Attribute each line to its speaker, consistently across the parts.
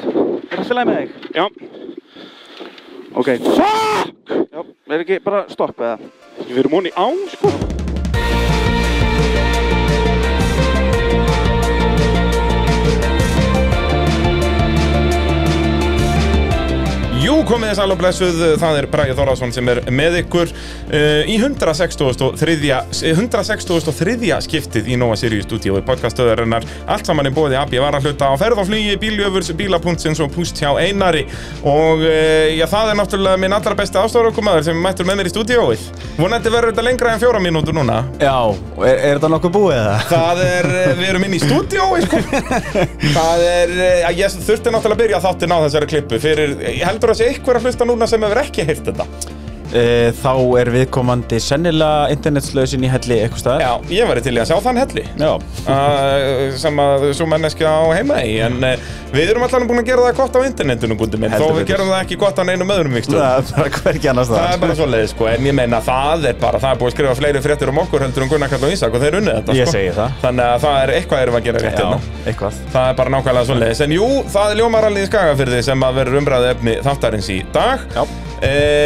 Speaker 1: allt í lagi með þig?
Speaker 2: Já.
Speaker 1: Ok.
Speaker 2: Fuck!
Speaker 1: Já, er ekki bara stopp eða?
Speaker 2: Við erum honni á, sko.
Speaker 3: Jú, komið þess alveg blessuð, það er Bragi Þorásson sem er með ykkur uh, í 163. eh, 163. skiptið í Nova Sirius stúdíu í podcastöðurinnar. Allt saman er bóði AB Varahluta á ferð og flugi, bíljöfurs, bílapunktsins og púst hjá Einari. Og uh, já, það er náttúrulega minn allra besti ástofarökumæður sem er mættur með mér í stúdíóið. Vonandi verður þetta lengra en fjóra mínútur núna.
Speaker 4: Já, og er, er þetta nokkuð búið eða?
Speaker 3: Það er, eh, við erum inn í stúdíói sko Það er, eh, ég þurfti náttúrulega að byrja þáttinn á þessari klippu Fyrir, ég heldur að sé einhver að hlusta núna sem hefur ekki heyrt þetta
Speaker 4: E, þá er viðkomandi sennilega internetslausin í helli eitthvað staðar.
Speaker 3: Já, ég væri til í að sjá þann helli
Speaker 4: Já.
Speaker 3: Uh, sem að svo menneskja á heima í en uh, við erum allan búin að gera það gott á internetinu gundi minn,
Speaker 4: Heldur
Speaker 3: þó við
Speaker 4: betur.
Speaker 3: gerum það ekki gott á neinum öðrum vikstu
Speaker 4: Það er bara hvergi annars
Speaker 3: það er
Speaker 4: staðar.
Speaker 3: bara svo leið sko, en ég meina það er bara það er búið að skrifa fleiri fréttir um okkur heldur um Gunnar Karl og Ísak og þeir unnið þetta
Speaker 4: Ég
Speaker 3: sko.
Speaker 4: segi það.
Speaker 3: þannig að það er eitthvað erum við að gera rétt hérna
Speaker 4: Já, eitthvað.
Speaker 3: Það er bara nákvæmlega svoleiðis, en jú, það er ljómarallið í Skagafyrði sem að verður umræðið efni þáttarins í dag.
Speaker 4: Já.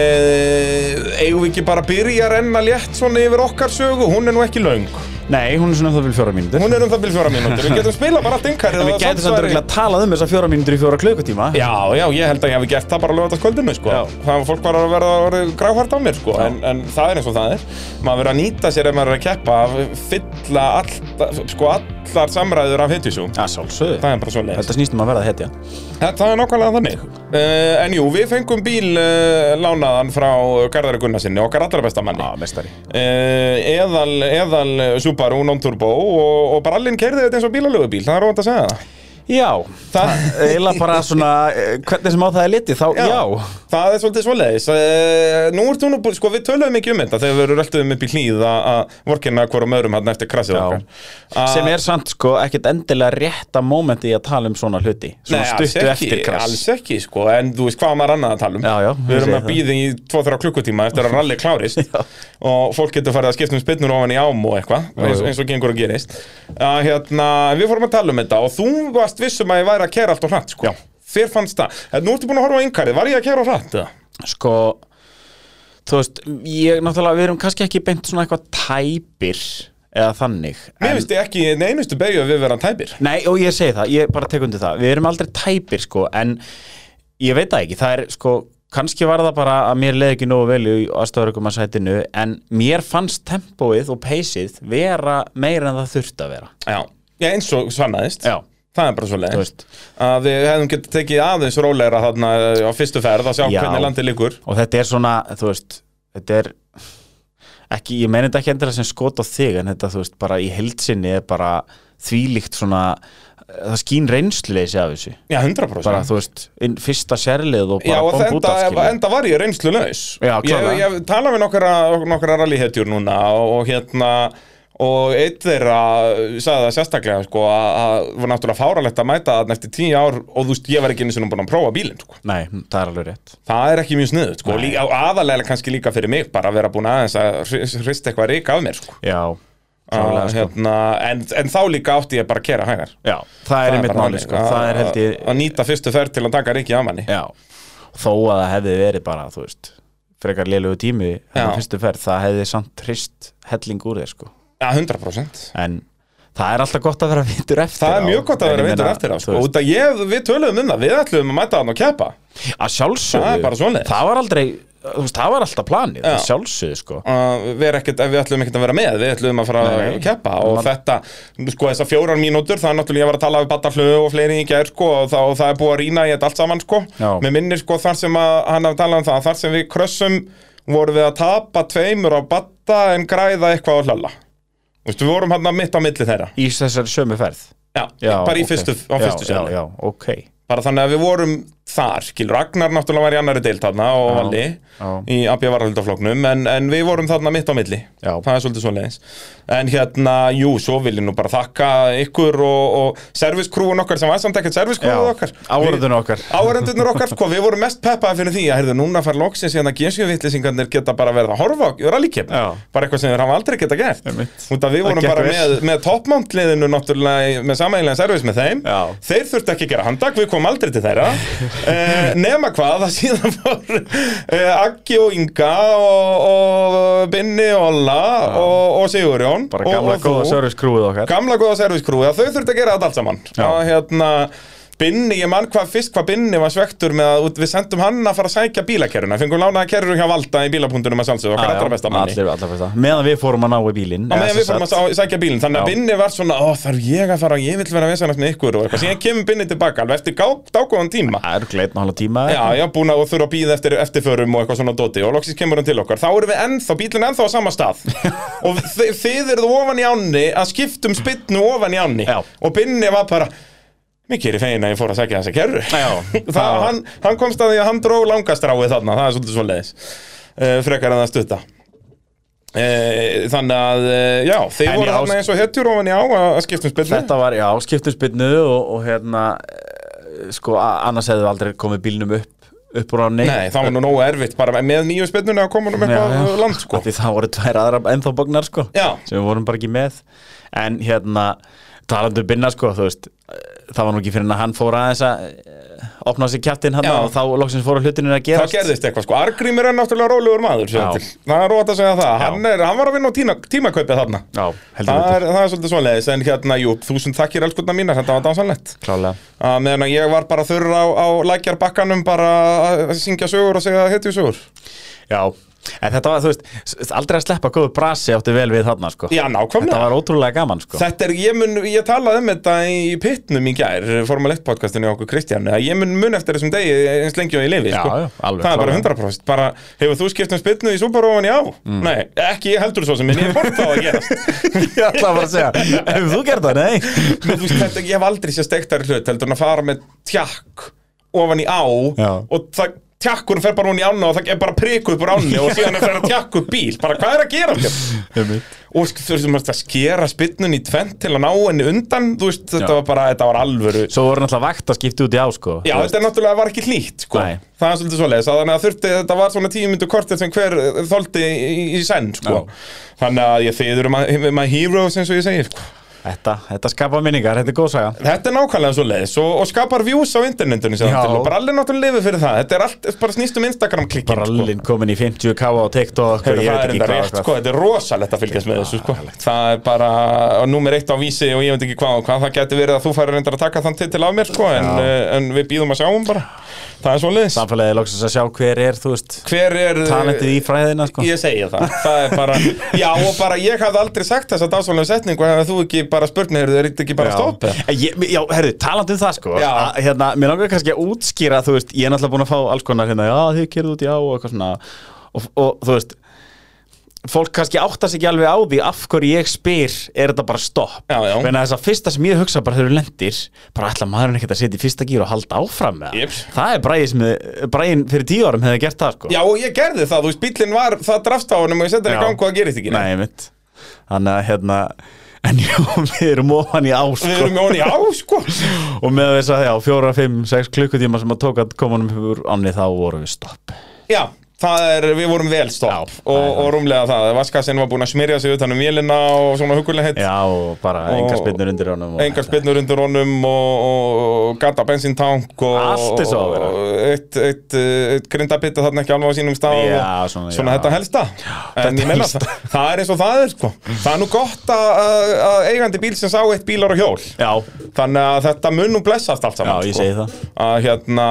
Speaker 3: Eh, eigum við ekki bara að byrja að renna létt svona yfir okkar sögu? Hún er nú ekki laung.
Speaker 4: Nei, hún er svona það vil fjóra mínútur.
Speaker 3: Hún er um það byrjum fjóra mínútur. Við getum spilað bara allt yngarið.
Speaker 4: En við gætum samt örgulega talað um þessar fjóra mínútur í fjóra klukkutíma.
Speaker 3: Já, já, ég held að ég hef gert það bara að lögast að kvöldinu, sko.
Speaker 4: Já.
Speaker 3: Það var fólk bara að verða orðið gráhært á mér, sko. En, en það er eins og það er. Maður verður að nýta sér ef maður er að keppa að fylla all, sko, allar samræður af hittisum.
Speaker 4: Já, sjálfsögðu.
Speaker 3: Það er bara svoleiðis.
Speaker 4: Þetta snýstum að verða hetja.
Speaker 3: Það, það er nákvæmlega þannig. Uh, en jú, við fengum bíl uh, lánaðan frá Garðari Gunnarsinni, okkar allra besta manni.
Speaker 4: Já, mestari.
Speaker 3: Uh, eðal, eðal eh, Subaru Non-Turbo og, og bara allin kerði þetta eins og bílalögubíl, það er óvænt að segja það.
Speaker 4: Já,
Speaker 3: Það-
Speaker 4: eiginlega bara svona, eh, hvernig sem á það er litið, þá, já.
Speaker 3: Það er svolítið svoleiðis. Uh, nú ert þú nú, búin- sko við töluðum ekki um þetta þegar við rölduðum upp í hlýð að- að vorkina hverjum öðrum hann eftir krassið
Speaker 4: Já.
Speaker 3: okkar. Að-
Speaker 4: Sem er samt, sko, ekkert endilega rétta mómenti í að tala um svona hluti. Svona
Speaker 3: alls
Speaker 4: stuttu
Speaker 3: ekki,
Speaker 4: eftir krass.
Speaker 3: alls ekki sko, en þú veist hvað á maður annað að tala um
Speaker 4: Já, já,
Speaker 3: Við
Speaker 4: ég
Speaker 3: erum
Speaker 4: segi
Speaker 3: að
Speaker 4: það.
Speaker 3: býða í 2-3 klukkutíma eftir að rally klárist og fólk getur farið að skipta um spinnur ofan í ám og eitthvað eins,
Speaker 4: já.
Speaker 3: eins og gengur að gerist að, hérna, en Við fórum að tala um þetta og þú varst vissum að ég væri að kera allt og hratt sko. Þér fannst það, en nú ertu búin að horfa á yngarið, var ég að kera á hratt? eða?
Speaker 4: sko þú veist, ég náttúrulega við erum kannski ekki beint svona eitthvað tæpir eða þannig
Speaker 3: Mér finnst ég ekki í einustu beigju að við verðan tæpir
Speaker 4: Nei, og ég segi það, ég bara tek undir það Við erum aldrei tæpir, sko, en ég veit það ekki, það er, sko kannski var það bara að mér leði ekki nógu vel í aðstofurökum að sætinu, en mér fannst tempóið og peysið vera meira en það þurfti að vera
Speaker 3: Já, já eins og svannaðist
Speaker 4: Já,
Speaker 3: Það er bara svo
Speaker 4: þú veist
Speaker 3: að við hefðum getið tekið aðeins rólegra þarna eh, á fyrstu ferð að sjá
Speaker 4: Já.
Speaker 3: hvernig landið liggur
Speaker 4: og þetta er svona, þú veist þetta er ekki, ég meni þetta ekki endilega sem skot á þig en þetta, þú veist, bara í heldsinni er bara þvílíkt svona það skín reynsleysi af þessu
Speaker 3: Já, 100%
Speaker 4: bara, þú veist, inn, fyrsta sérlið og
Speaker 3: Mm. Já,
Speaker 4: bara
Speaker 3: og
Speaker 4: bomb út
Speaker 3: enda,
Speaker 4: af skilur
Speaker 3: enda var ég reynslu laus
Speaker 4: Já,
Speaker 3: Ég,
Speaker 4: klárlega.
Speaker 3: ég tala við nokkra, nokkra rallyhetjur núna og, og hérna og einn þeirra sagði það sérstaklega sko, að að var náttúrulega fáralegt að mæta þarna eftir tíu ár og þú veist, ég var ekki einu sinni búin að prófa bílinn sko.
Speaker 4: Nei, það er alveg rétt
Speaker 3: það er ekki mjög sniðut sko. Lí, á aðalega kannski líka fyrir mig bara að vera búin aðeins að hrist eitthvað rík af mér sko.
Speaker 4: Já,
Speaker 3: Að,
Speaker 4: klálega, sko.
Speaker 3: hérna, en, en þá líka átti ég bara að kera hægar
Speaker 4: Já það er einmitt
Speaker 3: bara
Speaker 4: máli,
Speaker 3: þannig, Ah,
Speaker 4: sko, það er held
Speaker 3: að- að
Speaker 4: ég
Speaker 3: nýta fyrstu ferð til að taka ríkið af manni
Speaker 4: Já, þó að það hefði verið bara, þú veist frekar lélugu tími,
Speaker 3: Já.
Speaker 4: þennan fyrstu ferð það hefði samt trist helling úr þér, sko
Speaker 3: Já, 100%
Speaker 4: en það er alltaf gott að vera vitur eftir
Speaker 3: Það er
Speaker 4: á.
Speaker 3: mjög gott að
Speaker 4: En
Speaker 3: vera
Speaker 4: ég
Speaker 3: veitur
Speaker 4: meina,
Speaker 3: eftir á
Speaker 4: þú
Speaker 3: sko.
Speaker 4: veist,
Speaker 3: Út að ég, við töluðum um það, við ætluðum að mæta hann og keppa
Speaker 4: að sjálfsögðu
Speaker 3: Það er bara svoleiðis.
Speaker 4: það var aldrei þú veist, það var alltaf planið að sjálfsögðu sko
Speaker 3: uh, Við erum ekkert- Við ætluðum ekkert að vera með, við ætluðum að fara að
Speaker 4: Nei.
Speaker 3: keppa Og
Speaker 4: Man-
Speaker 3: þetta, sko þessar fjórar mínútur, það er náttúrulega ég var að tala við Bataflögu og fleiri í gær sko Og það, og það er búið að rýna í þetta allt saman sko
Speaker 4: Já.
Speaker 3: Mér minnir sko þar sem að, hann hafði talað um það, þar sem við krössum vorum við að tapa tveimur á Batta en græða eitthvað á hlalla Þú veist, Við vorum hann mitt á milli þeirra
Speaker 4: í þessari sömu ferð
Speaker 3: Já, bara í
Speaker 4: ok.
Speaker 3: fyrstu, á
Speaker 4: Já,
Speaker 3: fyrstu
Speaker 4: já,
Speaker 3: sérni
Speaker 4: já, ok
Speaker 3: bara þannig að við vorum þar, skilur, Agnar náttúrulega var í annari deild þarna og Valli
Speaker 4: já.
Speaker 3: í Abja Varaldafloknum en, en við vorum þarna mitt á milli,
Speaker 4: Já.
Speaker 3: það er svolítið svoleiðis en hérna, jú, svo vil ég nú bara þakka ykkur og, og serviskrúun okkar sem var samt ekkert serviskrúun
Speaker 4: Já,
Speaker 3: okkar
Speaker 4: áhorfendunum okkar.
Speaker 3: áverðunir okkar, sko, við vorum mest peppaði fyrir því að heyrðu, núna fær loksins hérna gensjövitlýsingarnir geta bara verið að horfa á rallykip
Speaker 4: Já.
Speaker 3: bara eitthvað sem þeir hafa aldrei geta gert
Speaker 4: Einmitt.
Speaker 3: út að við
Speaker 4: Það
Speaker 3: vorum
Speaker 4: gekk
Speaker 3: bara
Speaker 4: vel.
Speaker 3: með, með topmountliðinu náttúrulega í- með samægilegan servis með þeim
Speaker 4: Já.
Speaker 3: Þeir þurftu ekki að gera handak, við komum aldrei til þeirra Eh, nema hvað, það síðan fór uh, Aggi og Inga og, og Binni og Olla og, og Sigurjón
Speaker 4: Bara
Speaker 3: og-
Speaker 4: gamla
Speaker 3: og þú.
Speaker 4: góða servicekrúið okkar
Speaker 3: Gamla góða serviskrúi, að þau þurftu að gera þetta allt saman
Speaker 4: Já.
Speaker 3: og hérna Binni, ég mann hvað fyrst hvað Binni var svektur með að út- við sendum hann að fara að sækja bílakerruna fengum lánaða kerrur hjá Valda í bílapunktunum að sjálfsögðu okkar
Speaker 4: Já, já,
Speaker 3: allra besta manni
Speaker 4: allir, allir besta. Meðan við fórum að ná í bílinn
Speaker 3: á
Speaker 4: eða
Speaker 3: meðan
Speaker 4: sem
Speaker 3: við fórum að
Speaker 4: sagt-
Speaker 3: sá- sækja bílinn þannig að
Speaker 4: Já.
Speaker 3: Binni var svona, ó þarf ég að fara ég vill vera vesanast með ykkur og eitthvað síðan kemur Binni tilbaka alveg eftir gá- dágóðan tíma
Speaker 4: Það er gleitn og halva tíma eða
Speaker 3: já, já, búin að og þurfa að býða eftir eftirförum og eitthvað svona doti og loksins kemur hann til okkar þá erum við ennþá, bílinn er ennþá á sama stað og þi- þið eruð ofan í ánni að skiptum spytnu ofan í ánni
Speaker 4: Já.
Speaker 3: og Binni var bara mikið er í fegin að ég fór að sækja þessa kerru
Speaker 4: Já,
Speaker 3: það, hann, hann komst að því að hann dró langastráið þarna, það er svolítið svo leiðis frekar en að stutta uh, þannig að uh, já, þeir
Speaker 4: En
Speaker 3: voru
Speaker 4: já,
Speaker 3: þarna eins og hetjur ofan í á að að skiptum spillu
Speaker 4: Þetta var, já, skiptumspinnu og, og hérna eh, sko, a- annars hefðu aldrei komið bílnum upp upp úr ánni
Speaker 3: Nei, það var nú nógu erfitt bara með nýju spilnuna að koma um eitthvað
Speaker 4: Já, já.
Speaker 3: land sko.
Speaker 4: Af Því það voru tvær aðra ennþá bóknar sko
Speaker 3: Já.
Speaker 4: sem við vorum bara ekki með en hérna talandi um binna sko þú veist það var nú ekki fyrir en að hann fór aðeins að eh, opna sér kjartinn hann
Speaker 3: Já.
Speaker 4: og þá loksins fóru hlutinu að
Speaker 3: Það
Speaker 4: gerast
Speaker 3: gerðist eitthvað sko, Argrímur er náttúrulega rólegur maður sér
Speaker 4: Já.
Speaker 3: til. Það er rót að segja það,
Speaker 4: Já.
Speaker 3: hann, er, hann var að vinna á tína, tímakaupið þarna
Speaker 4: Já, heldur
Speaker 3: það
Speaker 4: betur.
Speaker 3: er, það er svolítið svoleiðis, en hérna, jú, þúsund þakkir elskunna mínar, þetta var dansanlegt
Speaker 4: klálega
Speaker 3: að meðan að ég var bara þurr á, á lækjarbakkanum bara að syngja sögur og segja hetju sögur
Speaker 4: Já, en þetta var, þú veist, s- aldrei að sleppa góðu brasi átti vel við þarna, sko.
Speaker 3: Já, nákvæmlega.
Speaker 4: Þetta var ótrúlega gaman, sko.
Speaker 3: Þetta er, ég mun, ég talaði um þetta í pittnum í gær, Formule 1 podcastinu hjá okkur Kristján, að ég mun mun eftir þessum degi eins lengi og ég lifi,
Speaker 4: Já,
Speaker 3: sko.
Speaker 4: já, alveg
Speaker 3: Það er bara
Speaker 4: klárlega.
Speaker 3: 100%, bara, hefur þú skipt um spilnu í Subaru-ofan, já?
Speaker 4: Mm.
Speaker 3: Nei, ekki ég heldur svo sem, en ég fór þá að gerast.
Speaker 4: Ég ætla bara að segja, hefur þú gert það? Nei.
Speaker 3: Nú, þú veist, þetta, ég hef aldrei séð stektari hlut, heldur en að fara með tjakk ofan í á
Speaker 4: Já.
Speaker 3: og það, tjakkurinn fer bara hún í ána og það er bara priku upp úr áni og síðan er það tjakk upp bíl, bara hvað er að gera þér?
Speaker 4: Einmitt.
Speaker 3: og sk- þú veist, þú veist að skera spinnun í tvent til að ná henni undan, þú veist, þetta
Speaker 4: Já.
Speaker 3: var bara, þetta var alvöru
Speaker 4: Svo voru náttúrulega vakt að skipta út í á, sko.
Speaker 3: Já, þetta er náttúrulega var ekki hlýtt, sko
Speaker 4: Nei.
Speaker 3: Það er svolítið svoleiðis, að þannig að þurfti, þetta var svona tíu myndu kortið sem hver eh, þoldi í, í senn, sko Þannig að ég þýður um að, um að heroes eins og ég segir, sko
Speaker 4: Þetta, þetta skapa minningar, þetta er góð saga.
Speaker 3: Þetta er nákvæmlega svo leiðis og, og skapar views á internetinu sem
Speaker 4: Já.
Speaker 3: það til og bara allir náttúrulega lifið fyrir það Þetta er allt, bara snýst um Instagram klikkin
Speaker 4: Brallin komin í 50k á TikTok
Speaker 3: Heru, það
Speaker 4: og ég veit
Speaker 3: er
Speaker 4: ekki
Speaker 3: enda
Speaker 4: hvað.
Speaker 3: rétt,
Speaker 4: og
Speaker 3: sko,
Speaker 4: hvað.
Speaker 3: þetta er rosalegt að fylgjast með þessu, sko Það er bara nummer eitt á vísi og ég veit ekki hvað og hvað Það geti verið að þú færir reyndar að taka þann titil af mér, sko en, eh, en við býðum að sjáum bara Það er svo
Speaker 4: Samfélagið loksins að sjá hver er, þú veist,
Speaker 3: Hver er eh,
Speaker 4: talentið í fræðina, sko.
Speaker 3: Ég segja það, það er bara Já, og bara ég hafði aldrei sagt þessa dásvonlega setningu Hefði þú ekki bara spurt mig, heyrðu, er þetta ekki bara stopp eða?
Speaker 4: En Eh, ég, já, herðu, talandi um það sko
Speaker 3: Já.
Speaker 4: að, hérna, Mér langar kannski að útskýra þú veist, Ég er náttúrulega búin að fá alls konar hérna Já, þið kerðu út í á og eitthvað svona og, og þú veist Fólk kannski áttar sig ekki alveg á því Af hverju ég spyr, er þetta bara stopp
Speaker 3: Já, já.
Speaker 4: Þannig að þess að fyrsta sem ég hugsa bara þegar þú lendir Bara ætla maðurinn ekkert að setja í fyrsta gír og halda áfram með það
Speaker 3: Jeps.
Speaker 4: Það er bræði sem bræðin fyrir tíu árum hefði gert það sko
Speaker 3: Já, og ég gerði það, þú veist, bíllinn var, það drafst á honum og ég setja hann í gang og það gerist ekki
Speaker 4: Nei, mitt Þannig að hérna En já, við erum ofan í á sko
Speaker 3: Við erum með honum í á, sko
Speaker 4: Og með þess að já, fjóra, fimm, sex klukkutíma sem að tók að koma um hufur ánni þá vorum við stopp
Speaker 3: Já, það er, við vorum vel stopp
Speaker 4: Já,
Speaker 3: og,
Speaker 4: það er
Speaker 3: og rúmlega það, vaskasinn var búin að smyrja sig utan um vélina og svona hugulega heitt
Speaker 4: Já, og bara
Speaker 3: Og-
Speaker 4: engar spinnur undir honum og
Speaker 3: Engar spinnur undir honum og, og, og gata bensintank og,
Speaker 4: Allt eins og á að vera.
Speaker 3: og eitt, eitt, eitt grindabitta þarna ekki alveg á sínum stað
Speaker 4: Já,
Speaker 3: og-
Speaker 4: svona,
Speaker 3: svona
Speaker 4: já.
Speaker 3: þetta helsta en
Speaker 4: þetta
Speaker 3: ég meina
Speaker 4: helsta.
Speaker 3: það, það er eins og það er sko það er nú gott að- að að eigandi bíl sem sá eitt bílar og hjól
Speaker 4: Já,
Speaker 3: Þannig að þetta mun nú blessast allt saman
Speaker 4: Já, ég
Speaker 3: sko.
Speaker 4: segi það.
Speaker 3: að, hérna,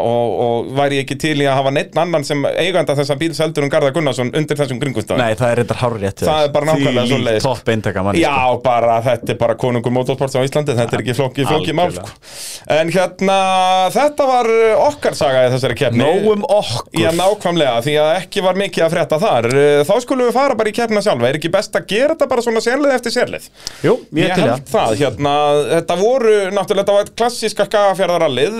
Speaker 3: og, og væri ég ekki til í að hafa neitt annan sem eiganda þessa bíls heldur um Garðar Gunnarsson undir þessum kringumstæðum
Speaker 4: nei, það er reyndar hár rétt
Speaker 3: Það er bara nákvæmlega svoleiðis.
Speaker 4: Topp eintaka manni
Speaker 3: Já, bara þetta er bara konungur motorsports á Íslandi, þetta er ekki flóki, flóki mál sko.
Speaker 4: Algjörlega.
Speaker 3: En hérna, þetta var uh, okkar saga í þessari keppni
Speaker 4: Nóum um okkur
Speaker 3: Já, nákvæmlega, því að ekki var mikið að frétta þar Uh, Þá skulum við fara bara í keppna sjálfa, er ekki best að gera þetta bara svona sérlið eftir sérlið?
Speaker 4: Jú, ég,
Speaker 3: Ég
Speaker 4: ég til
Speaker 3: held
Speaker 4: það
Speaker 3: það, hérna, þetta voru náttúrulega, þetta var klassíska skagafjörðarallið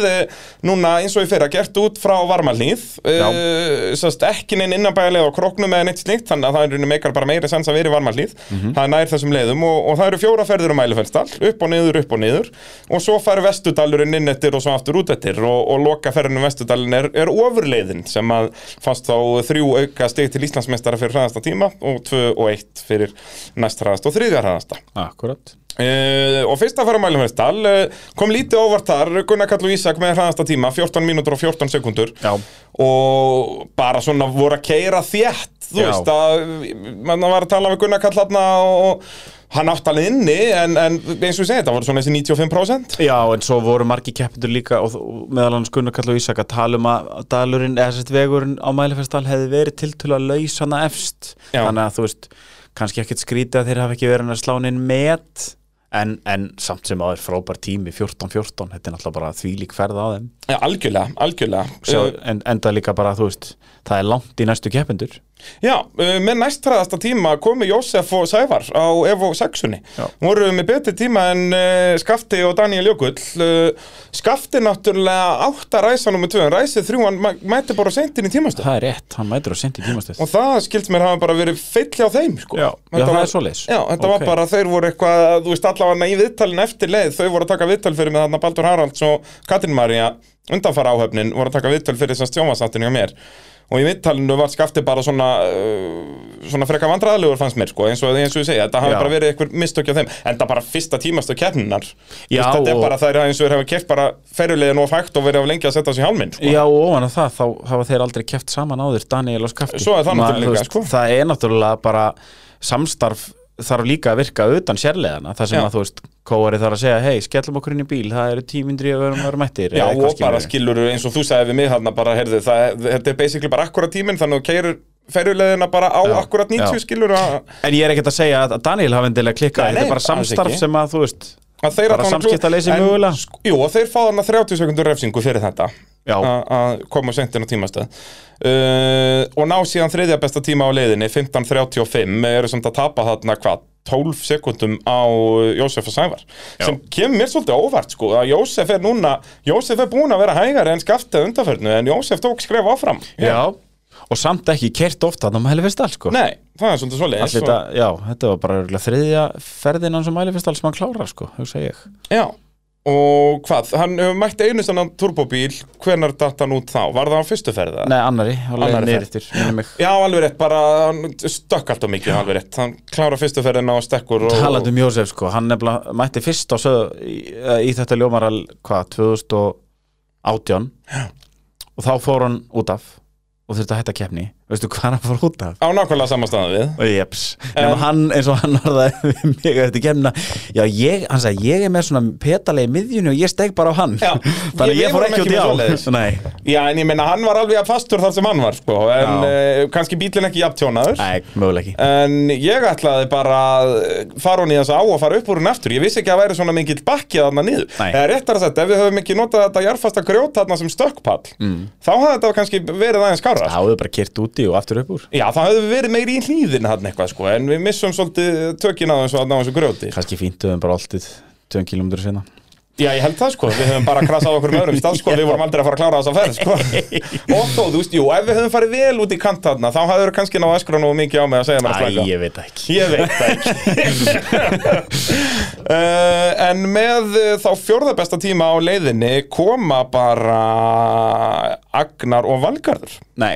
Speaker 3: núna eins og í fyrra gert út frá varmalíð
Speaker 4: Já.
Speaker 3: uh, sest, ekki neinn innanbæðarleið á kroknum eða neitt slíkt, þannig að það er í rauninni meikar bara meiri sens að vera í varmalíð,
Speaker 4: Mhm.
Speaker 3: það er nær þessum leiðum og, og það eru fjóra ferður um ælufellstall upp og niður, upp og niður og svo fær vestudalurinn inn eftir og svo aftur út eftir og, og loka ferðinu vestudalinn er, er ofurleiðin sem að fannst þá þrjú auka stig til Íslandsmeistara fyrir hraðasta tíma og tvö og eitt fyrir næst hraðasta og þriðja hraðasta
Speaker 4: Akkurat
Speaker 3: Uh, og fyrst að fara að mælum hans tal uh, kom lítið óvart þar, Gunnar Kallu Ísak með hraðasta tíma, 14 mínútur og 14 sekundur
Speaker 4: Já.
Speaker 3: og bara svona voru að keira þétt þú
Speaker 4: Já.
Speaker 3: veist að mann var að tala við Gunnar Kall hérna og hann átt alveg inni en, en eins og ég segi þetta voru svona þessi 95%
Speaker 4: Já, en svo voru margi keppindur líka og og meðal annars Gunnar Kall og Ísak að tala um að að dalurinn, eða sett vegurinn á mælifestal hefði verið tiltölu að laus hana efst
Speaker 3: Já.
Speaker 4: þannig að þú veist, kannski ekkert skrítið að þeir hafa ekki verið að slá inn met en, en samt sem áður frábær tími 14-14, þetta er náttúrulega bara þvílík ferð á þeim
Speaker 3: ja, Eh, algjörlega, algjörlega
Speaker 4: Sjá,
Speaker 3: Uh,
Speaker 4: en, enda líka bara, þú veist, það er langt í næstu keppindur
Speaker 3: Já, uh, með næstræðasta tíma komu Jósef og Sævar á Evo 6-unni
Speaker 4: Já.
Speaker 3: voru með betri tíma en uh, Skafti og Daniel Jökull uh, Skafti náttúrulega átta ræsa nummer 2 en ræsið 3 hann mæ- mætti bara seintin í tímastöð
Speaker 4: Það er rétt, hann mætur á sent í tímastöð
Speaker 3: og það skilt mér hafa bara verið feill hjá þeim sko.
Speaker 4: Já, já,
Speaker 3: Þetta
Speaker 4: það
Speaker 3: var-
Speaker 4: er svoleiðis.
Speaker 3: Já, þetta
Speaker 4: Ok.
Speaker 3: var bara, þeir voru eitthvað þú veist allavega í viðtalin eftir leið þau voru að taka viðtal fyrir með þarna Baldur Haralds og Katrin Maria undanfara áhöfnin voru að taka viðtal fyrir þess að stjómasáttinu hjá mér og í viðtalinu var skafti bara svona uh, svona freka vandræðalegur fannst mér sko, eins og, eins og ég segja, þetta hafi
Speaker 4: Já.
Speaker 3: bara verið einhver mistök hjá þeim, en það bara fyrsta tímastöð kjarninar,
Speaker 4: Já,
Speaker 3: þetta er
Speaker 4: og-
Speaker 3: bara þær eins og þeir hafa keft bara ferjulegin og fægt og verið af lengi að setja sig í hálminn sko.
Speaker 4: Já, og ofan að það, þá hafa þeir aldrei keft saman áður, Daniel og Skafti
Speaker 3: Svo er það
Speaker 4: Ma-
Speaker 3: náttúrulega
Speaker 4: þú
Speaker 3: líka, sko.
Speaker 4: Það er náttúrulega bara samstarf þarf líka að virka utan sérleðana þar sem
Speaker 3: Já.
Speaker 4: að þú veist, kóari þarf að segja hei, skellum okkur inn í bíl, það eru tímindri að vera vera mættir
Speaker 3: Já,
Speaker 4: eða eitthvað
Speaker 3: og bara
Speaker 4: skilurðu.
Speaker 3: skilur eins og þú sagði við mig þarna bara, heyrðu, það, þetta er basically bara akkurat tíminn, þannig að þú keirir ferjulegðina bara á
Speaker 4: Já,
Speaker 3: akkurat 90
Speaker 4: já.
Speaker 3: skilur að,
Speaker 4: En ég er ekkert að segja að að Daniel hafi endilega klikkað
Speaker 3: Nei,
Speaker 4: þetta
Speaker 3: nei,
Speaker 4: er bara
Speaker 3: alls
Speaker 4: samstarf
Speaker 3: ekki.
Speaker 4: sem að þú veist
Speaker 3: að þeir
Speaker 4: Bara
Speaker 3: allan-
Speaker 4: samskiptaleysi
Speaker 3: en-
Speaker 4: mögulega.
Speaker 3: sk- Jú, og þeir fá þarna 30 sekundur refsingu fyrir þetta
Speaker 4: Já.
Speaker 3: að- að koma sentin á tímastöð uh, og ná síðan þriðja besta tíma á leiðinni 15.35, eru samt að tapa þarna hvað, 12 sekundum á Jósef og Sævar, sem kemur mér svolítið á óvart sko, að Jósef er núna Jósef er búin að vera hægari en skaftið undanferðinu en Jósef tók skref áfram
Speaker 4: Já, og samt ekki kert ofta þannig að maður helfist alls sko
Speaker 3: Nei, það er svolítið svolítið
Speaker 4: Allir þetta, já, þetta var bara örugglega þriðja ferðin hans og mælifestal sem hann klárar sko, hugsa ég
Speaker 3: Já, og hvað, hann hefur mætt einu sannan turbóbíl, hvenar datt hann út þá? Var það á fyrstu ferða?
Speaker 4: Nei, annari, hann leiði
Speaker 3: Annarri ferð.
Speaker 4: neyrittir, minnum mig
Speaker 3: Já, alveg rétt, bara hann stökk alltaf mikið, alveg rétt Hann klára fyrstu ferðina og stekkur og...
Speaker 4: talandi um Jósef sko, hann nefnilega mætti fyrst á söðu í, í þetta ljómaral hvað, 2018 og þá fór hann út af og þurfti að hætta keppni veistu hvað hann fór út af?
Speaker 3: Á nákvæmlega sama staðan við
Speaker 4: Og jeps, nema hann eins og hann orðaði við mig eftir kemna Já, ég, hann sagði, ég er með svona petalegi miðjunni og ég steg bara á hann
Speaker 3: Já,
Speaker 4: Þannig
Speaker 3: ég-
Speaker 4: ég,
Speaker 3: við
Speaker 4: fór
Speaker 3: vorum
Speaker 4: ekki
Speaker 3: ekki
Speaker 4: út í
Speaker 3: með
Speaker 4: á
Speaker 3: svoleiðis.
Speaker 4: Nei,
Speaker 3: Já, en ég meina, hann var alveg að fastur þar sem hann var, sko En uh, kannski bílinn ekki jafn tjónaður
Speaker 4: Nei möguleg ekki
Speaker 3: En ég ætlaði bara að fara hún í þessa á og fara upp úr hún aftur Ég vissi ekki að væri svona mingill bakki þarna niður
Speaker 4: Nei.
Speaker 3: Eða réttar að þetta, ef við höfum ekki notað þetta jarfasta grjót þarna sem stökkpall mm. Þá hafði þetta kannski verið aðeins
Speaker 4: Það
Speaker 3: skára
Speaker 4: hafði bara kert úti og aftur upp úr
Speaker 3: Já, það hefði verið meiri í hlýðin hann eitthvað sko En við missum svolítið tökin á þessu, á þessu grjóti
Speaker 4: Kannski fíntuðum bara alltið 2 km sinna
Speaker 3: Já, ég held það sko, við höfum bara krasað á okkur með öðrum stað sko, við vorum aldrei að fara að klára þessa ferð sko Og þó, þú veist, jú, ef við höfum farið vel út í kant þarna Þá hafði kannski náðu öskra nú mikið á mig að segja mér að
Speaker 4: Æ,
Speaker 3: slæka
Speaker 4: ég veit það ekki
Speaker 3: Ég veit það ekki uh, En með uh, þá fjórða besta tíma á leiðinni koma bara Agnar og Valgarður
Speaker 4: Nei,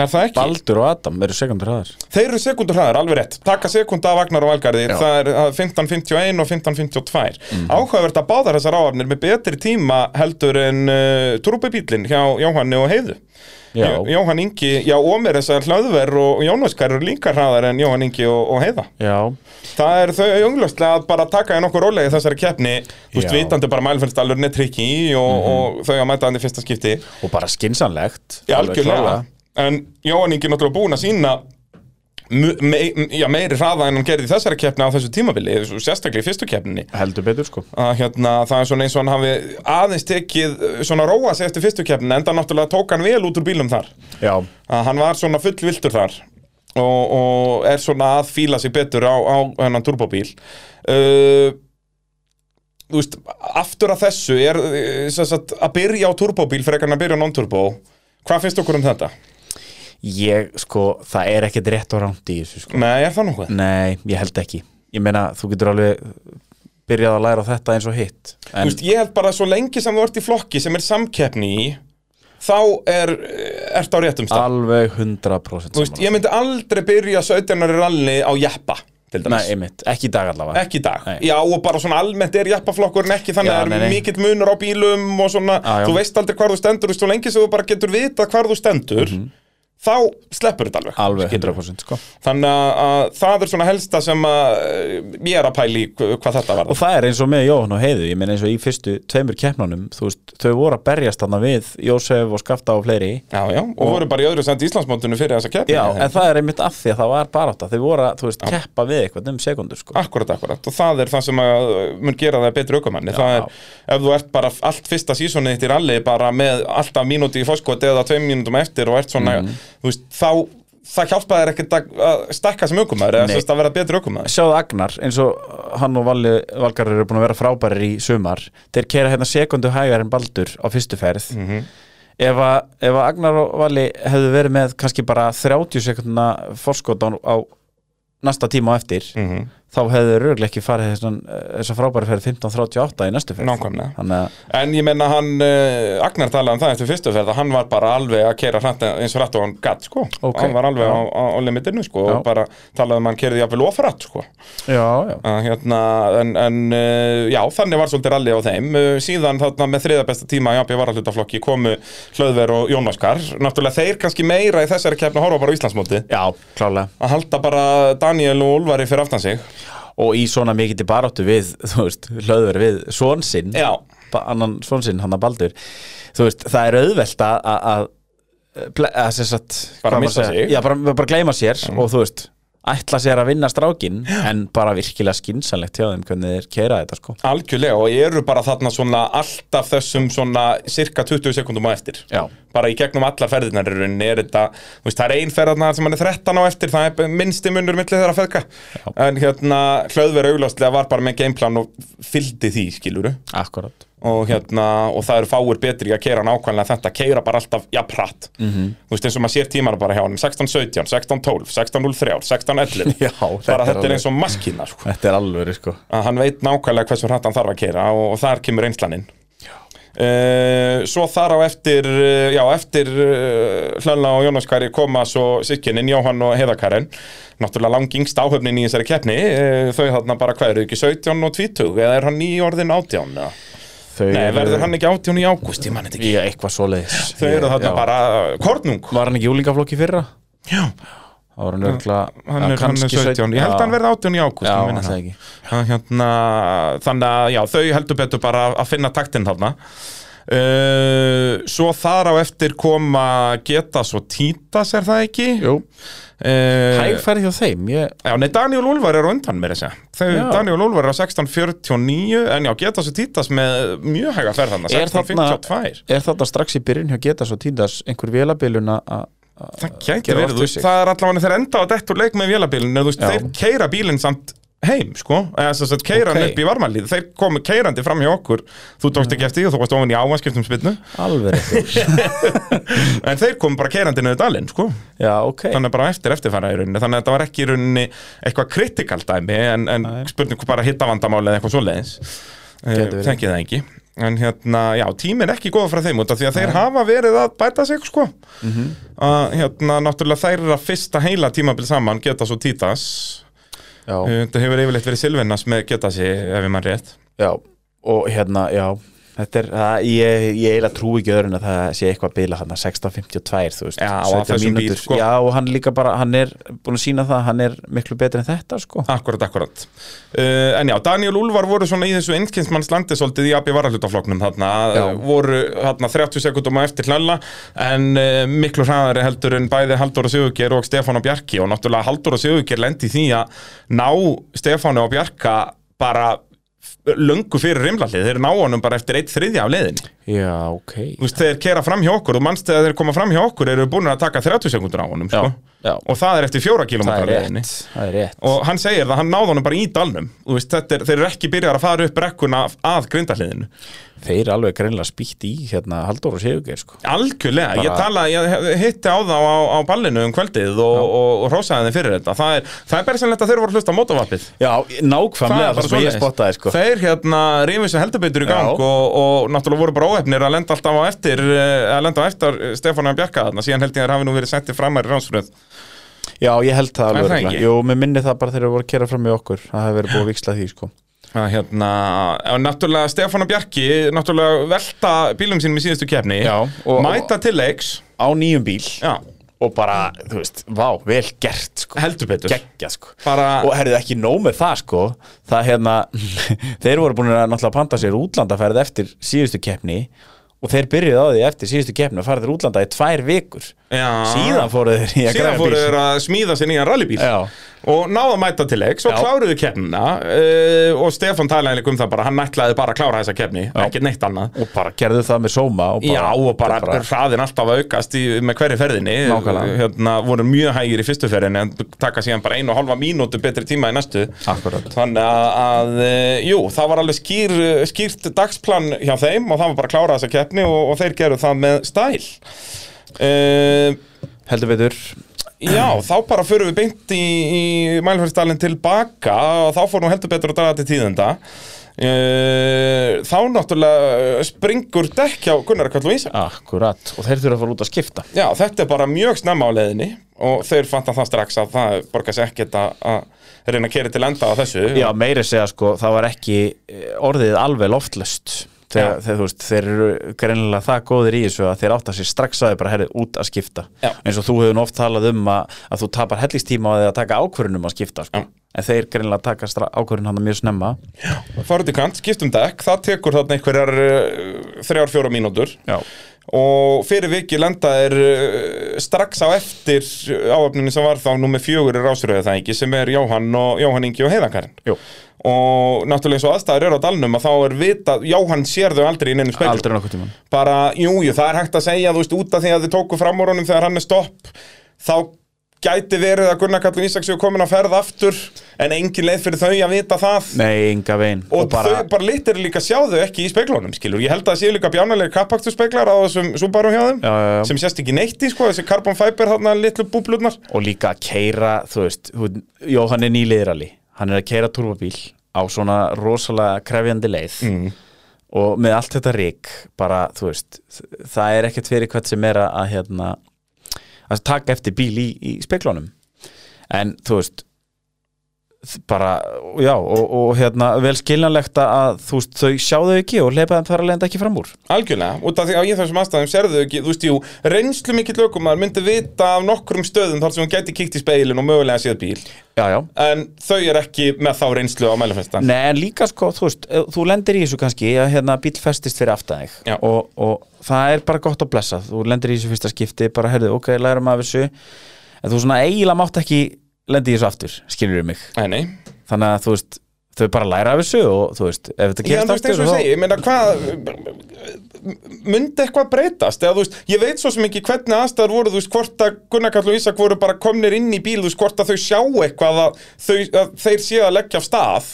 Speaker 3: Er það ekki?
Speaker 4: Baldur og Adam eru sekundur hraðar
Speaker 3: Þeir eru sekundur hraðar, alveg rétt Taka sekund af Agnar og Valgarði
Speaker 4: Já. Mhm.
Speaker 3: Það er uh, 15.51 og 15.52 Áhugavert að báðar þessar áhafnir með betri tíma heldur en uh, trúpubílinn hjá Jóhanni og Heiðu
Speaker 4: Já,
Speaker 3: Jó- Jóhann Ingi, já, Ómer þessar hlaðver og Jónaskar eru líka hraðar en Jóhann Ingi og, og Heiða
Speaker 4: já
Speaker 3: Það er þau augljóslega að bara taka í nokkur rólega í þessari keppni Þú veist,
Speaker 4: Já.
Speaker 3: vitandi bara mælfennstallurinn er trikki í og, og þau að mæta hann í fyrsta skipti
Speaker 4: Og bara skinsanlegt
Speaker 3: Já, algjörlega En Jóhann Ingi er náttúrulega búin að sína mu- mei- m- já, meiri hraða en hann gerði í þessari keppni á þessu tímabili svo Sérstaklega í fyrstu keppninni
Speaker 4: Heldur betur sko
Speaker 3: að hérna, það er svona eins og hann hafi aðeins tekið svona róa sig eftir fyrstu keppnin enda náttúrulega tók hann vel út úr bílum þar
Speaker 4: Já,
Speaker 3: að hann var svona fullviltur þar og, og er svona að fíla sig betur á, á hennan turbóbíl uh, Þú veist, aftur að þessu er eh, sem sagt, að byrja á turbóbíl frekar en að byrja á non-turbó Hvað finnst okkur um þetta?
Speaker 4: ég sko, það er ekkert rétt og rámt í þessu sko
Speaker 3: Nei, er það nokkuð?
Speaker 4: Nei, ég held ekki Ég meina, þú getur alveg byrjað að læra á þetta eins og hitt
Speaker 3: Þú
Speaker 4: En
Speaker 3: veist, ég held bara svo lengi sem þú ert í flokki sem er samkeppni í þá er, uh, ert á
Speaker 4: Ah,
Speaker 3: réttum stað
Speaker 4: alveg 100%
Speaker 3: Þú veist,
Speaker 4: saman
Speaker 3: ég myndi aldrei byrja 17. ralli á jeppa til
Speaker 4: Nei,
Speaker 3: dæmis
Speaker 4: einmitt, ekki í dag allavega
Speaker 3: ekki í dag,
Speaker 4: Nei.
Speaker 3: já og bara svona almennt er jappaflokkurinn ekki þannig
Speaker 4: Já,
Speaker 3: að það
Speaker 4: nei,
Speaker 3: er
Speaker 4: nei.
Speaker 3: mikill munur á bílum og svona,
Speaker 4: Já, já.
Speaker 3: þú veist aldrei hvar þú stendur og svo lengi sem þú bara getur vitað hvar þú stendur
Speaker 4: Mhm.
Speaker 3: þá sleppur þetta alveg
Speaker 4: Alveg
Speaker 3: skilurðu.
Speaker 4: 100% sko
Speaker 3: þannig að- að það er svona helsta sem að eh, ég er að pæli hvað þetta var
Speaker 4: Og það er eins og með Jóhann og Heiðu, ég meina eins og í fyrstu tveimur keppnunum, þú veist, þau voru að berjast þarna við Jósef og Skafta og fleiri
Speaker 3: já, já, og, voru bara í öðru sendi Íslandsmóndinu fyrir þessa keppni
Speaker 4: Já, en það er einmitt af því að það var barátta Þau voru að, þú veist, keppa við eitthvað um sekundur sko.
Speaker 3: Akkurat, akkurat, og það er það sem að uh, mun gera það betri aukumanni, það er ef þú ert bara allt fyrsta sísonið þitt í rally bara með alltaf mínúti í fórskot eða tveim mínútum eftir og ert svona
Speaker 4: Mhm.
Speaker 3: þú veist, þá, það hjálpa þér ekkert að- að stekka sem aukumæður eða
Speaker 4: Nei.
Speaker 3: sérst að vera betri aukumæður
Speaker 4: Sjáðu Agnar, eins og hann og Valli, Valgar eru búin að vera frábærir í sumar Þeir kera hérna sekundu hægar en Baldur á fyrstu ferð ef, að, ef að Agnar og Valli hefðu verið með kannski bara 30 sekundna forskot á, á næsta tíma á eftir
Speaker 3: Mhm,
Speaker 4: þá hefðu þeir örugglega ekki farið þessan, þessa frábæri ferð 15.38 í næstu ferð
Speaker 3: Nákvæmlega.
Speaker 4: Þannig að
Speaker 3: en ég menna hann, uh, Agnar talaði um það eftir fyrstu ferð að hann var bara alveg að keira hrænt eins og hrætt og hann gatt sko,
Speaker 4: Ok.
Speaker 3: hann var alveg á, á, á limitinu sko
Speaker 4: Já.
Speaker 3: og bara talaði um að hann keiriði jafnvel ofrætt sko
Speaker 4: Já, já
Speaker 3: að hérna, en, en uh, já, þannig var svolítið rally á þeim uh, síðan þarna með þriða besta tíma í AB varahlutaflokki komu Hlöðver og Jónaskar náttúrulega þeir kannski meira í þessari keppni horfa bara á Íslandsmóti
Speaker 4: Já, klálega
Speaker 3: að halda bara Daniel og Úlfari fyrir aftan sig
Speaker 4: og í svona mikið baráttu við, þú veist, hlöður við svonsinn,
Speaker 3: Já.
Speaker 4: annan svonsinn hann að baldur, þú veist, það er auðvelt að- að að, ble- að sem sagt,
Speaker 3: Bara
Speaker 4: hvað
Speaker 3: missa
Speaker 4: maður að segja?
Speaker 3: sig. Mm.
Speaker 4: já, bara, bara gleyma sér og þú veist, ætla sér að vinna strákin en bara virkilega skinsanlegt hjá þeim hvernig þeir keira þetta sko
Speaker 3: algjörlega og eru bara þarna svona alltaf þessum svona cirka 20 sekundum á eftir
Speaker 4: Já.
Speaker 3: bara í gegnum alla ferðirnar í rauninni er þetta, þú veist, það er ein ferðarna sem hann er 13 á eftir, það er minnsti munur milli þeirra feðka, en hérna hlöðver augláslega var bara með gameplan og fylgdi því, skiluru
Speaker 4: Akkurat
Speaker 3: og hérna, og það eru fáir betri að keira nákvæmlega þetta, keira bara alltaf jafnrætt,
Speaker 4: Mhm.
Speaker 3: -hmm. þú veist, eins og maður sér tímar bara hjá hann, 16-17, 16-12, 16-03 16-11,
Speaker 4: Já, þetta er
Speaker 3: bara þetta
Speaker 4: alveg-
Speaker 3: er eins og maskina, sko
Speaker 4: Þetta er alveg sko
Speaker 3: að hann veit nákvæmlega hversu hrætt hann þarf að keira og, og þar kemur einslaninn Uh, svo þar á eftir uh, já, eftir uh, Hlölla og Jónas Kari koma svo sikkininn Jóhann og Heiðakaren náttúrulega langingst áhöfnin í þessari keppni uh, þau þarna bara hvað eru ekki 17 og 20 eða er hann í orðin 18 eða?
Speaker 4: Þau
Speaker 3: nei,
Speaker 4: eru-
Speaker 3: verður hann ekki 18 í ágúst, ég man þetta ekki
Speaker 4: Já, eitthvað svoleiðis
Speaker 3: þau eru þarna
Speaker 4: Já.
Speaker 3: bara uh, kornung
Speaker 4: Var hann ekki júlingaflokki fyrra?
Speaker 3: já,
Speaker 4: Það var hann örgla
Speaker 3: hann er, hann er 17 ég held að hann verði 18 í ágúst
Speaker 4: Já,
Speaker 3: ég minni
Speaker 4: það ekki
Speaker 3: Það, hérna, þannig að já, þau heldur betur bara að finna taktinn þarna uh, svo þar á eftir koma Getas og Títas er það ekki
Speaker 4: Jú
Speaker 3: uh,
Speaker 4: Hægfæri hjá þeim, ég
Speaker 3: já, nei, Daniel Úlfar er á undan mér þessi þau,
Speaker 4: Já.
Speaker 3: Daniel Úlfar er á 16.49 en já, Getas og Títas með mjög hæga ferð þarna,
Speaker 4: Er þarna-
Speaker 3: 16.52
Speaker 4: er þetta strax í byrjun hjá Getas og Tíndars einhver vélabilun að að-
Speaker 3: það
Speaker 4: Gera
Speaker 3: gæti verið,
Speaker 4: oft
Speaker 3: þú
Speaker 4: við
Speaker 3: veist,
Speaker 4: sig.
Speaker 3: það er allavega þeir enda á dettur leik með vélabilinu, þú veist,
Speaker 4: Já.
Speaker 3: þeir keira bílinn samt heim, sko, eða þess að keira hann
Speaker 4: Ok.
Speaker 3: upp í varmalíð, þeir komu keirandi fram hjá okkur þú tókst ekki eftir því og þú varst ofan í áhanskiptum spilnu,
Speaker 4: alveg rétt.
Speaker 3: en þeir komu bara keirandi niður dalinn, sko,
Speaker 4: já, ok
Speaker 3: þannig að bara eftir eftirfæra í rauninni, þannig að þetta var ekki í rauninni eitthvað kritikal dæmi, en, en spurning bara hittavandamáli eða eitthvað svoleiðis Eh,
Speaker 4: Gæti verið.
Speaker 3: þekki það ekki en hérna, já, tíminn er ekki góða frá þeim út af því að þeir hafa verið að bæta sig sko
Speaker 4: Mhm.
Speaker 3: að hérna, náttúrulega þær er að fyrsta heila tímabil saman geta svo títas Eh,
Speaker 4: já,
Speaker 3: þetta hefur yfirleitt verið Silvinas með geta sig ef ég mann rétt
Speaker 4: já, og hérna, já þetta er, það, ég, ég eiginlega trúi ekki öðrun að það sé eitthvað að bila hann 16.52, þú veist
Speaker 3: Já, á
Speaker 4: 17
Speaker 3: þessum bíl,
Speaker 4: mínútur.
Speaker 3: sko.
Speaker 4: já, og hann líka bara, hann er búin að sína það, hann er miklu betri en þetta, sko
Speaker 3: Akkurat, akkurat uh, En já, Daniel Úlfar voru svona í þessu einskynnsmannslandi svolítið í AB varalutafloknum þarna Eh,
Speaker 4: Já.
Speaker 3: voru þarna 30 sekundum á eftir hlalla en uh, miklu hraðari heldur en bæði Haldur og Sigurgeir og Stefán og Bjarki og náttúrulega Haldur og Sigurgeir lendi í því að ná Stefánu og Bjarka bara löngu fyrir rimlalið, þeir ná honum bara eftir eitt þriðja af leiðinni
Speaker 4: já, ok
Speaker 3: Þú veist, þeir kera fram hjá okkur, þú manst þegar þeir koma fram hjá okkur eru búin að taka 30 sekundur á honum
Speaker 4: já,
Speaker 3: sko.
Speaker 4: já,
Speaker 3: og það er eftir fjóra
Speaker 4: það
Speaker 3: kilometra
Speaker 4: er
Speaker 3: leiðinni
Speaker 4: rétt það er rétt,
Speaker 3: og hann segir það, hann náði honum bara í dalnum Þú veist, þetta er, þeir eru ekki byrjar að fara upp brekkuna af- að grindahliðinu
Speaker 4: þeir eru alveg greinlega spýtt í, hérna, Halldór og Sigurgeir, sko
Speaker 3: algjörlega,
Speaker 4: Bara-
Speaker 3: ég tala, ég hitti á þá á, á ballinu um kvöldið og, og, og rósaði þeim fyrir þetta það er, það er bara sannlegt að þeir voru að hlusta á mótavapið
Speaker 4: já, nákvæmlega það sem ég
Speaker 3: svoleiðis.
Speaker 4: spottaði, sko
Speaker 3: Þeir hérna rífið sem heldur betur í gang
Speaker 4: Já.
Speaker 3: og, og náttúrulega voru bara óefnir að lenda alltaf á eftir eh, að lenda á eftir Stefánu að bjarga þarna síðan held ég að þeir hafi nú verið settið framar í ránsfröð
Speaker 4: Já, ég held
Speaker 3: Er
Speaker 4: það alveg
Speaker 3: það
Speaker 4: örugglega.
Speaker 3: ekki?
Speaker 4: Jú, mér minni það bara þegar við voru að kera fram í okkur Það hefur verið búið að viksla því, sko
Speaker 3: að hérna, að náttúrulega Stefán og Bjarki, náttúrulega velta bílum sínum í síðustu kefni
Speaker 4: Já, og-
Speaker 3: mæta til leiks
Speaker 4: Á nýjum bíl
Speaker 3: já,
Speaker 4: Og bara, þú veist, vá, vel gert, sko
Speaker 3: heldur betur
Speaker 4: Gekkja, sko
Speaker 3: Bara-
Speaker 4: Og herðu ekki nóg með það, sko Það hérna, þeir voru búin að náttúrulega panta sér útlandaferð eftir síðustu keppni Og þeir byrjuðu á því eftir síðustu keppni að fara þeir útlanda í tvær vikur
Speaker 3: Já.
Speaker 4: Síðan fóru þeir í að
Speaker 3: síðan
Speaker 4: græða
Speaker 3: fóru
Speaker 4: bíl
Speaker 3: þeir að smíða sér nýjan rallybíl
Speaker 4: Já.
Speaker 3: og náða að mæta til leiks og
Speaker 4: Já.
Speaker 3: kláruðu keppnina uh, og Stefán talaði líka um það bara, hann ætlaði bara að klára þessa keppni ekkert neitt annað
Speaker 4: Og bara gerðu það með sóma og bara,
Speaker 3: Já, og bara, hraðin alltaf að aukast í, með hverju ferðinni
Speaker 4: Nákvæmlega.
Speaker 3: hérna, voru mjög hægir í fyrstu ferðinni en taka síðan bara einu og halva mínútu betri tíma í næstu
Speaker 4: Akkúrat.
Speaker 3: Þannig að, að, eh, jú, það var alveg skýr, skýrt dagsplan hjá þeim og það var bara að klára þessa keppni og, og þeir gerðu það með stæl uh,
Speaker 4: Heldur betur
Speaker 3: Já, þá bara förum við beint í, í mælfærstalinn tilbaka og þá fórum við heldur betur að draga til tíðenda Eh, Þá náttúrulega springur dekk hjá Gunnar Kall og Ísa
Speaker 4: Akkurat, og þeir þurfa að fara út að skipta
Speaker 3: Já, þetta er bara mjög snemma á leiðinni og þeir fanta það strax að það borgar sér ekkert að, að reyna að kera til enda á þessu
Speaker 4: Já, meiri segja sko, það var ekki eh, orðið alveg loftlöst þegar, þegar þú veist, þeir eru greinilega það góðir í þessu að þeir átta sér strax að þeir bara herrið út að skipta
Speaker 3: Já.
Speaker 4: eins og þú hefur nú oft talað um að, að þú tapar hellistíma á því að taka ákvörunum að skipta sko.
Speaker 3: Já.
Speaker 4: en þeir greinilega taka stra- ákvörun hann mjög snemma
Speaker 3: Farðu til kant, skiptum dekk, það tekur þarna einhverjar uh, þrjár, fjóra mínútur
Speaker 4: Já.
Speaker 3: og fyrir viki lenda er uh, strax á eftir áöfninu sem var þá nummer fjögur er ásröðu það ekki sem er Jóhann og Jóhann Ingi og Heiðakarinn
Speaker 4: Jú.
Speaker 3: og náttúrulega eins og aðstæður eru á dalnum að þá er vitað, Jóhann sér þau aldrei í neinum speklum
Speaker 4: Aldrei nokkuð tímann
Speaker 3: bara, jú, jú, það er hægt að segja, þú veist, út af því að þið tóku fram úr honum þegar hann er stopp, þá gæti verið að Gunnar Kallin Ísaks séu komin að ferð aftur, en engin leið fyrir þau að vita það.
Speaker 4: Nei, enga veginn
Speaker 3: Og, þau bara litir líka sjáðu ekki í speglunum, skilur. Ég held að það séu líka bjánalegi kappakturspeglar á þessum Subaru hjá þeim,
Speaker 4: Já, já, já.
Speaker 3: sem sést ekki neitt í, sko, þessi carbon fiber, þarna litlu búblurnar.
Speaker 4: og líka að keira þú veist, þú- Jóhann er nýliðrali hann er að keira turbabíl á svona rosalega krefjandi leið
Speaker 3: Mm.
Speaker 4: og með allt þetta rík bara, þú veist, þ- það er ekkert fyrir hvert sem er að, að hérna að taka eftir bíl í, í speklunum en þú veist þ- bara, já og, og hérna, vel skiljanlegt að- að þú veist, þau sjáðu ekki og leipa þeim þar að leiðan ekki fram úr
Speaker 3: Algjörlega, út af því að í þessum aðstæðum sérðu ekki, þú veist, jú, reynslu mikill aukumar myndi vita af nokkrum stöðum þar sem hún gæti kíkt í speilin og mögulega séð bíl.
Speaker 4: já, já,
Speaker 3: en þau er ekki með þá reynslu á mælifestan
Speaker 4: Nei, en líka sko, þú veist, ef þú lendir í þessu kannski að hérna bíl festist fyrir aftan
Speaker 3: Já.
Speaker 4: þig og, og það er bara gott að blessa þú lendir í þessu fyrsta skipti, bara herðu, ok, lærum af þessu en þú svona eiginlega mátt ekki lendi í þessu aftur, skilur mig
Speaker 3: Nei, nei,
Speaker 4: þannig að þú veist, þau bara læra af þessu og þú veist, ef þetta
Speaker 3: ég en
Speaker 4: gerist
Speaker 3: þú veist eins
Speaker 4: aftur
Speaker 3: og ég
Speaker 4: þá-
Speaker 3: segi, ég meina hvað myndi eitthvað breytast eða þú veist, ég veit svo sem ekki hvernig aðstæður voru þú veist, hvort að Gunnar Kall og Ísak voru bara komnir inn í bíl, þú veist, hvort að þau sjá eitthvað að, þau, að þeir séu að leggja af stað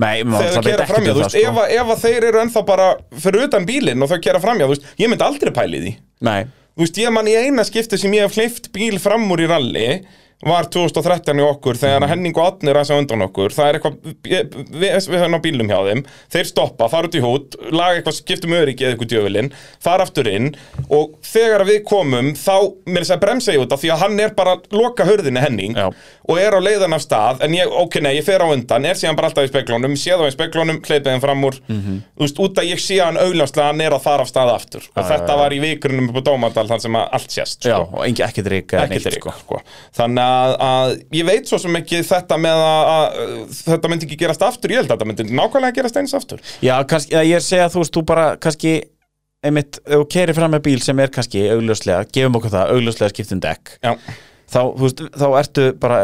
Speaker 4: Nei,
Speaker 3: þegar
Speaker 4: maður það
Speaker 3: þau
Speaker 4: veit
Speaker 3: gera
Speaker 4: ekkert
Speaker 3: framjá,
Speaker 4: um
Speaker 3: þú
Speaker 4: það
Speaker 3: veist, ef,
Speaker 4: sko.
Speaker 3: að- ef að þeir eru ennþá bara fyrir utan bílinn og þau gera framjá, þú veist, ég myndi aldrei pæli því
Speaker 4: sko. Nei,
Speaker 3: Þú veist, ég man í eina skipti sem ég hef hleyft bíl fram úr í ralli var 2013 í okkur þegar Henning og Adnir aðeins á undan okkur það er eitthvað, við erum hérna á bílum hjá þeim þeir stoppa, fara út í hút laga eitthvað, skiptum öryggi eða eitthvað djöfulinn fara aftur inn og þegar við komum þá, mér þess að bremsa ég út af því að hann er bara að loka hörðinni Henning
Speaker 4: Já.
Speaker 3: og er á leiðan af stað en ég, ok, nei, ég fer á undan, er síðan bara alltaf í speklunum sé þá í speklunum, hleypið þeim fram úr þú veist, út að ég sé hann augljóslega hann er að fara af stað aftur og
Speaker 4: Mhm. Já, já,
Speaker 3: þetta
Speaker 4: já.
Speaker 3: var í vikrunum upp á Dómadal þann sem að allt sést
Speaker 4: já,
Speaker 3: sko.
Speaker 4: og engi, ekkert rík eða
Speaker 3: ekkert
Speaker 4: neitt,
Speaker 3: er sko. þannig að, að ég veit svo sem ekki þetta með að, að þetta myndi ekki gerast aftur, ég held að þetta myndi nákvæmlega gerast eins aftur
Speaker 4: Já, kannski, eða ég segja þú veist, þú bara kannski einmitt, ef þú keirir fram með bíl sem er kannski augljóslega, gefum okkur það, augljóslega skiptum dekk
Speaker 3: já,
Speaker 4: þá, þú veist, þá ertu bara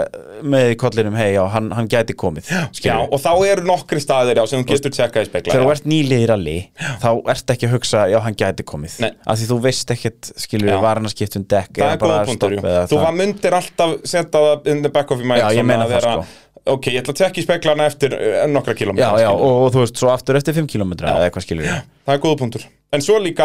Speaker 4: með í kollinum, hei, já, hann, hann gæti komið
Speaker 3: já
Speaker 4: skilurðu.
Speaker 3: og þá eru nokkri staðir já, sem þú getur tjekkað í spekla
Speaker 4: þegar þú
Speaker 3: já.
Speaker 4: ert nýlið í rally þá ert ekki að hugsa, já, hann gæti komið
Speaker 3: Nei.
Speaker 4: af því þú veist ekkit, skilur,
Speaker 3: Já.
Speaker 4: var hann að skipta um dekk
Speaker 3: það
Speaker 4: eða
Speaker 3: er
Speaker 4: bara
Speaker 3: góða punktur, jú
Speaker 4: stopp eða
Speaker 3: þú
Speaker 4: það.
Speaker 3: var myndir alltaf setja það in the back of your mind
Speaker 4: Já, ég
Speaker 3: svona
Speaker 4: meina
Speaker 3: að
Speaker 4: það,
Speaker 3: vera,
Speaker 4: sko.
Speaker 3: ok, ég ætla að tjekka í speklana eftir eh, nokkra
Speaker 4: já,
Speaker 3: kilometra
Speaker 4: já, og, og þú veist, svo aftur eftir 5 km eða eitthvað skilur
Speaker 3: það er góða punktur en svo líka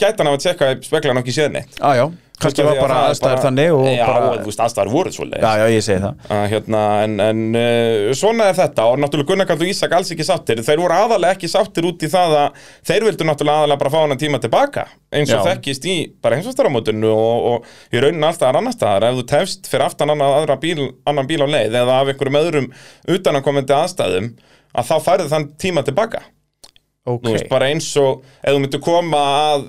Speaker 3: gætan af að tjekka spekla hann ekki séð neitt
Speaker 4: Já, já, kannski var bara aðstæður þannig og
Speaker 3: já,
Speaker 4: bara,
Speaker 3: þú veist, aðstæður voru svoleiðis
Speaker 4: já, já, ég segi það
Speaker 3: Að, hérna, en, en uh, svona er þetta og náttúrulega Gunnar Kall og Ísak alls ekki sáttir þeir voru aðalega ekki sáttir út í það að þeir vildu náttúrulega aðalega bara fá hann tíma tilbaka eins og
Speaker 4: Já.
Speaker 3: þekkist í bara heimsvastaramótinu og, og í raunin alltaf annar staðar ef þú tefst fyrir aftan annað, aðra bíl, annan bíl á leið eða af einhverjum öðrum utanakomandi aðstæðum að þá færðu þann tíma tilbaka Þú veist,
Speaker 4: Ok,
Speaker 3: bara eins og ef þú myndir koma að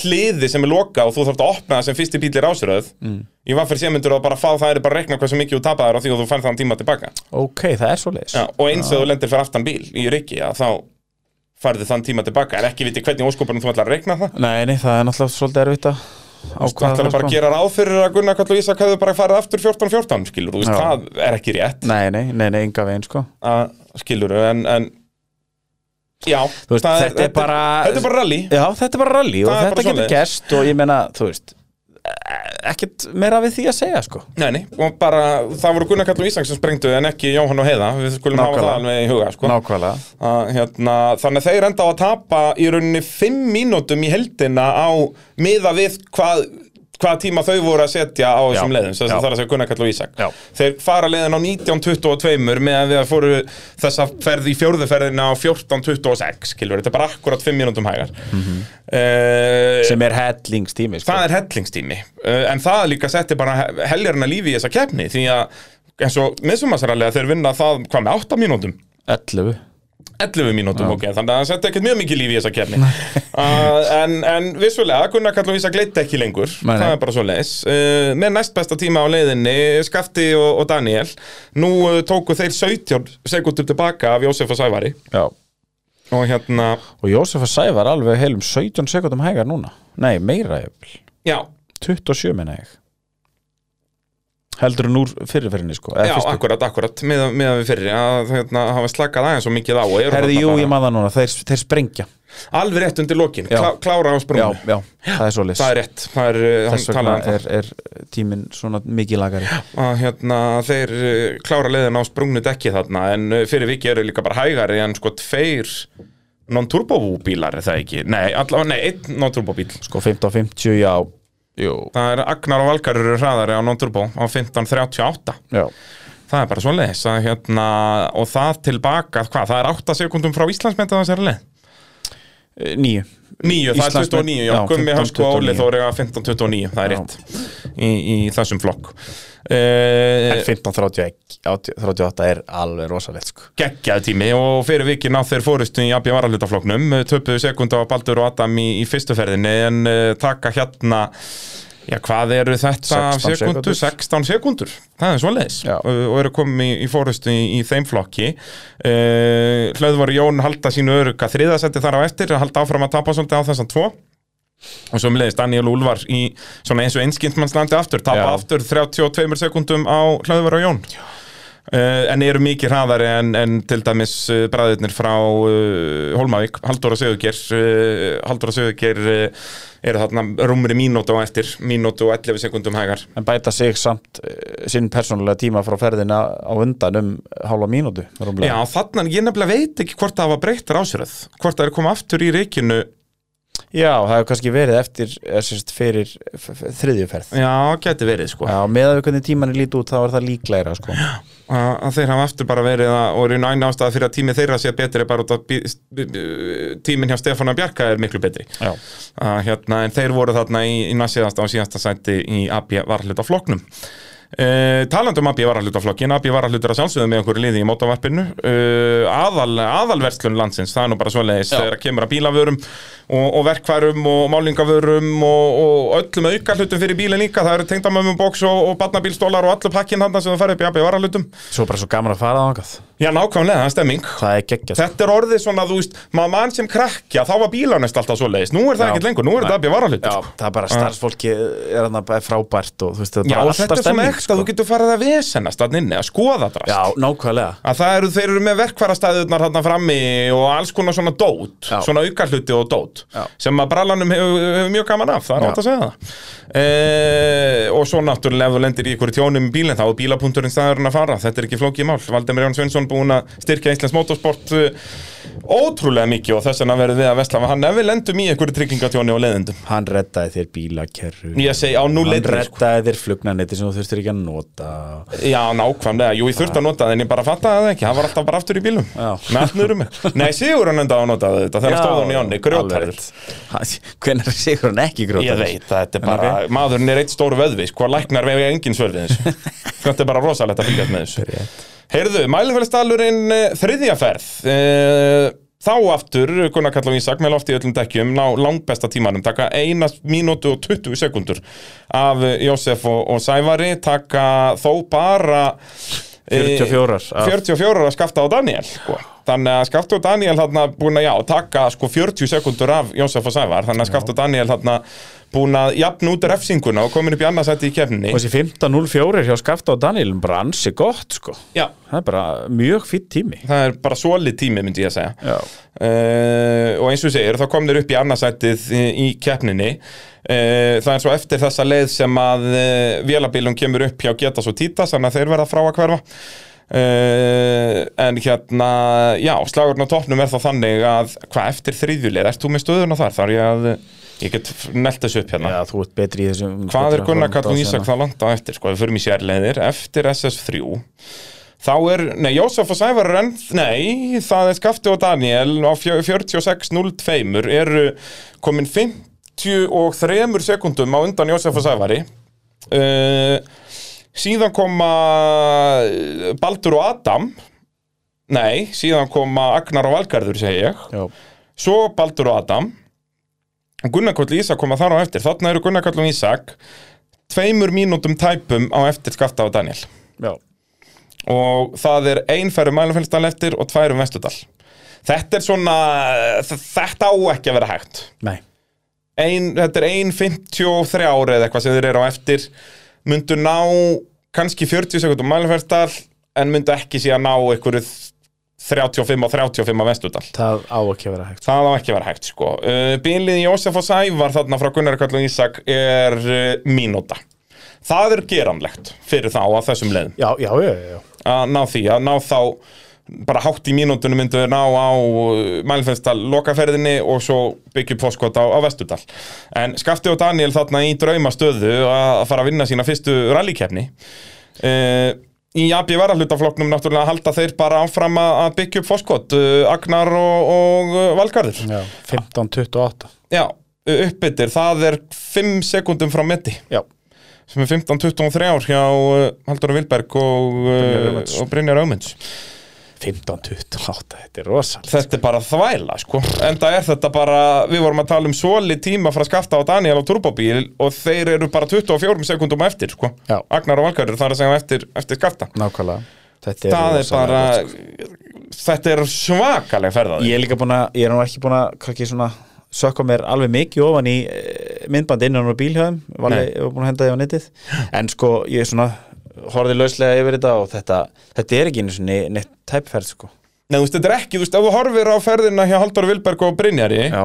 Speaker 3: hliði sem er loka og þú þarft að opna það sem fyrsti bíl er ásröð mm. í vaffir sé myndir þú bara fá það er bara að rekna hversu mikið þú tapaðar á því og þú færð þann tíma tilbaka
Speaker 4: ok, það er svo leis
Speaker 3: ja, og eins og þú lendir fyrir aftan bíl í rikki að þá færðu þann tíma tilbaka en ekki viti hvernig óskopunum þú ætlar að rekna það
Speaker 4: Nei, nei, það er náttúrulega svolítið erfitt að
Speaker 3: Þú
Speaker 4: ákvaða
Speaker 3: ætlar
Speaker 4: það
Speaker 3: bara að
Speaker 4: sko.
Speaker 3: gera ráð fyrir að Gunnar Kall og Ísak hefðu bara farið aftur 14-14 skilur, þú veist,
Speaker 4: Já.
Speaker 3: það er ekki rétt
Speaker 4: Nei, nei, nei, nei, enga veginn sko
Speaker 3: að, skilur, en, en já,
Speaker 4: Þú veist,
Speaker 3: það
Speaker 4: þetta er bara-
Speaker 3: þetta er bara rally
Speaker 4: Já, þetta er bara rally og
Speaker 3: Það er bara
Speaker 4: þetta getur
Speaker 3: svoleiðis.
Speaker 4: gerst og ég meina, þú veist ekkert meira við því að segja sko
Speaker 3: Nei, nei, og bara það voru Gunnar Kall og Ísang sem sprengdu en ekki Jóhann og Heiða, við skulum hafa það
Speaker 4: Nákvæmlega.
Speaker 3: alveg í huga sko.
Speaker 4: Nákvæmlega
Speaker 3: að, hérna, Þannig að þeir enda á að tapa í rauninni fimm mínútum í heldina á miða við hvað, hvað tíma þau voru að setja á þessum
Speaker 4: Já,
Speaker 3: leiðum, þess
Speaker 4: já.
Speaker 3: að það er að segja Gunnar Kall og Ísang
Speaker 4: Já.
Speaker 3: Þeir fara leiðin á 19.22 meðan við fóru þessa ferð í fjórðuferðina á 14.26 skilur, þetta er bara akkurat fimm mínútum hægar Eh, mm -hmm.
Speaker 4: Mhm. sem er hellingstími sko.
Speaker 3: það er hellingstími uh, en það líka setti bara he- heljarna lífi í þessa keppni því að eins og miðsumarsarallega þeir vinna það hvað með 8 mínútum
Speaker 4: 11
Speaker 3: 11 mínútum, ok, þannig að það setti ekkert mjög mikið lífi í þessa keppni uh, en, en vissulega, Gunnar Kall og Ísak leita ekki lengur
Speaker 4: Nei, nei.
Speaker 3: það er bara svo leis uh, með næst besta tíma á leiðinni, Skafti og, og Daniel nú uh, tóku þeir 17 sekundum tilbaka af Jósef og Sævari
Speaker 4: Já
Speaker 3: og hérna,
Speaker 4: Og Jósef að Sævar alveg heilum 17 sekundum hægar núna Nei, meira jöfnvel
Speaker 3: já
Speaker 4: 27 minna ég Heldur hún úr fyrirferinni sko eða
Speaker 3: Já,
Speaker 4: fyrstu.
Speaker 3: akkurat, akkurat, meðan með við fyrri að hérna, hafa slakað aðeins svo mikið á og eru
Speaker 4: Herði,
Speaker 3: þarna
Speaker 4: jú,
Speaker 3: bara-
Speaker 4: ég maður það núna, þeir, þeir sprengja
Speaker 3: Alveg rétt undir lokin,
Speaker 4: Já.
Speaker 3: klá, klára á
Speaker 4: já,
Speaker 3: sprunginu
Speaker 4: já, það er svo
Speaker 3: Það er rétt, það er, uh, hann
Speaker 4: Þess vegna
Speaker 3: talaði um
Speaker 4: er, er tíminn svona mikið lagari
Speaker 3: það að hérna, þeir uh, klára leiðin á sprungnu dekki þarna en uh, fyrir viki eru líka bara hægari en sko tveir non-turbo bílar er það ekki, nei, allavega, nei, einn non-turbo bíl
Speaker 4: Sko 15-50, já Jú,
Speaker 3: Það er Agnar og Valgar eru hraðari á non-turbo á 15.38
Speaker 4: já
Speaker 3: Það er bara svo leiðis að hérna og það tilbaka, hvað, það er 8 sekundum frá Íslandsmynda þessari leið
Speaker 4: Eh, Níu
Speaker 3: Níu, það er
Speaker 4: Íslandsmet-
Speaker 3: 29, já,
Speaker 4: já,
Speaker 3: Gummi
Speaker 4: 15,
Speaker 3: Hörnsku og Óli
Speaker 4: 29.
Speaker 3: Þóri að 15-29, það er
Speaker 4: Já.
Speaker 3: rétt í, í þessum flokk uh,
Speaker 4: 15-38 er alveg rosalegt sko
Speaker 3: Gekkjað tími og fyrir vikið náð þeir fórustu í AB Varalutaflokknum Eh, töpuðu sekund á Baldur og Adam í, í fyrstu ferðinni en uh, taka hérna Já, hvað eru þetta
Speaker 4: 16
Speaker 3: sekundur?
Speaker 4: sekúndur.
Speaker 3: 16 sekundur, það er svoleiðis
Speaker 4: Já.
Speaker 3: Uh, og eru komið í, í fórustu í, í þeim flokki uh, Hlöðvar Jón halda sínu öruga þriðasetti þar á eftir halda áfram að tapa svolítið á þessan tvo og svo meðleðist Daniel Úlvar í svona eins og einskintmannslandi aftur tapa
Speaker 4: Já.
Speaker 3: aftur 32 sekundum á Hlöðvar og Jón uh, en eru mikið hraðari en, en til dæmis uh, bræðirnir frá uh, Holmavík, Halldóra Söðugjör uh, Halldóra Söðugjör uh, eru þarna rúmri mínútu á eftir mínútu og 11 sekundum hægar
Speaker 4: En bæta sig samt uh, sinn persónulega tíma frá ferðina á undan um hálfa mínútu
Speaker 3: Já,
Speaker 4: rúmlega.
Speaker 3: þarna, ég nefnilega veit ekki hvort það hafa breytt rásröð, hvort það er komið aftur í reikinu,
Speaker 4: já, það hefur kannski verið eftir eða sem sagt, fyrir f- f- þriðju ferð
Speaker 3: já, geti verið sko
Speaker 4: Já, með að við hvernig tímanni líti út þá er það líklegra sko.
Speaker 3: að að þeir hafa aftur bara verið að, og eru næna ástæða fyrir að tími þeirra sé betri er bara út að bí- bí- bí- tíminn hjá Stefána Bjarka er miklu betri
Speaker 4: Já.
Speaker 3: að, hérna, en þeir voru þarna í, í næstsíðasta og síðasta sæti í AB varhluta flokknum Uh, taland um AB varallutaflokkin, AB varallutur að sjálfsögðu með einhverju liði í mótavarpinu uh, aðal, aðalverslun landsins, það er nú bara svoleiðis þegar kemur að bílavörum og, og verkfærum og málingavörum og, og öllum auka hlutum fyrir bílinn líka það eru tengdamömmubóks og, og barnabílstólar og allu pakkin þarna sem það færi upp í AB varallutum
Speaker 4: Svo bara svo gaman að fara þangað
Speaker 3: Já, nákvæmlega, það er stemming
Speaker 4: Það er sko. geggjast
Speaker 3: Þetta er orðið svona, þú veist, maður mann sem krakkja þá var bílanest alltaf svo leiðis, nú er það
Speaker 4: Já.
Speaker 3: ekkert lengur nú er
Speaker 4: Nei.
Speaker 3: þetta sko. að bíða varalhut
Speaker 4: Já, það er bara starfsfólki er hann bara frábært og þú veist, það er
Speaker 3: Já,
Speaker 4: bara
Speaker 3: og
Speaker 4: alltaf
Speaker 3: þetta er svona
Speaker 4: stemning, sko.
Speaker 3: ekta, þú getur farið að vesennast þannig inni, að skoða drast
Speaker 4: Já, nákvæmlega
Speaker 3: að það eru, þeir eru með verkvarastæðurnar þarna frammi og alls konar svona dót
Speaker 4: Já.
Speaker 3: svona aukarhluti og dót
Speaker 4: Já.
Speaker 3: sem að brallanum hefur hefur mjög gaman af það er
Speaker 4: Já.
Speaker 3: átt að segja það e og svo náttúrulega ef þú lendir í ykkur tjónum í bílinn þá er bílapunkturinn staðurinn að fara þetta er ekki flókið mál, Valdemir Jón Sveinsson búin að styrkja Íslands motorsport uh, ótrúlega mikið og þess vegna verðum við að vesla með hann ef við lendum í einhverju tryggingatjóni og leðendum
Speaker 4: Hann reddaði þér bílakerru
Speaker 3: ég segi á nú
Speaker 4: Hann
Speaker 3: leitni sko.
Speaker 4: reddaði þér flugnanetti sem þú þurftir ekki að nota
Speaker 3: Já, nákvæmlega, jú, ég þurfti að nota það en ég bara fattaði það ekki, hann var alltaf bara aftur í bílum
Speaker 4: Já.
Speaker 3: með allt nöðrum mig. Nei, Sigur hann endaði að nota þetta þegar hann stóð hann í onni, grjótarður
Speaker 4: Hvernig er sigur hann ekki
Speaker 3: Ég
Speaker 4: grjótarður?
Speaker 3: veit, þetta er bara, maðurinn er eitt stór vöðvi sko, læknar vega engin svör við þessu Sko, Þetta er bara rosalegt að fylgjast með þessu Heyrðu, mælumfélagstallurinn þriðja ferð eh, Þá aftur, Gunnar Kallar Ísak með loft í öllum dekkjum, ná langbesta tímanum taka eina mínútu og 20 sekundur af eh, Jósef og, og Sævari taka þó bara eh,
Speaker 4: 44 af-
Speaker 3: 44 að skafta á Daniel sko. þannig að skafta á Daniel hann búin að já, taka sko 40 sekundur af Jónsef og Sævar, þannig að skafta á Daniel hann búin að jafn út refsinguna og komin upp í annarsætti í kefninni
Speaker 4: Og þessi 15.04 hjá Skafta og Daniel bara ansi gott sko
Speaker 3: já,
Speaker 4: Það er bara mjög fýtt tími
Speaker 3: það er bara solid tími myndi ég að segja
Speaker 4: Já.
Speaker 3: Eh, og eins og segir, þá kom þeir upp í annarsættið í keppninni uh, það er svo eftir þessa leið sem að uh, vélabilum kemur upp hjá Getas og Títas þannig að þeir verða frá að hverfa uh, en hérna já, slagurinn á toppnum er þá þannig að hvað eftir þriðjuleið, ert þú með stöðuna þar þar ég að, ég get nelt þessu upp hérna
Speaker 4: Já, þú ert betri í þessum
Speaker 3: hvað er Gunnar Kallum Ísak það langt á eftir sko, við förum í sérleiðir, eftir SS3 þá er, nei, Jósef og Sævar er enn, nei, það er Skafti og Daniel á fjö- 46.02 eru komin 53 sekundum á undan Jósef og Sævari uh, síðan koma eh, Baldur og Adam nei, síðan koma Agnar og Valgarður segi ég
Speaker 4: Já,
Speaker 3: svo Baldur og Adam Gunnar Kall og Ísak koma þar á eftir þarna eru Gunnar Kall og Ísak tveimur mínútum tæpum á eftir Skafta og Daniel
Speaker 4: já,
Speaker 3: og það er einferðum mælumfélstal eftir og tværum vestudal þetta er svona, þetta á ekki að vera hægt
Speaker 4: nei
Speaker 3: ein, þetta er 1.53 ári eða eitthvað sem þeir eru á eftir myndu ná kannski 40 sekundum mælumfélstal en myndu ekki síðan ná einhverju 35 og 35 að vestudal
Speaker 4: Það á ekki að vera hægt
Speaker 3: Það á ekki að vera hægt sko uh, Bílið Jósef og Sævar þarna frá Gunnar Karl og Ísak er uh, mínúta Það er geranlegt fyrir þá að þessum leiðum
Speaker 4: Já, já, já, já, já.
Speaker 3: að ná því, að ná þá bara hátt í mínútunum myndu við ná á mælfinnstall lokaferðinni og svo byggjum fóskot á, á Vestudal en Skafti og Daniel þarna í draumastöðu að fara að vinna sína fyrstu rallykefni uh, í AB varallutaflokknum náttúrulega halda þeir bara áfram að að byggja upp fóskot uh, Agnar og, og uh, Valgarður
Speaker 4: já 15.28
Speaker 3: Já, uppbyttir, það er 5 sekundum frá meti
Speaker 4: Já,
Speaker 3: sem er 15-23 ár hjá uh, Haldur Vilberg og,
Speaker 4: Brynjar
Speaker 3: uh,
Speaker 4: Ögmunds.
Speaker 3: og Brynjar Ömunds
Speaker 4: 15.28, þetta er rosal
Speaker 3: Þetta er bara þvæla sko Enda er þetta bara, við vorum að tala um soli tíma frá Skafta og Daniel á turbóbíl og þeir eru bara 24 sekundum eftir sko
Speaker 4: Já.
Speaker 3: Agnar og Valkarur þar að segja eftir, eftir Skafta
Speaker 4: Nákvæmlega Þetta sko.
Speaker 3: Það er
Speaker 4: rosalega
Speaker 3: bara,
Speaker 4: gott,
Speaker 3: þetta er svakaleg
Speaker 4: sko.
Speaker 3: ferðaði
Speaker 4: Ég er líka búin að, ég er nú ekki búin að kannski svona sökka mér alveg mikið ofan í eh, myndbandi innan á bílhjöðum varlega,
Speaker 3: Nei.
Speaker 4: ég var búin að henda því á netið en sko, ég er svona, horfði lauslega yfir þetta og þetta, þetta er ekki einu sinni neitt tæpferð sko
Speaker 3: Nei, þú veist, þetta er ekki, þú veist, ef þú horfir á ferðina hjá Haldur Vilberg og Brynjari
Speaker 4: Já,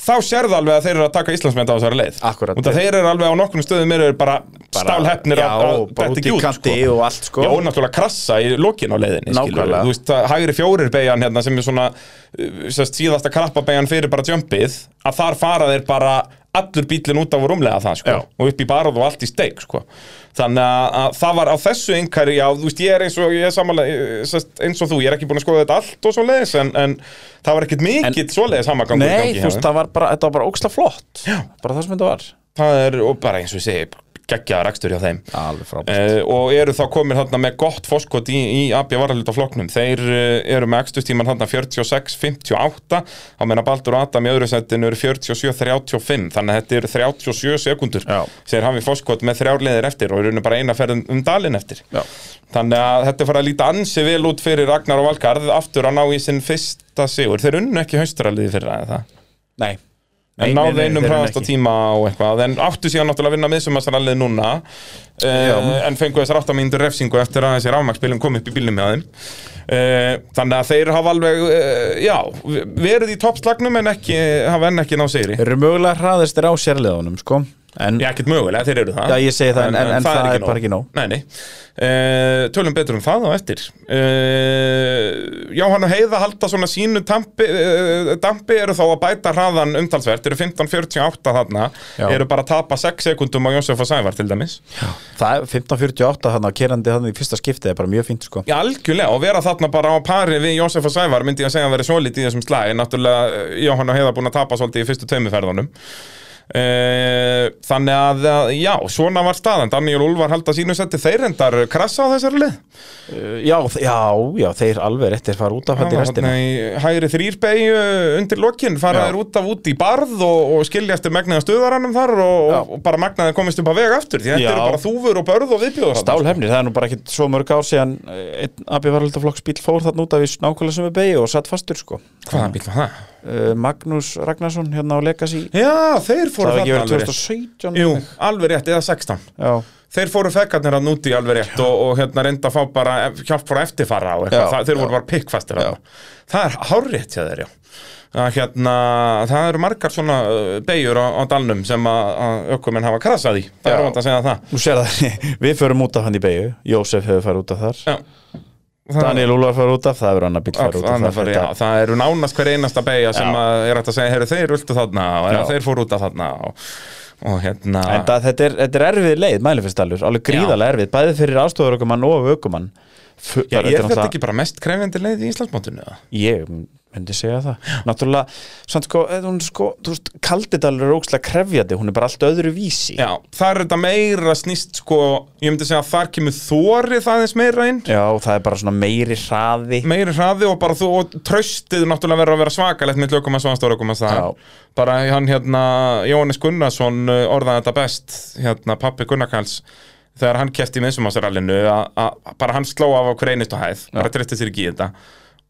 Speaker 3: þá sérðu alveg að þeir eru að taka Íslandsmynda á þessari leið
Speaker 4: Akkúrat.
Speaker 3: og þeir eru alveg á nokkrum stöðum eru bara, stálhefnir
Speaker 4: já,
Speaker 3: að að
Speaker 4: bara
Speaker 3: detta
Speaker 4: út
Speaker 3: ekki
Speaker 4: í
Speaker 3: út,
Speaker 4: kanti
Speaker 3: sko.
Speaker 4: og allt sko
Speaker 3: Já, og náttúrulega krassa í lokin á leiðinni skilurðu.
Speaker 4: Nákvæmlega.
Speaker 3: Þú veist, að hægri fjórir beigjan hérna sem er svona uh, sest, síðasta krappa beigjan fyrir bara tjömpið að þar fara þeir bara allur bílinn út af og rúmlega það sko.
Speaker 4: Já.
Speaker 3: og upp í barð og allt í steik sko. þannig að, að það var á þessu einhverju já, þú veist, ég er eins og ég er samanlega, sest, eins og þú, ég er ekki búin að skoða þetta allt og svoleiðis, en, en það var ekkit mikill svoleiðis hamagangur í
Speaker 4: Nei,
Speaker 3: gangi
Speaker 4: þú
Speaker 3: hjá þeim.
Speaker 4: veist, það var bara, þetta var bara óksla flott já. bara það sem þetta var
Speaker 3: það er, og bara eins og ég segi geggjaða rakstur hjá þeim
Speaker 4: Alveg frábært
Speaker 3: Uh, og eru þá komin þarna með gott fórskot í, í AB varalutaflokknum þeir uh, eru með ekstustíman þarna 46-58 á meina Baldur og Adam í öðru setinu eru 47-35 þannig að þetta eru 37 sekundur
Speaker 4: Já.
Speaker 3: sem þeir hafi fórskot með þrjárleðir eftir og eru nú bara eina ferð um dalin eftir
Speaker 4: Já.
Speaker 3: þannig að þetta er farið að líta ansi vel út fyrir Ragnar og Valgarð aftur að ná í sinn fyrsta sigur þeir unnu ekki haustraliði fyrir það það
Speaker 4: Nei,
Speaker 3: En
Speaker 4: Nei, nei,
Speaker 3: náðu
Speaker 4: nei,
Speaker 3: einum
Speaker 4: þeir eru
Speaker 3: hraðasta
Speaker 4: ekki.
Speaker 3: tíma og eitthvað En áttu síðan náttúrulega að vinna miðsumarsarallið núna uh, En fengu þessar áttamíndur refsingu eftir að þessi rafmaksbílum kom upp í bílum með þeim uh, Þannig að þeir hafa alveg, uh, já, verið í toppslagnum en ekki, hafa enn ekki náð sigri
Speaker 4: Þeir eru mögulega hraðastir á sérleðunum sko en
Speaker 3: Já, ekkert mögulega, þeir eru það
Speaker 4: Já, ég segi það, en- en það er bara ekki nóg.
Speaker 3: Nei, nei uh, Tölum betur um það á eftir uh, Jóhann og Heiða halda svona sínu tampi, uh, dampi eru þá að bæta hraðan umtalsvert eru 15.48 þarna
Speaker 4: Já.
Speaker 3: eru bara að tapa 6 sekundum á Jósef og Sævar til dæmis
Speaker 4: það er 1548 þannig að kerandi þannig í fyrsta skiptið er bara mjög fínt sko
Speaker 3: Já, algjörlega, og vera þarna bara á pari við Jósef og Sævar myndi ég að segja að vera svolítið í þessum slagi náttúrulega eh, Jóhann og Heiða búin að tapa svolítið í fyrstu tveimiferðunum uh, þannig að, að, já, svona var staðan Daniel Úlfar halda sínu setti þeir endar krassa á þessari lið
Speaker 4: Já, þ- já, já, þeir alveg réttir fara út af þetta í
Speaker 3: Hann var
Speaker 4: restina
Speaker 3: þarna í hægri þrýrbeigju undir lokin fara
Speaker 4: Já.
Speaker 3: þér út af út í barð og, og skiljastu megnaða stuðaranum þar og, og, og bara megnaði komist upp að vega aftur því
Speaker 4: Já.
Speaker 3: þetta eru bara þúfur og börð og viðbjóður þarna,
Speaker 4: Stálhefnir, það er nú bara ekkit svo mörg ár síðan eh, einn abbi varhaldaflokksbíl fór þarna út af í nákvæmlega sem við beigju og satt fastur sko
Speaker 3: sko. Hvaða bíl var það?
Speaker 4: Eh, Magnús Ragnarsson hérna á Legacy
Speaker 3: Já, þeir
Speaker 4: Það
Speaker 3: fóru þarna
Speaker 4: var ekki verið
Speaker 3: alveg rétt.
Speaker 4: 2017
Speaker 3: Jú, alveg rétt, eða 16
Speaker 4: Já,
Speaker 3: Þeir fóru fekkarnir hann úti alveg rétt og, og hérna reynda að fá bara hjálp frá eftirfara og
Speaker 4: Já,
Speaker 3: eitthvað, Það- þeir
Speaker 4: já.
Speaker 3: voru bara pikkfastir hann Það er hárrétt hjá þeir, já að hérna, það eru margar svona uh, beigjur á, á dalnum sem að, að ökkuminn hafa krasað í, það er
Speaker 4: Já.
Speaker 3: óvænt að segja það
Speaker 4: nú sér það, við förum út af hann í beigju Jósef hefur farið út af þar
Speaker 3: Já. Það-
Speaker 4: Daniel Úlfar farið út af, það hefur annar bíl
Speaker 3: All,
Speaker 4: farið út af
Speaker 3: annar
Speaker 4: þar
Speaker 3: fari, já,
Speaker 4: Þetta-
Speaker 3: það eru nánast hver einasta beigja sem
Speaker 4: Já.
Speaker 3: að er hægt að segja, heyrðu þeir ultu þarna og eða,
Speaker 4: Já.
Speaker 3: þeir fóru út af þarna og, og hérna
Speaker 4: En það, þetta, er, þetta er erfið leið, mælifestallur alveg gríðarlega erfið, bæði fyrir aðstofur ökumann og ökumann F
Speaker 3: Já, er þetta ekki bara mest krefjandi leið í Íslandsmótinu? eða?
Speaker 4: Ég myndi segja það Náttúrulega, samt sko, eh, hún er sko þú veist, kaldidalur er ókslega krefjandi hún er bara allt öðru vísi
Speaker 3: Já, það er þetta meira snýst sko, ég myndi segja að þar kemur þórið aðeins meira inn
Speaker 4: Já, og það er bara svona meiri hraði
Speaker 3: meiri hraði og bara þú og traustið náttúrulega verður að vera svakalegt með lögum að svanstóra lögum að það bara hann hérna, Jóhannes Gunnarsson uh, orðaði þetta best, hérna pappi Gunnarkals þegar hann kefti í minnsumassarallinu að bara hann sló af á hver einustu hæð, bara treysti sér ekki í þetta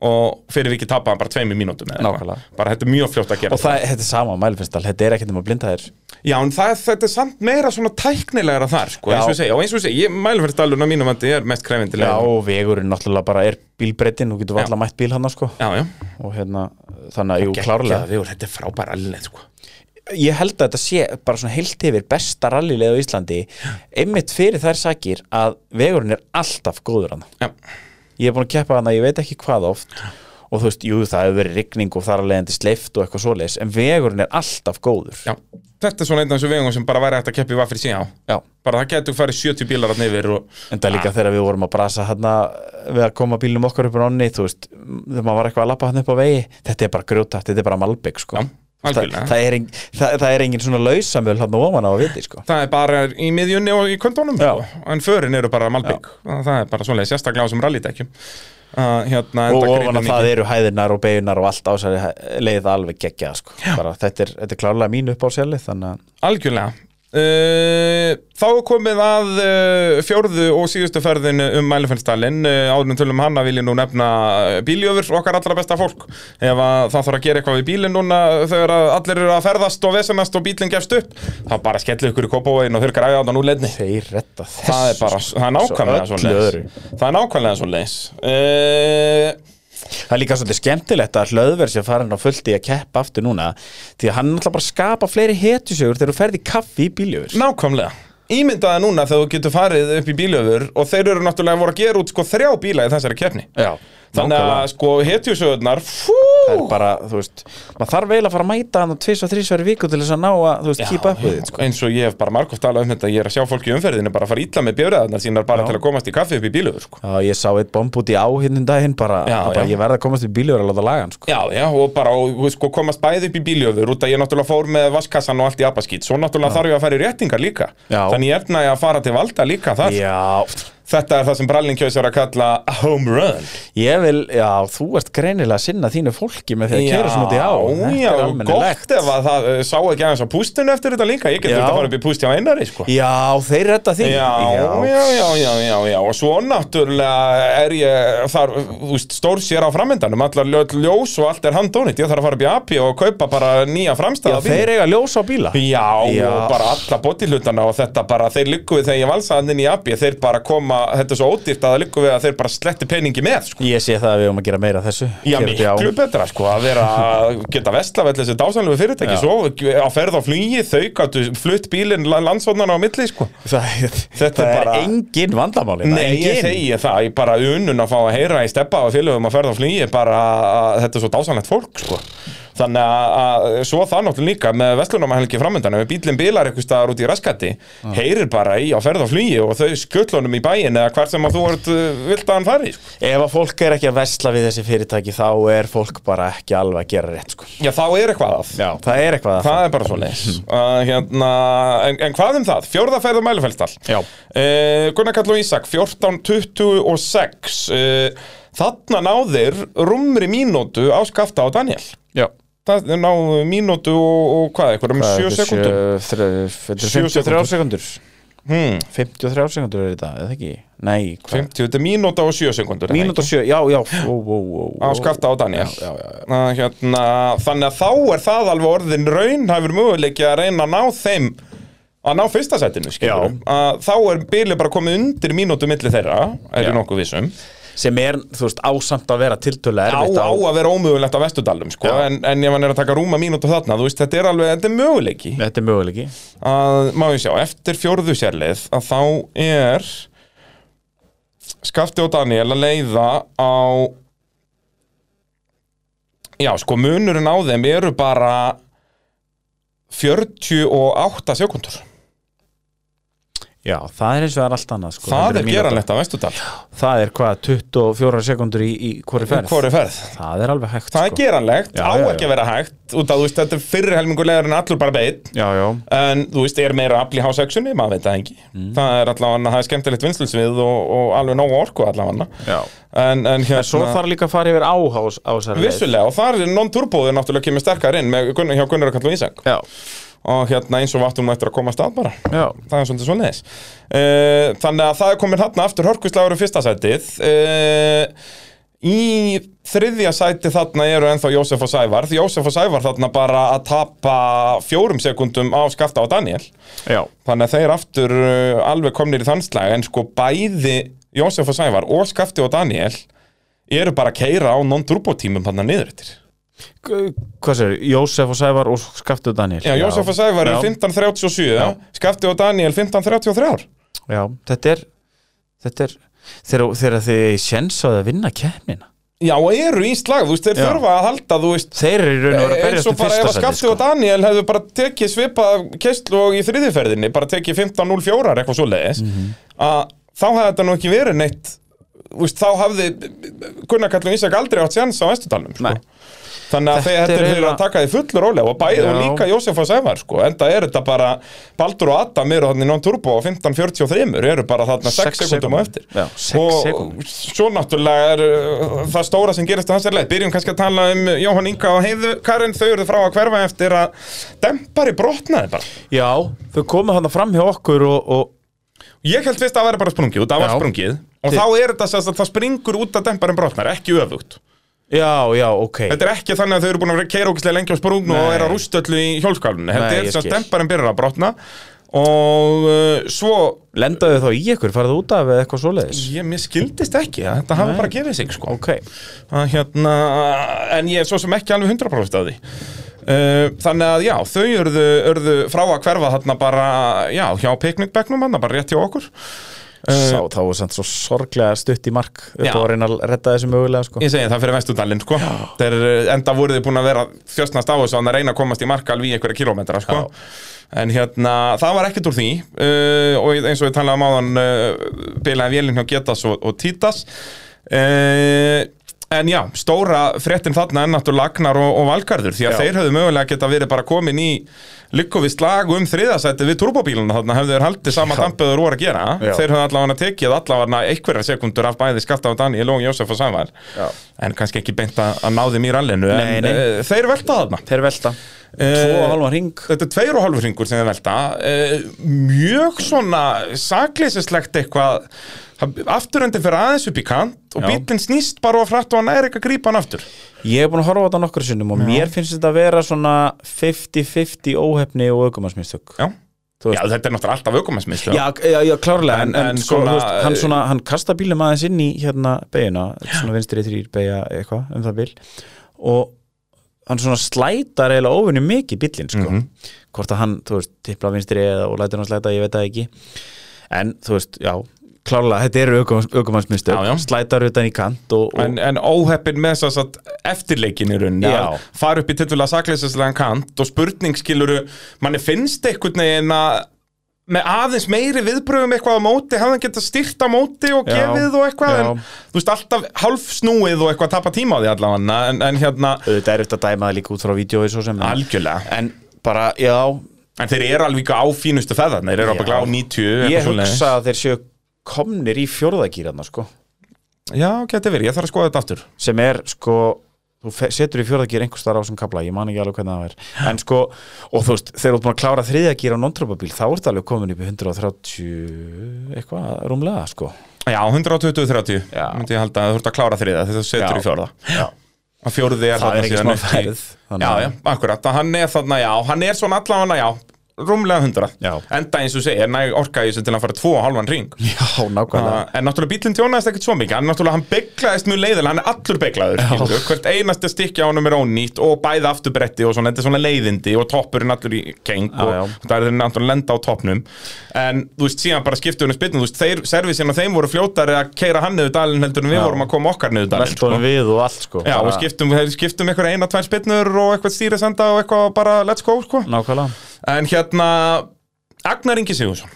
Speaker 3: og fyrir vikið tappa hann bara tveimur mínútum eða eitthvað.
Speaker 4: Nákvæmlega.
Speaker 3: bara þetta er mjög fljótt að gera
Speaker 4: Og það, þetta er sama mælifestall, þetta er ekkert um að blinda þér
Speaker 3: Já, en það, þetta er samt meira svona tæknilegra þar, sko,
Speaker 4: Já.
Speaker 3: eins og ég segja, og eins og ég segja, mælverðstallun á mínum vandi er mest krefendilega.
Speaker 4: Já, og vegurinn náttúrulega bara er bílbreytin þú getur
Speaker 3: Já.
Speaker 4: alltaf mætt bíl hann sko
Speaker 3: Já, já.
Speaker 4: og hérna, þannig að, jú, klárlega
Speaker 3: Gekkjaður, þetta er frábær alveg, sko.
Speaker 4: ég held að þetta sé bara svona heilt yfir besta rallilega á Íslandi einmitt fyrir þær sakir að vegurinn er alltaf góður hann
Speaker 3: Já,
Speaker 4: ég er búin að keppa hann að ég veit ekki hvað oft og þú veist, jú, það hefur verið rigning og þar að leiðandi sleift og eitthvað svoleiðis en vegurinn er alltaf góður
Speaker 3: já. Þetta er svona einn af þessu vegum sem bara væri hægt að keppi vaffir síðan á.
Speaker 4: Já.
Speaker 3: Bara það getur farið 70 bílar hann yfir og...
Speaker 4: en það er líka þegar við vorum að brasa hann við að koma bílnum okkar upp á ánni þú veist, þegar maður var eitthvað að lappa hann upp á vegi þetta er bara grjóta, þetta er bara malbygg sko.
Speaker 3: Já,
Speaker 4: það,
Speaker 3: algjörlega.
Speaker 4: það, er ein, það, það er engin svona lausamöl hann ofan á að viti sko.
Speaker 3: Það er bara í miðjunni og í kvöndunum,
Speaker 4: Já.
Speaker 3: sko. En förin eru bara malbygg. Það er bara svoleiðis, sérstaklega á þessum rallydekjum. Uh, hérna,
Speaker 4: og
Speaker 3: enda
Speaker 4: ofan
Speaker 3: grillin
Speaker 4: að
Speaker 3: í-
Speaker 4: það eru hæðirnar og beigunar og allt ásæri leið alveg geggja sko. bara þetta er, þetta er klárlega mín upp á sjálfi þannig að
Speaker 3: Algjörlega Uh, þá er komið að uh, fjórðu og síðustu ferðin um Mælifennstallin uh, áðurum tölum hana vil ég nú nefna uh, bíljöfur, okkar allra besta fólk ef að það þarf að gera eitthvað við bílinn núna þegar að allir eru að ferðast og vesenast og bílinn gefst upp, þá bara skellu ykkur í kópavegin og þurrkar aðjáðan úr leidni
Speaker 4: þeir retta þessu sko.
Speaker 3: það er bara, það er nákvæmlega
Speaker 4: Svo öllu
Speaker 3: svona
Speaker 4: öðru.
Speaker 3: það er nákvæmlega svona leis uh,
Speaker 4: Það er líka svolítið skemmtilegt að hlöðverð sé farin á fullt í að keppa aftur núna því að hann er náttúrulega bara að skapa fleiri hetjusögur þegar þú ferði kaffi í bíljöfur
Speaker 3: nákvæmlega ímyndaði núna þegar þú getur farið upp í bíljöfur og þeir eru náttúrulega voru að gera út sko þrjá bíla í þessari kefni
Speaker 4: Já,
Speaker 3: Þannig að sko hetjusögurnar fú,
Speaker 4: það er bara, þú veist, maður þarf eiginlega að fara að mæta hann og tvis og þrísverði viku til þess að ná að, þú veist, kýpa upp við þitt, sko.
Speaker 3: eins og ég hef bara margótt talað um þetta ég er að sjá fólki í umferðinu bara að fara illa með bjöfraðarnar sínar bara
Speaker 4: Já.
Speaker 3: til að komast í kaffi upp í bíluður sko.
Speaker 4: Já, ég sá eitt bomb út í á hinnum daginn bara,
Speaker 3: Já,
Speaker 4: bara
Speaker 3: já.
Speaker 4: ég verði að komast í bíljöfur að láta laga hann, sko.
Speaker 3: Já, já, og bara og, sko, komast bæði upp í bíljöfur út að ég náttúrulega fór með vaskassan og allt í abaskýt svo náttúrulega þarf ég að fara í réttingar líka
Speaker 4: Já.
Speaker 3: þannig ég efna ég að fara til valda líka þar
Speaker 4: Já,
Speaker 3: Þetta er það sem Brallin Kjós er að kalla a home run
Speaker 4: ég vil, já, þú ert greinilega að sinna þínu fólki með því að kera svona út í á Þetta
Speaker 3: já,
Speaker 4: er
Speaker 3: gott
Speaker 4: almennilegt.
Speaker 3: ef að það uh, sá ekki aðeins á pústinu eftir þetta líka Ég get
Speaker 4: Já.
Speaker 3: þurft að fara upp í pústi á einari sko.
Speaker 4: Já, þeir retta því
Speaker 3: Já, já, já, já, já, já, og svo náttúrulega er ég þar, þú veist, stór sér á framöndanum, allar ljó, ljós og allt er handónýtt, ég þarf að fara upp í API og kaupa bara nýja
Speaker 4: Já,
Speaker 3: framstæða
Speaker 4: þeir eiga ljós á bíla
Speaker 3: Já,
Speaker 4: Já.
Speaker 3: og bara alla bodyhlutana og þetta bara, þeir liggu við þegar ég valsa hann inn í API, þeir bara koma þetta er svo ódýrt að það liggur við að þeir bara sletti peningi með sko.
Speaker 4: Ég sé það að við erum að gera meira af þessu
Speaker 3: Já,
Speaker 4: Gera þetta
Speaker 3: miklu betra, sko, að vera að geta vesla við þessi dásanlegu fyrirtæki,
Speaker 4: Já.
Speaker 3: svo á ferð á flugi, þau gætu flutt bílinn landsvotnarna á milli, sko.
Speaker 4: Það,
Speaker 3: Þetta
Speaker 4: það
Speaker 3: er
Speaker 4: er
Speaker 3: bara-
Speaker 4: engin vandamáli
Speaker 3: Nei, ég segi það, ég bara unun að fá að heyra í steppa og félögum að ferða á flugi bara að þetta er svo dásanlegt fólk sko. þannig að, að svo það náttúrulega líka með veslunumahelgi framöndan ef bílinn bilar eitthvað staðar út í raskati heyrir bara í að ferða á flugi og þau skullunum í bæin eða hvert sem að þú ert, uh, vilt að hann fari sko.
Speaker 4: Ef að fólk er ekki að vesla við þessi fyrirtæki þá er fólk bara ekki alveg að gera rétt sko.
Speaker 3: Já, þá er eitthvað að
Speaker 4: Já, það er eitthvað að
Speaker 3: Það er bara svo leis hérna, en, en hvað um það? Fjórða ferð á Mælufellstall
Speaker 4: Já.
Speaker 3: uh, Gunnar Kall og Ísak 14.26 uh, Þarna náðir rúmri mínútu á Skafta og Daniel
Speaker 4: Já
Speaker 3: Það ná mínútu og, og hvað, eitthvað um sjö sekundum
Speaker 4: Þetta er
Speaker 3: Sjö
Speaker 4: 53 sekundur
Speaker 3: hmm,
Speaker 4: 53 sekundur er þetta, eða ekki? Nei, hvað?
Speaker 3: 50, þetta er mínúta og sjö sekundur er það ekki?
Speaker 4: Mínútur 7, já, já ó, ó, ó, ó.
Speaker 3: á Skafta og Daniel
Speaker 4: Já, já, já, já.
Speaker 3: Að, hérna, þannig að þá er það alveg orðin raunhæfur möguleiki að reyna að ná þeim að ná fyrsta sætinu skilurðu. Að þá er bíli bara komið undir mínútu milli þeirra, er
Speaker 4: Já.
Speaker 3: ég nokkuð vissum
Speaker 4: Sem er, þú veist, ásamt að vera tiltölulega
Speaker 3: á,
Speaker 4: erfitt
Speaker 3: á að vera ómögulegt á Vestudalum sko.
Speaker 4: Já.
Speaker 3: en, en ef hann er að taka rúma mínútu þarna þú veist, þetta er alveg, þetta er möguleiki
Speaker 4: Þetta er möguleiki
Speaker 3: að, má ég sjá, eftir fjórðu sérlið að þá er Skafti og Daniel að leiða á já, sko munurinn á þeim eru bara 48 sekundur
Speaker 4: Já, það er eins og það er allt annað sko,
Speaker 3: það
Speaker 4: heldur en
Speaker 3: er
Speaker 4: mínúta.
Speaker 3: geranlegt að vestudal
Speaker 4: Það er hvað, 24 sekundur í, í hvori ferð
Speaker 3: hvori um ferð
Speaker 4: Það er alveg hægt
Speaker 3: það er
Speaker 4: sko.
Speaker 3: geranlegt,
Speaker 4: Já,
Speaker 3: á
Speaker 4: já, já.
Speaker 3: ekki að vera hægt út að þú veist, þetta er fyrri helmingulegur en allur bara beitt
Speaker 4: Já, já,
Speaker 3: en þú veist, er meira afl í hásöksunni, maður veit það ekki
Speaker 4: Mm.
Speaker 3: það er allavega, það er skemmtilegt vinslusvið og, og alveg nógu orku allavega
Speaker 4: já
Speaker 3: en, en hérna
Speaker 4: En svo þarf líka að fara yfir áhás á þessari leið.
Speaker 3: Vissulega, og þar er non-turboður náttúrulega kemur sterkar inn með, Gunn- hjá Gunnar og Kall og Ísak
Speaker 4: Já,
Speaker 3: og hérna eins og vatnum eftir að koma stað bara
Speaker 4: já
Speaker 3: það er svolítið svo leiðis þannig að það er komin hann aftur hörkvistlagur í fyrsta sætið uh, í þriðja sæti þarna eru ennþá Jósef og Sævar því Jósef og Sævar þarna bara að tapa fjórum sekundum á Skafta og Daniel
Speaker 4: Já,
Speaker 3: þannig að þeir aftur uh, alveg komnir í þannslæg en sko bæði Jósef og Sævar og Skafti og Daniel eru bara að keira á non-turbo tímum hann niður eftir
Speaker 4: G- hvað sér, Jósef og Sævar og Skaftu Daniel
Speaker 3: Já, Jósef og Sævar
Speaker 4: Já.
Speaker 3: er 15.37 Skafti og Daniel 15.33
Speaker 4: Já, þetta er, þetta er þegar, þegar þið sjensaði að vinna keppnina
Speaker 3: Já, og eru í slag, þú veist, þeir
Speaker 4: Já.
Speaker 3: þurfa að halda, þú veist
Speaker 4: Þeir eru í raun og
Speaker 3: eins
Speaker 4: vera að berjast
Speaker 3: og
Speaker 4: um
Speaker 3: bara ef
Speaker 4: fyrsta
Speaker 3: að
Speaker 4: sæti
Speaker 3: Skafti
Speaker 4: sko.
Speaker 3: og Daniel hefðu bara tekið svipað keistlu og í þriðiferðinni, bara tekið 15.04 eitthvað svo leiðis
Speaker 4: Mhm.
Speaker 3: að þá hefði þetta nú ekki verið neitt þú veist, þá hafði Gunnar Kallum Ísak aldrei átt séns á Vestudalnum sko.
Speaker 4: Nei.
Speaker 3: þannig að
Speaker 4: Þetta
Speaker 3: þetta,
Speaker 4: er
Speaker 3: þetta er verið
Speaker 4: eiginlega-
Speaker 3: að taka því fullur ólega og bæði og
Speaker 4: Já.
Speaker 3: líka Jósef og Sævar sko. enda er þetta bara Baldur og Adam eru þannig non-turbo og 15.43 eru bara þarna 6
Speaker 4: Sex
Speaker 3: sekundum á
Speaker 4: sekúndur.
Speaker 3: eftir
Speaker 4: Já, sex
Speaker 3: og
Speaker 4: sekúndur.
Speaker 3: svo náttúrulega er uh, það stóra sem gerist á hans er leið byrjum kannski að tala um Jóhann Inga og Heiðu Karin þau eru frá að hverfa eftir að dempari brotnaði bara
Speaker 4: Já, þau komu hann fram hjá okkur og, og
Speaker 3: ég held fyrst að það væri bara sprungið og það var
Speaker 4: Já.
Speaker 3: sprungið og
Speaker 4: Þi-
Speaker 3: þá er þetta sem sagt, það springur út að demparin brotnar ekki öfugt
Speaker 4: Já, já, ok
Speaker 3: þetta er ekki þannig að þau eru búin að vera keira ógislega lengi á sprungnu og
Speaker 4: Nei.
Speaker 3: er að rústa öllu í hjólskalunni
Speaker 4: Nei,
Speaker 3: þetta
Speaker 4: ég
Speaker 3: er sem
Speaker 4: skil.
Speaker 3: að demparin byrjar að brotna og uh, svo
Speaker 4: Lendaðu þá í ykkur, farðu út af eða eitthvað svoleiðis
Speaker 3: ég mér skildist ekki að þetta hafa
Speaker 4: Nei.
Speaker 3: bara gefið sig sko
Speaker 4: Ok,
Speaker 3: að hérna, en ég er svo sem ekki alveg 100% að því uh, þannig að já, þau urðu, urðu frá að hverfa þarna bara, já, hjá piknikbegnum hann, bara rétt hjá okkur
Speaker 4: sá þá var samt svo sorglega stutt í mark upp
Speaker 3: Já.
Speaker 4: á að reyna að redda þessu mögulega sko.
Speaker 3: ég segi það fyrir vestudalinn, sko Þeir, uh, enda voru þið búin að vera þjöstnast á þessu þannig að reyna að komast í mark alveg í einhverja kilometra, sko en hérna, það var ekkert úr því uh, og eins og ég talaði um áðan uh, bilaði vélinn hjá Getas og, og Títas uh, En já, stóra fréttin þarna er náttúrulega Agnar og, og Valgarður því að
Speaker 4: Já.
Speaker 3: þeir höfðu mögulega geta verið bara komin í lykkuvist lag um þriðasætti við turbóbíluna þarna hefðu þeir haldið sama
Speaker 4: Já.
Speaker 3: dampöður voru að gera
Speaker 4: Já.
Speaker 3: þeir höfðu allavega tekið allavega einhverja sekundur af bæði Skafta og Daniel og Jósef og Sævar
Speaker 4: Já.
Speaker 3: en kannski ekki beint að að ná þeim í rallinu
Speaker 4: Nei,
Speaker 3: en
Speaker 4: nei.
Speaker 3: eh, þeir velta þarna
Speaker 4: Þeir velta, tvo
Speaker 3: Eh,
Speaker 4: og halvan ring
Speaker 3: Þetta er tveir og halvur hringur sem þið velta eh, Mjög svona sakleysislegt eitthvað Afturöndin fyrir aðeins upp í kant Og
Speaker 4: Já.
Speaker 3: bíllinn snýst bara og frætt og hann er ekki að grípa hann aftur
Speaker 4: Ég hef búin að horfa á þetta nokkur sinnum og mér finnst þetta að vera svona 50-50 óhefni og aukumarsmistök
Speaker 3: Já, Já,
Speaker 4: þú veist.
Speaker 3: þetta er náttúrulega alltaf aukumannsmiðstöð
Speaker 4: Já, já, já, klárlega, en,
Speaker 3: En-
Speaker 4: en,
Speaker 3: en
Speaker 4: sko,
Speaker 3: svona- eh,
Speaker 4: þú veist, hann, svona, hann kasta bílum aðeins inn í hérna beiguna, svona vinstri þrýr beigja eitthvað um það bíl og hann svona slætar eiginlega óvinni mikið bílinn, sko
Speaker 3: Mhm.
Speaker 4: hvort að hann, þú veist, tipla vinstri eða og lætur hann slæta, ég veit það ekki en, þú veist, já, klárlega þetta eru
Speaker 3: Já, já.
Speaker 4: aukumannsmyndstöð, slætar utan í kant og, og
Speaker 3: En, en óheppin með þess að eftirleikin í rauninni
Speaker 4: Já.
Speaker 3: að fara upp í tilfella sakleysislegan kant og spurning skiluru manni finnst einhvern veginn að með aðeins meiri viðbröfum eitthvað á móti hafði hann getað styrkt á móti og
Speaker 4: Já.
Speaker 3: gefið og eitthvað
Speaker 4: Já.
Speaker 3: en þú veist alltaf hálf snúið og eitthvað að tapa tíma á því allavega en, en hérna
Speaker 4: auðvitað er eftir að dæma það líka út frá vídjói svo sem en-
Speaker 3: algjörlega
Speaker 4: en bara, já,
Speaker 3: en þeir eru alveg á fínustu feðarna þeir eru
Speaker 4: Já.
Speaker 3: alveg á 90 eitthvað
Speaker 4: ég
Speaker 3: svoleiðis.
Speaker 4: hugsa að þeir séu komnir í fjórðagýrana sko,
Speaker 3: já geti verið ég þarf að skoða þetta aftur
Speaker 4: sem er sko þú fe- setur í fjórðagýr einhvers þar á sem kabla ég man ekki alveg hvernig það er en sko, og þú veist, þegar þú ert búin að klára þriðagýr á non-tropabíl, þá ertu alveg komin upp í 130 eitthvað rúmlega sko
Speaker 3: já 120-30
Speaker 4: Já.
Speaker 3: myndi ég halda að þú ert að klára þriða þegar þú setur
Speaker 4: Já.
Speaker 3: í fjórða
Speaker 4: já,
Speaker 3: að fjórði er
Speaker 4: það
Speaker 3: þarna
Speaker 4: er ekki
Speaker 3: síðan
Speaker 4: smá
Speaker 3: upp í-
Speaker 4: ferð þannig
Speaker 3: Já,
Speaker 4: að-
Speaker 3: já, akkurat, að hann er þarna, já, hann er svona allavega, já, rúmlega hundra
Speaker 4: Já.
Speaker 3: Enda eins og segir, næg orka í þessu til að fara tvo og halvan ring
Speaker 4: já, nákvæmlega
Speaker 3: En náttúrulega bílinn tjónaðist ekkert svo mikið Hann náttúrulega, hann beiglaðist mjög leiðilega, hann er allur beiglaður skilurðu. Hvert einasta stykki á honum er ónýtt og bæði afturbretti og svona, þetta er svona leiðindi og toppurinn allur í keng
Speaker 4: Já, já.
Speaker 3: og það er þeir náttúrulega lenda á toppnum En þú veist, síðan bara skiptu henni spytnum, þú veist, þeir, servisinn og þeim voru fljótari að keira hann niður dalinn heldur en við
Speaker 4: Já.
Speaker 3: vorum að koma okkar niður dalinn
Speaker 4: veltónum við og allt sko
Speaker 3: Já,
Speaker 4: Bara-
Speaker 3: og skiptum, þeir skiptum einhverja eina, tvær spinnur og eitthvað stýrisenda og eitthvað bara let's go, sko.
Speaker 4: nákvæmlega
Speaker 3: En hérna, Agnar Ingi Sigursson.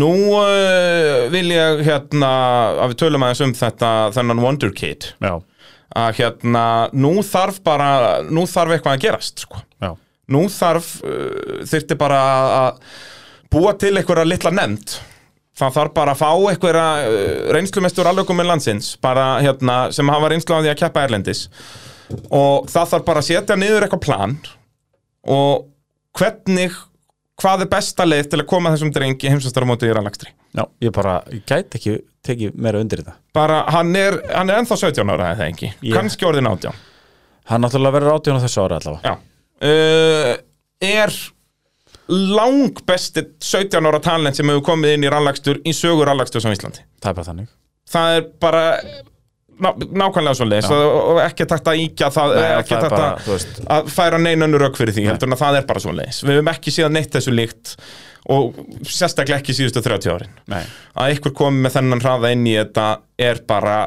Speaker 3: Nú uh, vil ég hérna, að við tölum aðeins um þetta, þennan Wonder Kid.
Speaker 4: já,
Speaker 3: Að hérna, nú þarf bara, nú þarf eitthvað að gerast, sko.
Speaker 4: já,
Speaker 3: Nú þarf, uh, þyrfti bara að búa til einhverja litla nefnd. Það þarf bara að fá einhverja uh, reynslumestur allögum með landsins, bara hérna, sem hafa reynslu á því að keppa erlendis og það þarf bara að setja niður eitthvað plan og hvernig hvað er besta leið til að koma þessum drengi heimsastarumóti í rannlagstri
Speaker 4: já, ég bara ég gæti ekki tekið meira undir þetta
Speaker 3: bara hann er, hann er ennþá 17 ára eða ekki,
Speaker 4: Ég-
Speaker 3: kannski orðin 18
Speaker 4: hann náttúrulega verður átjón á þessu ári
Speaker 3: já
Speaker 4: allavega
Speaker 3: uh, er lang besti 17 ára talent sem hefur komið inn í rannlagstur í sögur rannlagstur á Íslandi
Speaker 4: það er bara þannig
Speaker 3: það er bara ná, nákvæmlega svo leiðis og ekki takt að íkja það,
Speaker 4: Nei,
Speaker 3: ekki
Speaker 4: það er
Speaker 3: takt
Speaker 4: bara,
Speaker 3: að,
Speaker 4: þú veist.
Speaker 3: að færa neinunur rauk fyrir því heldur en að það er bara svo leiðis við höfum ekki síðan neitt þessu líkt og sérstaklega ekki síðustu 30 árin
Speaker 4: Nei,
Speaker 3: að einhver komi með þennan hraða inn í þetta er bara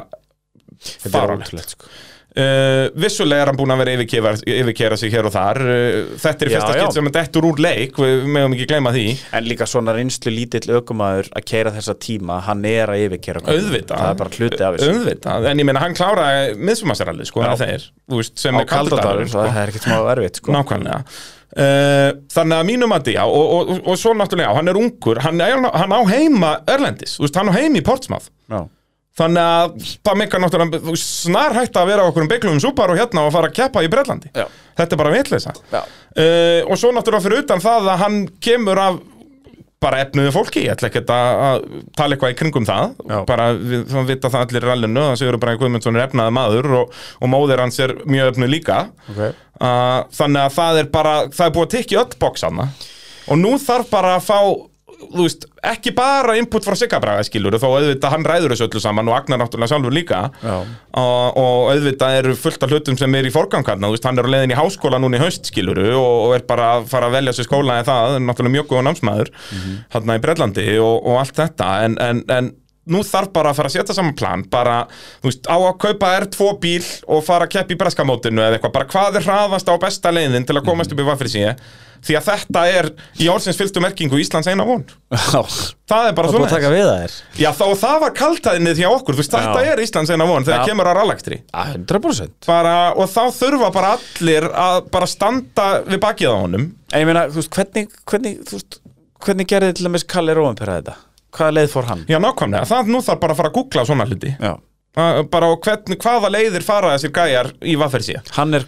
Speaker 4: þetta er
Speaker 3: Fáránlegt.
Speaker 4: ótrúlegt sko.
Speaker 3: Uh, vissulega er hann búin að vera yfirkefa, yfirkera sig hér og þar uh, Þetta er í
Speaker 4: Já,
Speaker 3: fyrsta
Speaker 4: já.
Speaker 3: skipt sem er dettur úr leik Við meðum ekki gleyma því
Speaker 4: En líka svona reynslu lítill ökumæður að keira þessa tíma, hann er að yfirkera köflum.
Speaker 3: Auðvitað
Speaker 4: Það er bara hluti af þessu
Speaker 3: Auðvitað, en ég meina hann kláraði miðsumassarallið sko, eða þeir, þú veist, sem
Speaker 4: Á
Speaker 3: er
Speaker 4: kaldadagur,
Speaker 3: kaldadagur sko.
Speaker 4: það er ekkert smá erfitt sko.
Speaker 3: Nákvæmlega uh, Þannig að mínum að já og, og, og, og svo náttúrulega, já, hann er ungur Hann, er, hann á heima Erlendis, þú veist, hann á heima í Portsmouth
Speaker 4: Já.
Speaker 3: Þannig að það meikar náttúrulega snar hægt að vera á okkur um beiklum súpar og hérna og fara að keppa í Brellandi
Speaker 4: Já.
Speaker 3: Þetta er bara vitleisa
Speaker 4: Já.
Speaker 3: uh, Og svo náttúrulega fyrir utan það að hann kemur af bara efnuðu fólki, ég ætla ekkert að að tala eitthvað í kringum það
Speaker 4: Já.
Speaker 3: bara við þá vita það allir í rallinu að Sigurður Bræði Guðmundsson er efnaði maður og, og móðir hans er mjög efnuð líka
Speaker 4: Ok.
Speaker 3: uh, þannig að það er bara það er búið að tekja öll bóksana og nú þarf bara að fá þú veist, ekki bara input frá Sigga Braga skilur þó auðvitað hann ræður þessu öllu saman og Agnar náttúrulega sjálfur líka
Speaker 4: Já.
Speaker 3: og, og auðvitað eru fullt af hlutum sem er í forgangarna, þú veist, hann er á leiðin í háskóla núna í haust skiluru og, og er bara að fara að velja sér skóla en það, er náttúrulega mjög góð námsmaður mm
Speaker 4: Mhm.
Speaker 3: í Brellandi og, og allt þetta en, en, en nú þarf bara að fara að setja saman plan bara, þú veist, á að kaupa R2 bíl og fara að keppa í breskamótinu eða eitthvað, bara hvað er hraðast á besta leiðin til að komast upp í vaffri síðan því að þetta er í orðsins fylgstu merkingu Íslands eina von,
Speaker 4: Já.
Speaker 3: það er bara
Speaker 4: Það er búin að
Speaker 3: svoleiðis.
Speaker 4: taka við það þér.
Speaker 3: Já, þá það var kaltaðinnið hjá okkur, þú veist, þetta
Speaker 4: Já.
Speaker 3: er Íslands eina von þegar
Speaker 4: Já.
Speaker 3: kemur á rallakstri.
Speaker 4: 100%.
Speaker 3: Bara, og þá þurfa bara allir að bara standa við bakið á honum.
Speaker 4: En ég meina, þú veist, hvernig, hvernig, þú veist, hvernig gerði til dæmis Kalli Róvenpera þetta? Hvaða leið fór hann?
Speaker 3: Já, nákvæmlega, það nú þarf bara að fara að googla svona hluti.
Speaker 4: Já.
Speaker 3: Að- Bara á hvern, hvaða leiðir fara þessir gæjar í vaffersi.
Speaker 4: Hann er,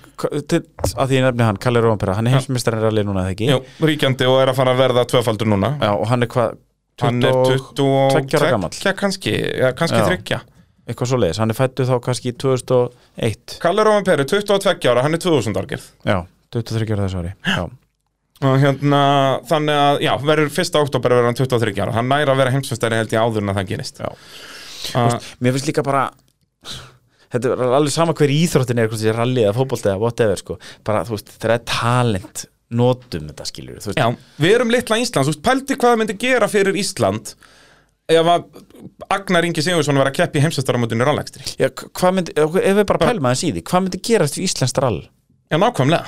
Speaker 4: til, að því ég nefni hann, Kalli Róvenpera, hann er heimsmyndstærin rally núna, eða ekki?
Speaker 3: Jú, ríkjandi og er að fara að verða tvöfaldur núna.
Speaker 4: Já, og hann er hvað,
Speaker 3: Hann er
Speaker 4: 22 ára gamall,
Speaker 3: 22, kannski, ja, kannski
Speaker 4: Já.
Speaker 3: þryggja.
Speaker 4: eitthvað svo leiðis, hann er fættu þá kannski í 2001.
Speaker 3: Kalle Róman Peri, 22 ára, hann er 2000 árgerð.
Speaker 4: Já, 23 ára þessu ári Já,
Speaker 3: og hérna, þannig að, já, verður 1. oktober verður hann 23 ára, hann næra að vera heimsfestari held ég áður en að það gerist
Speaker 4: Já.
Speaker 3: Ah,
Speaker 4: Mér finnst líka bara Þetta er alveg sama hver íþróttin er hvort þessi rally eða fótbolti eða whatever sko. bara þú veist, þegar það er talent notum þetta skilur þú veist,
Speaker 3: Já, við erum litla Íslands, þú veist, pældi hvað það myndi gera fyrir Ísland ef að Agnar Ingi Sigurðsson var að keppi heimsfestaramótinu rannlegstri
Speaker 4: já, hva- hvað myndi, ef við bara pælum aðeins í því hvað myndi gerast við Íslands rall
Speaker 3: Já, nákvæmlega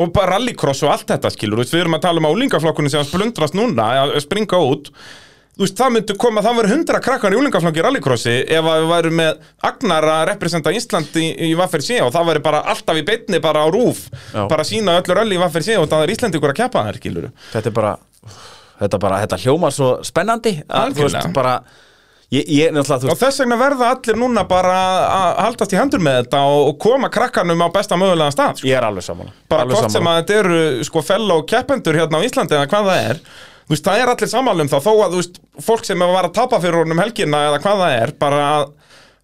Speaker 3: Og bara rallycross og allt þetta skilur þú veist, Við erum að tala um álingaflokkunni sem splundrast núna að springa út Þú veist, það myndi koma, það verður hundra krakkar í úlingaflokki í rallycrossi ef að við værum með Agnar að representa Ísland í, í Vaffer C og það væri bara alltaf í beinni bara á rúf,
Speaker 4: Já.
Speaker 3: bara sína öllu rally í Vaffer C og það er Íslandikur að keppa þær, skilur
Speaker 4: þetta er bara þetta, bara, þetta hljómar svo spennandi að, þú veist,
Speaker 3: Algjörlega.
Speaker 4: bara ég, ég náttúrulega,
Speaker 3: Og
Speaker 4: þú veist,
Speaker 3: þess vegna verða allir núna bara að haldast í hendur með þetta og, og koma krakkanum á besta mögulega stað sko.
Speaker 4: ég er alveg sammála
Speaker 3: Bara
Speaker 4: alveg
Speaker 3: hvort sem að þetta eru sko fellow keppendur hérna á Íslandi eða hvað það er Þú veist, það er allir sammálum þá þó að þú veist, fólk sem var að tapa fyrir honum um helgina eða hvað það er bara að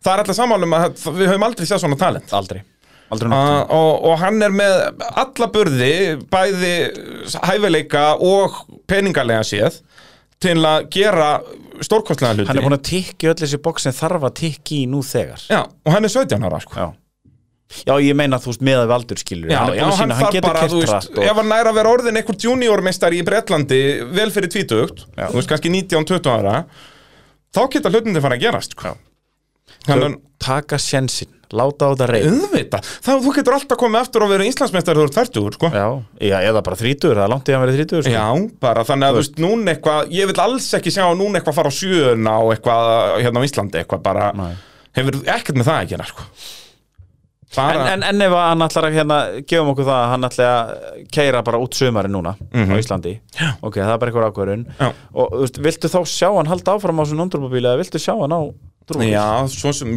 Speaker 3: það er allir sammálum að það- við höfum aldrei séð svona talent
Speaker 4: aldrei, aldrei
Speaker 3: Uh,
Speaker 4: nokkuð
Speaker 3: og, og hann er með alla burði, bæði hæfileika og peningalega séð til að gera stórkostlega hluti
Speaker 4: hann er búin að tikki öll þessi bóks sem þarf að tikki í nú þegar
Speaker 3: Já, og hann er 17 ára sko
Speaker 4: já, já ég meina þú veist með að valdur skilur
Speaker 3: Já,
Speaker 4: hann, er
Speaker 3: já,
Speaker 4: búinn að
Speaker 3: hann
Speaker 4: sýna, hann
Speaker 3: þarf
Speaker 4: getur
Speaker 3: bara,
Speaker 4: kert
Speaker 3: þú veist,
Speaker 4: rætt og...
Speaker 3: ef hann næra að vera orðin einhver juniormeistari í Bretlandi vel fyrir tvítugt,
Speaker 4: Já.
Speaker 3: þú veist, kannski 19-20 ára þá geta hlutinni fara að gerast sko. þannig
Speaker 4: Tök- taka sjensin, láta á það
Speaker 3: að
Speaker 4: reyð
Speaker 3: auðvita, þá þú getur alltaf komið aftur og verið Íslandsmeistari þú ert færtugur, sko
Speaker 4: já, já, eða bara þrítur, það er langt í að vera þrítur sko.
Speaker 3: Já, bara þannig að þú veist, núna eitthvað ég vil alls ekki sjá núna eitthvað fara á sjöuna og eitthvað hérna á Íslandi, eitthvað bara
Speaker 4: Nei.
Speaker 3: hefur ekkert með það að gera, sko
Speaker 4: en,
Speaker 3: bara,
Speaker 4: en, en ef að hann ætlar að hérna, gefum okkur það að hann ætlar að keira bara út sömari núna á Íslandi
Speaker 3: Mhm. Já.
Speaker 4: ok, það er bara eitthvað ákvörun
Speaker 3: Já.
Speaker 4: og þú veist, viltu þá sjá hann halda áfram á svona undrúbabíli eða viltu sjá hann á drúbabíli
Speaker 3: Já, svo sem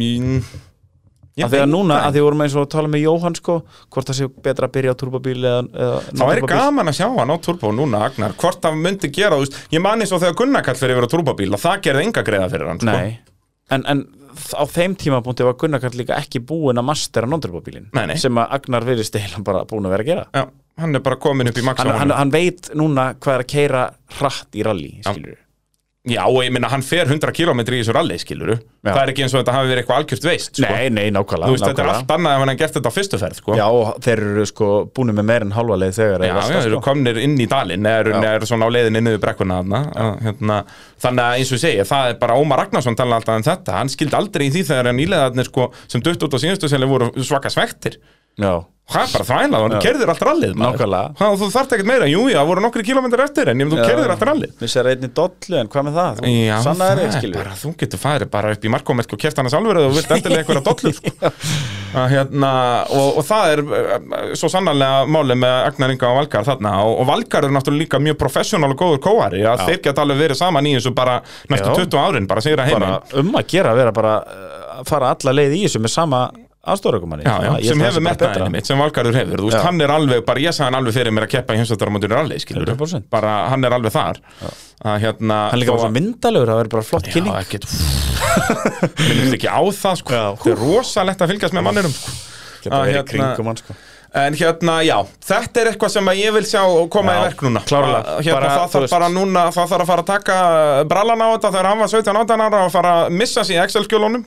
Speaker 3: ég,
Speaker 4: að því að núna, að því vorum eins og að tala með Jóhann sko, hvort það sé betra að byrja á turbabíli eða, eða
Speaker 3: Það væri
Speaker 4: non-turbabíl.
Speaker 3: gaman að sjá hann á turbo núna, Agnar Hvort það myndi gera, þú veist Ég man eins og þegar Gunnar kall fyrir yfir á turbobíl að það gerði enga greiða fyrir hann sko.
Speaker 4: Nei, en, en á þeim tímapunkti var Gunnar Karl líka ekki búin að mastera non-turbabílin
Speaker 3: Nei, nei.
Speaker 4: sem að Agnar virðist eiginlega bara búin að vera að gera
Speaker 3: Já, Hann er bara komin upp í max á
Speaker 4: hann, hann,
Speaker 3: honum.
Speaker 4: hann veit núna hvað er að keira hratt í rally, skilur
Speaker 3: Já, og ég minna, hann fer 100 km í þessu rally, skiluru
Speaker 4: Já.
Speaker 3: Það er ekki eins og þetta hafi verið eitthvað algjört veist sko.
Speaker 4: Nei, nei, nákvæmlega,
Speaker 3: Þú veist, þetta er
Speaker 4: nákvæmlega.
Speaker 3: allt annað ef hann hafði gert þetta á fyrstu ferð sko.
Speaker 4: Já, og þeir eru sko búin með meir en hálfa leið þegar
Speaker 3: Já,
Speaker 4: þeir
Speaker 3: já,
Speaker 4: velta,
Speaker 3: þeir eru
Speaker 4: sko.
Speaker 3: komnir inn í dalinn er, er svona á leiðinni niður brekkuna þarna að, hérna, þannig að eins og ég segi, það er bara Ómar Ragnarsson tala alltaf um þetta, hann skildi aldrei í því þegar hann íleðarnir sko, sem dutt út á síðustu sem voru svaka svektir
Speaker 4: Já,
Speaker 3: Það er bara þvælað, hann kerðir allt rallið maður.
Speaker 4: Nákvæmlega.
Speaker 3: Ha, og Þú þarft ekkert meira, jú, já, voru nokkri kilómetrar eftir en ég menn þú
Speaker 4: Já.
Speaker 3: kerðir allt rallið
Speaker 4: Mér sér einni dollu, en hvað með það? Þú
Speaker 3: Já, það
Speaker 4: sannaðir þig,
Speaker 3: er
Speaker 4: skilur.
Speaker 3: bara, þú getur farið bara upp í markomerk og keft hann að sálverið og vilt endilega eitthvað að dollu sko. Að hérna, og, og það er eh, svo sannarlega málið með Agnar Inga og Valgar þarna og, og Valgar er náttúrulega líka mjög professional og góður kóari að þeir geta alveg verið saman í þessu bara næstu
Speaker 4: Já.
Speaker 3: 20 árin, bara segir að heima
Speaker 4: bara um að gera að vera bara uh, að fara alla leið í þessu með sama aðstórakumanni
Speaker 3: Já, já, sem hefur mettaðinni mitt, sem Valgarður hefur Þú veist,
Speaker 4: Já.
Speaker 3: hann er alveg, bara ég sagði hann alveg fyrir mér að keppa í heimsvættaramótinu rally, skilur
Speaker 4: 100%.
Speaker 3: bara hann er alveg þar að hérna
Speaker 4: hann er líka
Speaker 3: þó
Speaker 4: bara svo
Speaker 3: að-
Speaker 4: myndalegur, það verður bara flott
Speaker 3: Já,
Speaker 4: kynning
Speaker 3: ekkert Minnumst ekki á það, sko Það er rosalegt að fylgjast með mannirum, sko
Speaker 4: Geta bara
Speaker 3: að
Speaker 4: verið í
Speaker 3: hérna-
Speaker 4: kringum hann, sko.
Speaker 3: En hérna, já, þetta er eitthvað sem að ég vil sjá koma
Speaker 4: Já,
Speaker 3: í verk núna
Speaker 4: klárlega.
Speaker 3: Bara, hérna,
Speaker 4: Bara,
Speaker 3: Það
Speaker 4: þú
Speaker 3: þarf
Speaker 4: veist.
Speaker 3: bara núna, það þarf að fara að taka brallan á þetta þegar hann var 17-18 ára og fara að missa sig í Excel-skjólunum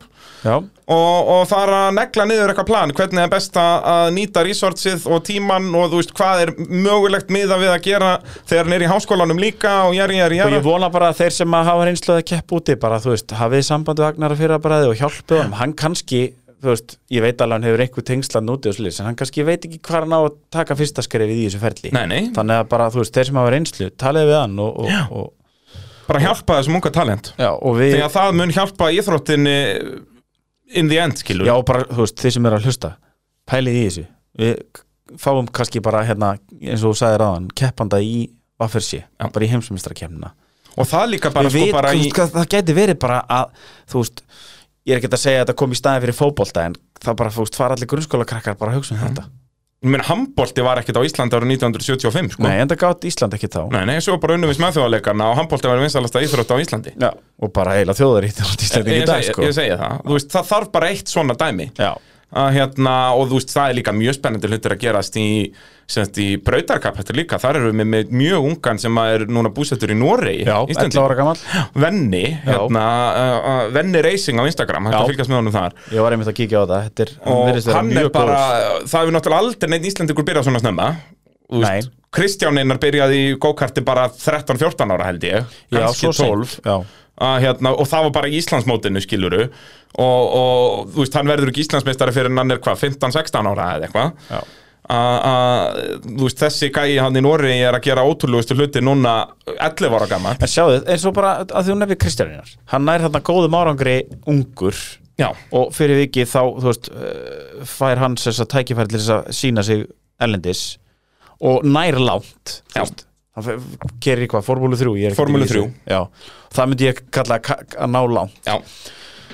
Speaker 4: já,
Speaker 3: og, og það er að negla niður eitthvað plan hvernig er best að að nýta resursið og tíman og þú veist hvað er mögulegt miða við að gera þegar hann er í háskólanum líka og jari, jari,
Speaker 4: og
Speaker 3: jari
Speaker 4: ég vona bara að þeir sem að hafa reynslu að keppa úti bara, þú veist, hafið sambandu Agnar að fyrra bara og hjálpið honum, hann kannski þú veist, ég veit alveg hann hefur einhver tengslan úti og slis, en hann kannski veit ekki hvað hann á að taka fyrsta skrefið í þessu ferli
Speaker 3: Nei, nei.
Speaker 4: þannig að bara, þú veist, þeir sem hafa reynslu talið við hann og,
Speaker 3: Já.
Speaker 4: og, og,
Speaker 3: bara hjálpa þessum unga talent
Speaker 4: já, og við
Speaker 3: því að það mun hjálpa íþróttinni in the end skilur
Speaker 4: Já, bara, þú veist, þið sem eru að hlusta pælið í þessu við k- fáum kannski bara, hérna, eins og þú sagðir ráðan keppanda í Vaffersi bara í heimsumistarkemnina
Speaker 3: og það líka bara
Speaker 4: við
Speaker 3: sko bara
Speaker 4: vitum,
Speaker 3: í
Speaker 4: sko, það gæti verið bara að þú veist, ég er ekki að segja að þetta kom í staðin fyrir fótbolta en það bara, þú veist, fara allir grunnskólakrakkar bara að
Speaker 3: Mhm.
Speaker 4: hugsa um þetta
Speaker 3: minn handbólti var ekkit á Íslandi árið 1975 sko
Speaker 4: Nei, en það gátt Ísland ekki þá
Speaker 3: nei, nei svo bara unnum við smaðþjóðarleikarna og handbólti var vinsalasta íþrótt á Íslandi
Speaker 4: Já, og bara heila þjóðarítt á Íslandi
Speaker 3: ég,
Speaker 4: í dag,
Speaker 3: segi,
Speaker 4: sko
Speaker 3: ég segi það, þú veist það þarf bara eitt svona dæmi
Speaker 4: Já,
Speaker 3: að, hérna, og þú veist, það er líka mjög spennandi hlutir að gerast í, semst, í brautarkap þetta líka, þar erum við með, með mjög ungan sem að er núna búsettur í Noregi
Speaker 4: Já, 11 ára gamall
Speaker 3: Venni, hérna, uh, uh, Venni Racing á Instagram, hægt
Speaker 4: Já.
Speaker 3: að fylgjast með honum þar
Speaker 4: Ég var einmitt að kíkja á það Þetta er, hann
Speaker 3: og
Speaker 4: virðist vera
Speaker 3: hann er
Speaker 4: mjög
Speaker 3: bara,
Speaker 4: góður.
Speaker 3: það hefur náttúrulega aldrei neitt Íslandingur byrjað svona snemma Þú veist,
Speaker 4: Nei.
Speaker 3: Kristján Einar byrjaði í go-karti bara 13-14 ára held ég
Speaker 4: Já,
Speaker 3: kannski
Speaker 4: svo seint.
Speaker 3: 12
Speaker 4: Já,
Speaker 3: að, hérna, og það var bara í Íslandsmótinu skiluru og, og þú veist, hann verður ekki Íslandsmeistari fyrir en hann er hvað, 15-16 ára eða eitthvað
Speaker 4: Já.
Speaker 3: Að- að, þú veist, þessi gæi hann í Nóri er að gera ótrúlegustu hluti núna 11 ára gammal
Speaker 4: en sjáðu, eins og bara að því hún nefnir Kristjáninar Hann nær þarna góðum árangri ungur
Speaker 3: Já,
Speaker 4: og fyrir vikið þá, þú veist eh, fær hann þess að tækifæri til þess að sína sig erlendis og nær langt þú
Speaker 3: Já.
Speaker 4: veist. hann fer- gerir í hvað, Formúlu 3 ég er ekkert
Speaker 3: Formúlu
Speaker 4: í þessu.
Speaker 3: 3.
Speaker 4: Já, það myndi ég kalla að ka- að ná langt
Speaker 3: já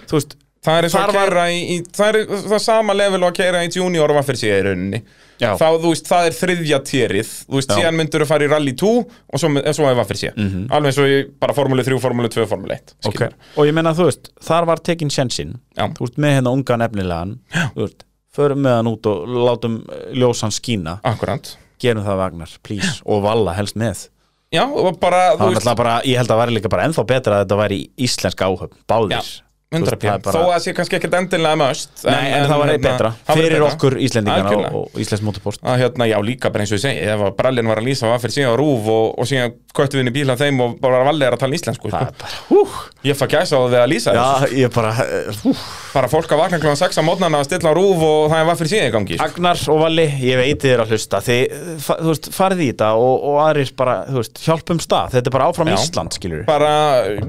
Speaker 4: þú veist,
Speaker 3: Það er eins og
Speaker 4: Þar
Speaker 3: að
Speaker 4: var-
Speaker 3: kæra í, í það er það er sama level og að kæra í junior og vaffir sér í rauninni
Speaker 4: Já.
Speaker 3: þá þú veist, það er þriðja tjerið þú veist,
Speaker 4: Já. Mhm.
Speaker 3: síðan myndur þú fara í rally 2 og svo, svo er vaffir sér -hmm. alveg eins og í bara formúli 3, formúli 2, formúli 1 skilur.
Speaker 4: og ég meina þú veist, þar var tekin sjensinn
Speaker 3: Já.
Speaker 4: þú veist, með hérna unga nefnilegan þú veist, förum með hann út og látum eh, ljós hann skína,
Speaker 3: Akkurant
Speaker 4: gerum það Vagnar, please og Valla helst með
Speaker 3: Já, og bara, þú
Speaker 4: það var
Speaker 3: veist,
Speaker 4: náttúrulega bara, ég held að það væri líka bara ennþá betra að þetta væri íslensk áhöfn, báðir
Speaker 3: Já,
Speaker 4: Þú veist,
Speaker 3: 100
Speaker 4: það er
Speaker 3: Þó að sé kannski ekkert endilega möst
Speaker 4: Nei, en, hérna, það var
Speaker 3: hérna-
Speaker 4: eitt betra fyrir okkur Íslendingana og,
Speaker 3: Algjörlega.
Speaker 4: og Íslensk mótorport
Speaker 3: að hérna, já líka bara eins og ég segi ef að brallin var að lýsa var fyrir síðan á rúf og, og síðan köttu við inn í bíl af þeim og bara valið er að tala íslensku
Speaker 4: Það
Speaker 3: sko.
Speaker 4: er bara, hú
Speaker 3: ég fæ gæsa á það við að lýsa þessu
Speaker 4: Já, ég bara, eh, hú
Speaker 3: bara fólk að vakna kl. 6 á mótnana að stilla á rúf og það var fyrir síðan í gangi sko.
Speaker 4: Agnar og Valli, ég veit þið er að hlusta þið, fa- þú veist, farið í þetta og, og aðrir bara, þú veist, hjálpum stað þetta er bara áfram
Speaker 3: Já.
Speaker 4: Ísland, skilur við
Speaker 3: bara,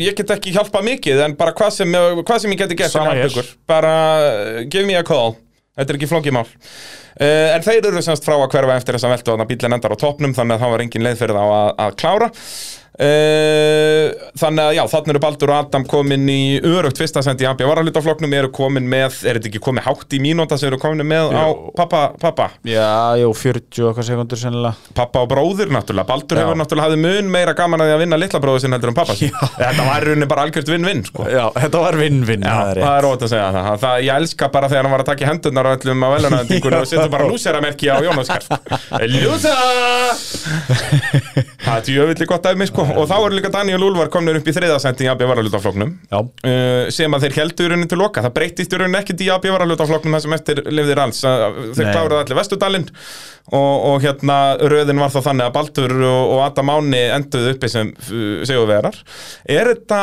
Speaker 3: ég get ekki hjálpað mikið en bara hvað sem, hvað sem ég geti gert til
Speaker 4: Sama
Speaker 3: að hjálpa
Speaker 4: hér.
Speaker 3: ykkur. bara uh, give me a call þetta er ekki flókið mál uh, en þeir eru semst frá að hverfa eftir þess að velta þannig að bílinn endar á topnum þannig að það var engin leið fyrir þá að, að klára uh, þannig að já, þannig eru Baldur og Adam komin í örugt fyrsta sendi í AB varalutafloknum eru komin með, er þetta ekki komið hátt í mínúta sem eru komin með á
Speaker 4: Jú.
Speaker 3: pappa, pappa
Speaker 4: Já, jú, 40 og eitthvað sekundur sennilega
Speaker 3: pappa og bróðir náttúrulega Baldur
Speaker 4: Já.
Speaker 3: hefur náttúrulega hafði mun meira gaman að því að vinna litla bróður sinna heldur en pappa sinn. þetta var í rauninni bara algjört vinn-vinn sko.
Speaker 4: Já, þetta var vinn-vinn
Speaker 3: það
Speaker 4: það er
Speaker 3: er ótt að segja það. það ég elska bara þegar hann var að taka í hendurnar og ætlum að velja hann og setja bara lúseramerki á Jónaskar Lúsa það er tjóðvillig gott af mig sko. og þá eru líka Daniel Úlvar komnir upp í þriðasendi í AB varalutafloknum
Speaker 4: Já,
Speaker 3: Uh, sem að þeir heldu í rauninni til loka það breytist í rauninni ekkert í AB varalutafloknum það sem eftir lifðir alls Uh, þeir
Speaker 4: Nei.
Speaker 3: kláruðu allir vestudalinn og, og hérna röðin var þá þannig að Baldur og, og Adam Áni enduðu uppi sem uh, sigurverar er þetta,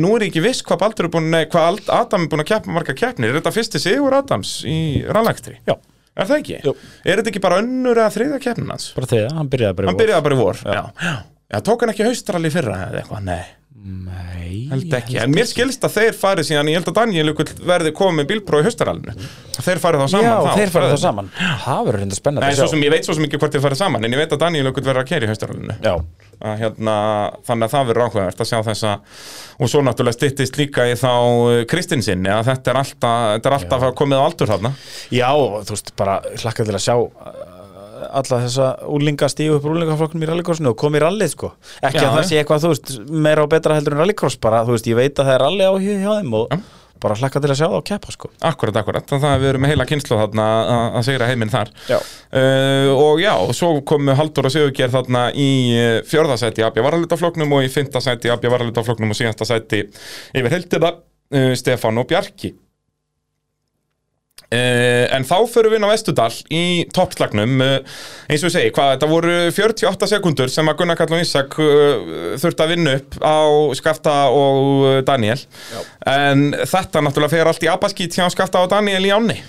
Speaker 3: nú er ég ekki viss hvað Baldur er búin, nei, hvað Ald- Adam er búin að keppa marga keppnir, er þetta fyrsti sigur Adams í rannlækstri?
Speaker 4: já,
Speaker 3: Er það ekki?
Speaker 4: Jú.
Speaker 3: Er þetta ekki bara önnur eða þriða keppnin hans?
Speaker 4: bara þegar, hann byrjaði bara í
Speaker 3: Hann
Speaker 4: vor.
Speaker 3: byrjaði bara í vor Já, já. Já, tók hann ekki haustralli í fyrra eða eitthvað, nei
Speaker 4: Nei,
Speaker 3: held ekki, en mér skilst að þeir farið síðan ég held að Daniel ykkur verði komið með bílpróf í haustaralinu þeir farið þá saman
Speaker 4: Já,
Speaker 3: þá,
Speaker 4: þeir fara það
Speaker 3: Fræðin.
Speaker 4: saman Það verður reynda spennandi
Speaker 3: Nei,
Speaker 4: að
Speaker 3: svo
Speaker 4: sjá.
Speaker 3: sem, ég veit svo sem ekki hvort þeir farið saman en ég veit að Daniel ykkur verður að keri í haustaralinu
Speaker 4: Já,
Speaker 3: að hérna, þannig að það verður áhugavert að sjá þessa og svo náttúrulega styttist líka í þá eh, Kristinsinni að þetta er alltaf, þetta er alltaf komið á aldur þarna
Speaker 4: Já, og þú veist, bara hlakka til að sjá uh, alla þessa úlinga stíu upp úr úlingaflokknum í rallycrossinu og koma í rallið sko ekki
Speaker 3: Já,
Speaker 4: að það
Speaker 3: já.
Speaker 4: sé eitthvað, þú veist, meira og betra heldur en rallycross bara, þú veist, ég veit að það er rally áhug hjá þeim og bara hlakka til að sjá það og keppa sko
Speaker 3: Akkurat, akkurat, þannig að við erum með heila kynslu þarna að- að segra heiminn þar
Speaker 4: Já.
Speaker 3: Uh, og já, svo komu Haldur og Sigurger þarna í eh, fjórða sæti í Abja varalutafloknum og í fymta sæti í Abja varalutafloknum og síðasta sæti yfir heldina uh, Stefán og Bjarki uh, en þá förum við inn á Vestudal í toppslagnum uh, eins og ég segi, hvað þetta voru 48 sekundur sem að Gunnar Karl og Ísak uh, þurfti að vinna upp á Skafta og uh, Daniel en þetta náttúrulega fer allt í abaskít hjá Skafta og Daniel í ánni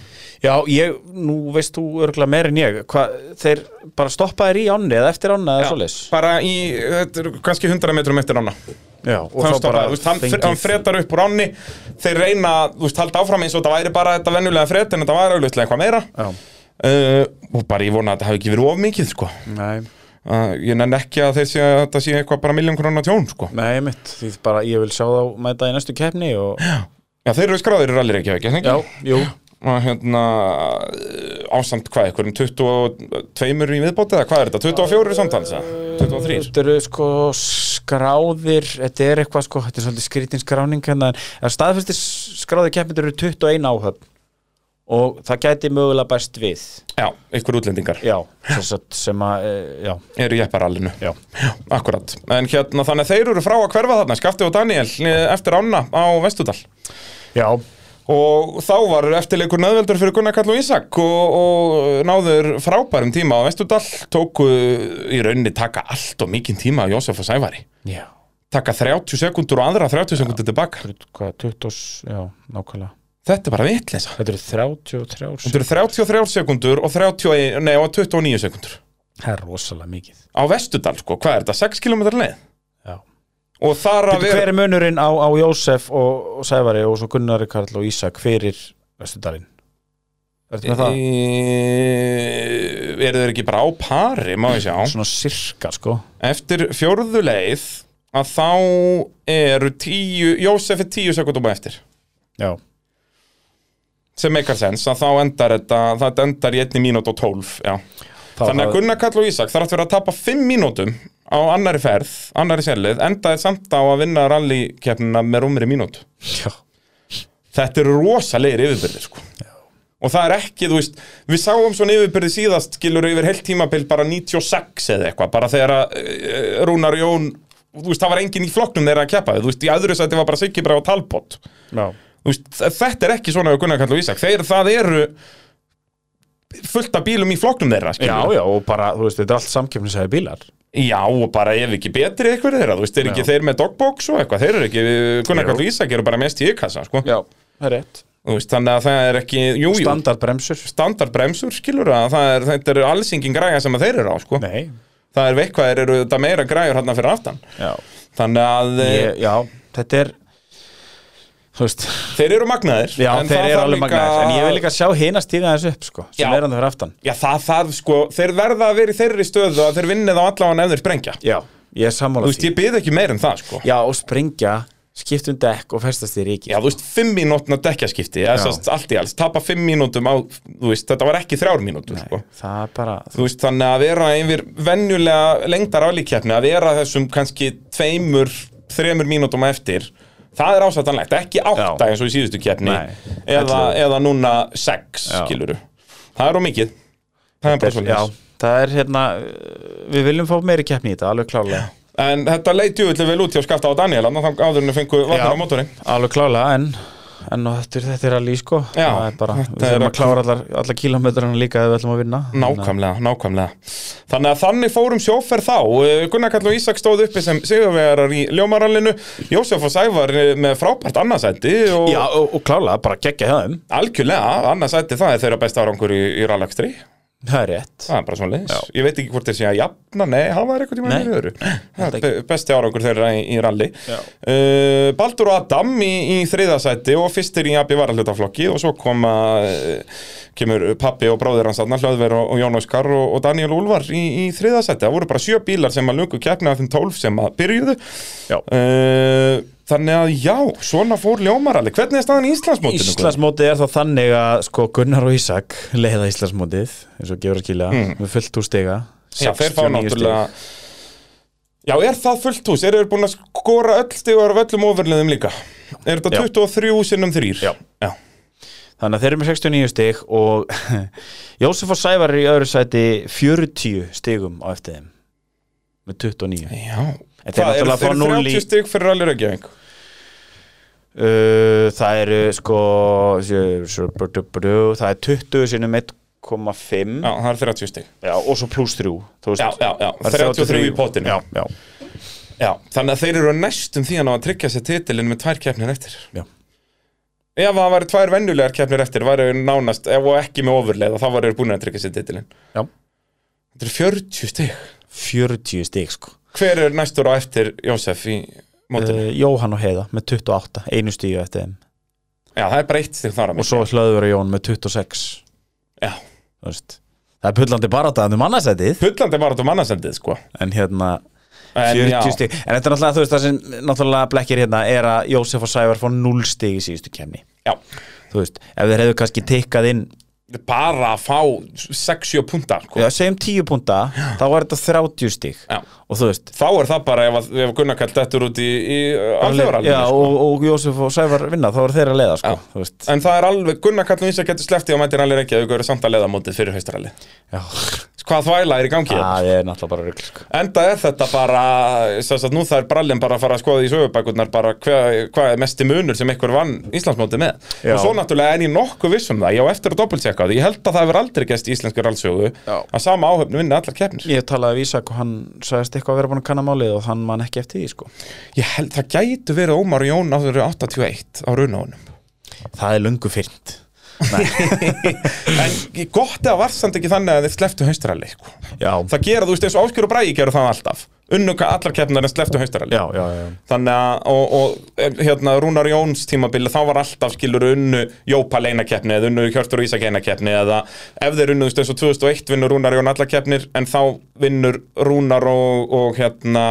Speaker 4: Já, ég, nú veist þú örgulega meir en ég, hvað, þeir bara stoppa þér í ánni eða eftir ánni eða svoleiðis
Speaker 3: bara í, þetta er kannski 100 metrum eftir ána
Speaker 4: Já,
Speaker 3: hann,
Speaker 4: og þá bara
Speaker 3: stoppaði, þú veist, hann,
Speaker 4: fengið-
Speaker 3: hann fretar upp úr áni þeir reyna, þú veist, halda áfram eins og þetta væri bara þetta vennulega fret en þetta væri auðvitað eitthvað meira
Speaker 4: Já,
Speaker 3: uh, og bara ég vona að þetta hafi ekki verið of mikið sko.
Speaker 4: nei,
Speaker 3: uh, ég nenn ekki að þeir sé að þetta sé eitthvað bara miljón krónar tjón sko.
Speaker 4: nei mitt, því bara ég vil sjá þá mæta í næstu keppni og
Speaker 3: já, þeir eru skráðir í rallir ekki, ekki, ekki?
Speaker 4: Já, jú,
Speaker 3: og hérna uh, ásamt hvað, einhverjum 22 í viðbóti eða hvað er þetta, 24 samtans eða?
Speaker 4: Eh,
Speaker 3: 23
Speaker 4: Þetta eru sko skráðir, þetta er eitthvað sko, þetta er svolítið skrítin skráning hérna, en staðfæstir skráðir keppindur eru 21 áhöfn og það gæti mögulega bæst við
Speaker 3: Já, ykkur útlendingar
Speaker 4: já, sem, sagt, sem að, eh, já,
Speaker 3: eru jepparallinu
Speaker 4: já
Speaker 3: Já, akkurat. En hérna, þannig að þeir eru frá að hverfa þarna, Skafti og Daniel, eh, eftir ána á Vestudal.
Speaker 4: já,
Speaker 3: Og þá var eftirleikur nöðveldur fyrir Gunnar Karl og Ísak og, og náður frábærum tíma á Vestudal, tóku í rauninni taka allt og mikinn tíma á Jósef og Sævari.
Speaker 4: já,
Speaker 3: Taka 30 sekundur og aðra 30 sekundur tilbaka.
Speaker 4: Þú- hvað, 20, s- já, nákvæmlega
Speaker 3: Þetta er bara vitleysa.
Speaker 4: þetta eru 33 ár
Speaker 3: Þetta eru 33 sekundur og, 30, nei, og 29 sekundur.
Speaker 4: það er rosalega mikið
Speaker 3: Á Vestudal, sko, hvað er þetta? 6 km leið?
Speaker 4: já.
Speaker 3: Og þar að
Speaker 4: Bíddu, hver er munurinn á, á Jósef og, og Sævari og svo Gunnari Karl og Ísak fyrir Vestudalinn Ertu með það?
Speaker 3: E, eru þeir ekki bara á pari, má ég sjá
Speaker 4: Svona sirka sko
Speaker 3: Eftir fjórðu leið að þá eru tíu Jósef er tíu sekundum á eftir
Speaker 4: Já,
Speaker 3: sem meikar sens að þá endar þetta það endar í einni mínút og tólf já.
Speaker 4: það
Speaker 3: þannig að
Speaker 4: það-
Speaker 3: Gunnar Kall og Ísak þarf að vera að tapa fimm mínútum á annari ferð, annari sérlið endaði samt á að vinna rallykeppnina með rúmri mínút
Speaker 4: Já,
Speaker 3: þetta eru rosalegir yfirbyrðir sko. og það er ekki, þú veist við sáum svona yfirbyrði síðast skilur yfir heilt tímabil bara 96 eða eitthvað bara þegar að uh, Rúnar Jón þú veist, það var enginn í flokknum þeirra að keppa þú veist, í öðru sæti var bara Siggi Brá og Talbot
Speaker 4: já,
Speaker 3: þú veist, þ- þetta er ekki svona við Gunnar Kall og Ísak, þeir það eru fullt af bílum í flokknum þeirra
Speaker 4: já,
Speaker 3: skilurðu.
Speaker 4: já, og bara, þú veist, þetta er allt samkefnisæði bílar
Speaker 3: já, og bara ef ekki betri eitthvað þeirra, þú veist, þeir ekki
Speaker 4: Já.
Speaker 3: þeir með dogbox og eitthvað, þeir eru ekki, Gunnar
Speaker 4: Jú.
Speaker 3: Kall og Ísak eru bara mest í ykkassa, sko,
Speaker 4: Já, það er rétt
Speaker 3: þú veist, þannig að það er ekki, jú, jú,
Speaker 4: Standardbremsur
Speaker 3: standardbremsur, skilur að það er, þetta eru alls engin græja sem að þeir eru á, sko.
Speaker 4: Nei,
Speaker 3: Það er veikvæðir eru þetta meira græjur hérna fyrir aftan.
Speaker 4: já,
Speaker 3: Þannig að eh,
Speaker 4: ég, já þetta er Þú veist
Speaker 3: þeir eru magnaðir.
Speaker 4: Já,
Speaker 3: en
Speaker 4: þeir
Speaker 3: það
Speaker 4: eru
Speaker 3: þarf
Speaker 4: alveg magnaðir En ég vil líka sjá hina stíða þessu upp, sko Sem
Speaker 3: Já.
Speaker 4: er hann það fyrir aftan
Speaker 3: Já, það þarf, sko, þeir verða að vera í þeirri stöðu að þeir vinnið á allan ef þeir sprengja.
Speaker 4: Já, ég er sammála
Speaker 3: Þú veist, ég byrði ekki meir en það, sko.
Speaker 4: Já, og springja, skipt um dekk og festast í ríki
Speaker 3: Já, þú veist, fimm mínútna dekkjaskipti, eða
Speaker 4: Já.
Speaker 3: sast allt í alls, tapa fimm mínútum á, þú veist, þetta var ekki þrjár mínútur, sko.
Speaker 4: Það er bara
Speaker 3: Þú veist, þannig að vera yfir venjulega lengdar álíkjafni, að vera þessum kannski tveimur, þremur mínútum á eftir, það er ásættanlegt, ekki átta
Speaker 4: Já.
Speaker 3: eins og í síðustu kefni,
Speaker 4: Nei,
Speaker 3: eða,
Speaker 4: ellefu.
Speaker 3: eða núna sex,
Speaker 4: Já.
Speaker 3: skiluru. Það er á mikið, það er bara
Speaker 4: Já,
Speaker 3: svolítið.
Speaker 4: það er hérna Við viljum fá meiri keppni í þetta, alveg klálega
Speaker 3: En þetta leit júvillig vel út hjá Skafta og Daniel, þannig að áðurinn fengu vatnar á mótorinn.
Speaker 4: Alveg klálega, en En og þetta, er- þetta er að lí, sko
Speaker 3: Já,
Speaker 4: Það er bara,
Speaker 3: þetta
Speaker 4: við
Speaker 3: er að-
Speaker 4: þurfum að klára allar, allar kílómetrana líka ef við ætlum að vinna
Speaker 3: Nákvæmlega, nákvæmlega Þannig að þannig fórum sjóferð þá Eh, Gunnar Kall og Ísak stóð uppi sem sigurvegarar í ljómarallinu Jósef og Sævar eh, með frábært annarsætti og
Speaker 4: Já, og, og klálega, bara geggja hefðum
Speaker 3: algjörlega annarsætti það er þeirra besta árangur í, í rallakstri
Speaker 4: Það er rétt
Speaker 3: Það er bara svona leins Ég veit ekki hvort þeir sé að jafna, nei, hafa þeir eitthvað tíma
Speaker 4: Nei,
Speaker 3: í öðru Það
Speaker 4: held
Speaker 3: er be- Besti árangur þeirra í, í ralli
Speaker 4: Já.
Speaker 3: uh, Baldur og Adam í, í þriðasætti og fyrstir í AB varallutaflokki og svo koma uh, kemur pappi og bróðir hans Anna Hlöðver og, og Jón Óskar og, og Daniel Úlvar í, í þriðasætti Það voru bara sjö bílar sem að lungu keppna af þeim tólf sem að byrjuðu
Speaker 4: Já.
Speaker 3: uh, Þannig að já, svona fór ljómaralli Hvernig er staðan í Íslandsmótinu? Guðjón?
Speaker 4: Íslandsmótið er þá þannig að sko Gunnar og Ísak leiða Íslandsmótið eins og gefur að skilja, með fullt úr stiga
Speaker 3: Hmm. Já, þeir fá
Speaker 4: 69 stig.
Speaker 3: náttúrulega Já, er það fullt hús? Eru þeir búin að skora öll stigar af öllum ofurliðum líka? Er þetta
Speaker 4: Já.
Speaker 3: 23 sinnum þrýr?
Speaker 4: Já.
Speaker 3: Já,
Speaker 4: Þannig að þeir eru með 69 stig og Jósef og Sævar er í öðru sæti 40 stigum á eftir þeim með 29 uh,
Speaker 3: Já.
Speaker 4: En þeir
Speaker 3: Hvað, eru
Speaker 4: náttúrulega fá
Speaker 3: þeir
Speaker 4: núll í-
Speaker 3: 30 stig fyrir allir Reykjavík?
Speaker 4: Það eru sko það er 20 sinnum 1,5
Speaker 3: Já, það er 30 stig
Speaker 4: Já, og svo pluss 3
Speaker 3: Já, já, já, 33 í potinu
Speaker 4: já, já,
Speaker 3: Já, þannig að þeir eru næstum því að ná að tryggja sér titilin með tvær keppnir eftir
Speaker 4: Já.
Speaker 3: Ef það væri tvær venjulegar keppnir eftir væri nánast, ef og ekki með ofurleið þá væri þeir búin að tryggja sér titilin
Speaker 4: Já.
Speaker 3: Þetta er 40 stig
Speaker 4: 40 stig sko
Speaker 3: Hver er næstur á eftir Jósef í mótinu?
Speaker 4: uh, Jóhann og Heiða með 28 einu stíu eftir þeim
Speaker 3: Já, það er bara eitt stig þar að
Speaker 4: og svo hlöður Jón með 26
Speaker 3: Já.
Speaker 4: Þú veist, það er pullandi barátað um annarsætið
Speaker 3: Pullandi var þetta mannarsendið, sko.
Speaker 4: en hérna
Speaker 3: En
Speaker 4: 40
Speaker 3: já.
Speaker 4: stík en þetta er náttúrulega þú veist það sem náttúrulega blekkir hérna er að Jósef og Sævar fá 0 stík í síðustu kemni
Speaker 3: Já,
Speaker 4: þú veist ef þeir hefðu kannski tikkað inn
Speaker 3: bara að fá 6-7 punta sko.
Speaker 4: Já, segjum 10 punta, þá er þetta 30 stig
Speaker 3: Já.
Speaker 4: og þú veist
Speaker 3: þá er það bara ef, að- ef Gunnar Kall dettur út í, í sko. alþjóðaralveg
Speaker 4: já, og, og Jósef og Sævar vinna, þá er þeir að leiða sko,
Speaker 3: Já.
Speaker 4: þú veist
Speaker 3: En það er alveg, Gunnar Kallum Ísa getur sleftið á mættir alveg ekki að þau eru samt að leiða mótið fyrir haustrali
Speaker 4: Já,
Speaker 3: Hvað þvæla er í gangi? Ah.
Speaker 4: það er náttúrulega bara rugl sko.
Speaker 3: Enda er þetta bara, sem sagt, nú það er brallin bara að fara að skoða í sögubækurnar bara hvað hva er mesti munur sem einhver vann Íslandsmótið með
Speaker 4: Já.
Speaker 3: Og svo náttúrulega er ég nokkuð viss um það, ég á eftir að doppeltjekka því Ég held að það hefur aldrei gæst í íslensku rallsögu
Speaker 1: Já.
Speaker 3: að sama áhöfn vinna allar keppnir
Speaker 4: Ég talaði við Ísak og hann sagðist eitthvað að vera búin að kanna málið og hann man ekki eftir því sko.
Speaker 3: Ég held, það gætu verið Ómar og Jón áður 81 á runónum
Speaker 4: Það er lungu fyrnt
Speaker 3: En gott eða var samt ekki þannig að þeir sleftu haustrali sko.
Speaker 4: Já,
Speaker 3: það gera þú veist eins og Áskjör og Bræði gera það alltaf unnuka allar keppnar en sleftu haustaralli
Speaker 4: já, já, já.
Speaker 3: þannig að og, og eh, hérna Rúnar Jóns tímabili þá var alltaf skilur unnu Jópa leina keppni eða unnu Hjörtur og Ísak eina keppni eða ef þeir unnu þú veist eins og 2001 vinnur Rúnar Jón allar keppnir en þá vinnur Rúnar og, og hérna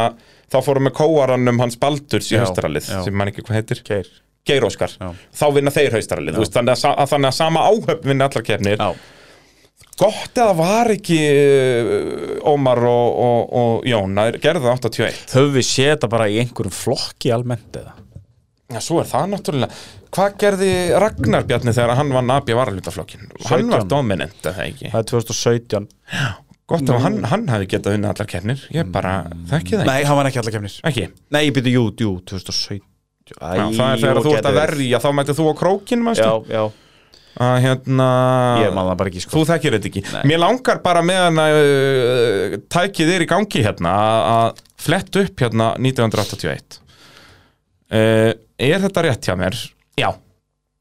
Speaker 3: þá fórum við kóaranum hans Baldurs í
Speaker 4: Já,
Speaker 3: haustarallið
Speaker 4: já.
Speaker 3: sem mann ekki hvað heitir
Speaker 4: Keir
Speaker 3: Geir Óskar
Speaker 4: Já.
Speaker 3: þá vinna þeir haustarallið þú veist, þannig, að, sa- að, þannig að sama áhöfn vinna allar keppnir
Speaker 4: Já,
Speaker 3: Gott eða var ekki uh, Ómar og, og, og Jón að þeir gerðu það 81
Speaker 4: höfum við séð þetta bara í einhverjum flokki almennt eða?
Speaker 3: Já, svo er það náttúrulega Hvað gerði Ragnar Bjarni þegar hann vann AB varalutaflokkin? Hann var
Speaker 4: 17.
Speaker 3: dominant, er það ekki
Speaker 4: Það er 2017
Speaker 3: Gott ef hann, hann hefði getað unnið allar kefnir Ég bara þekki það
Speaker 4: Nei, hann var ekki allar kemnir
Speaker 3: ekki Ekki,
Speaker 4: Nei, ég byrju, jú, jú, 2017 Æ,
Speaker 3: Já, það er þegar
Speaker 4: og
Speaker 3: þú ert að
Speaker 4: getur-
Speaker 3: verja þá mætið þú á krókin,
Speaker 4: Já,
Speaker 3: manstu?
Speaker 4: já,
Speaker 3: Að hérna
Speaker 4: ég man það bara ekki sko
Speaker 3: Þú þekkir þetta ekki.
Speaker 4: Nei.
Speaker 3: Mér langar bara meðan að uh, tækið er í gangi hérna að- að flett upp hérna 1981. Uh, er þetta rétt hjá mér? Já.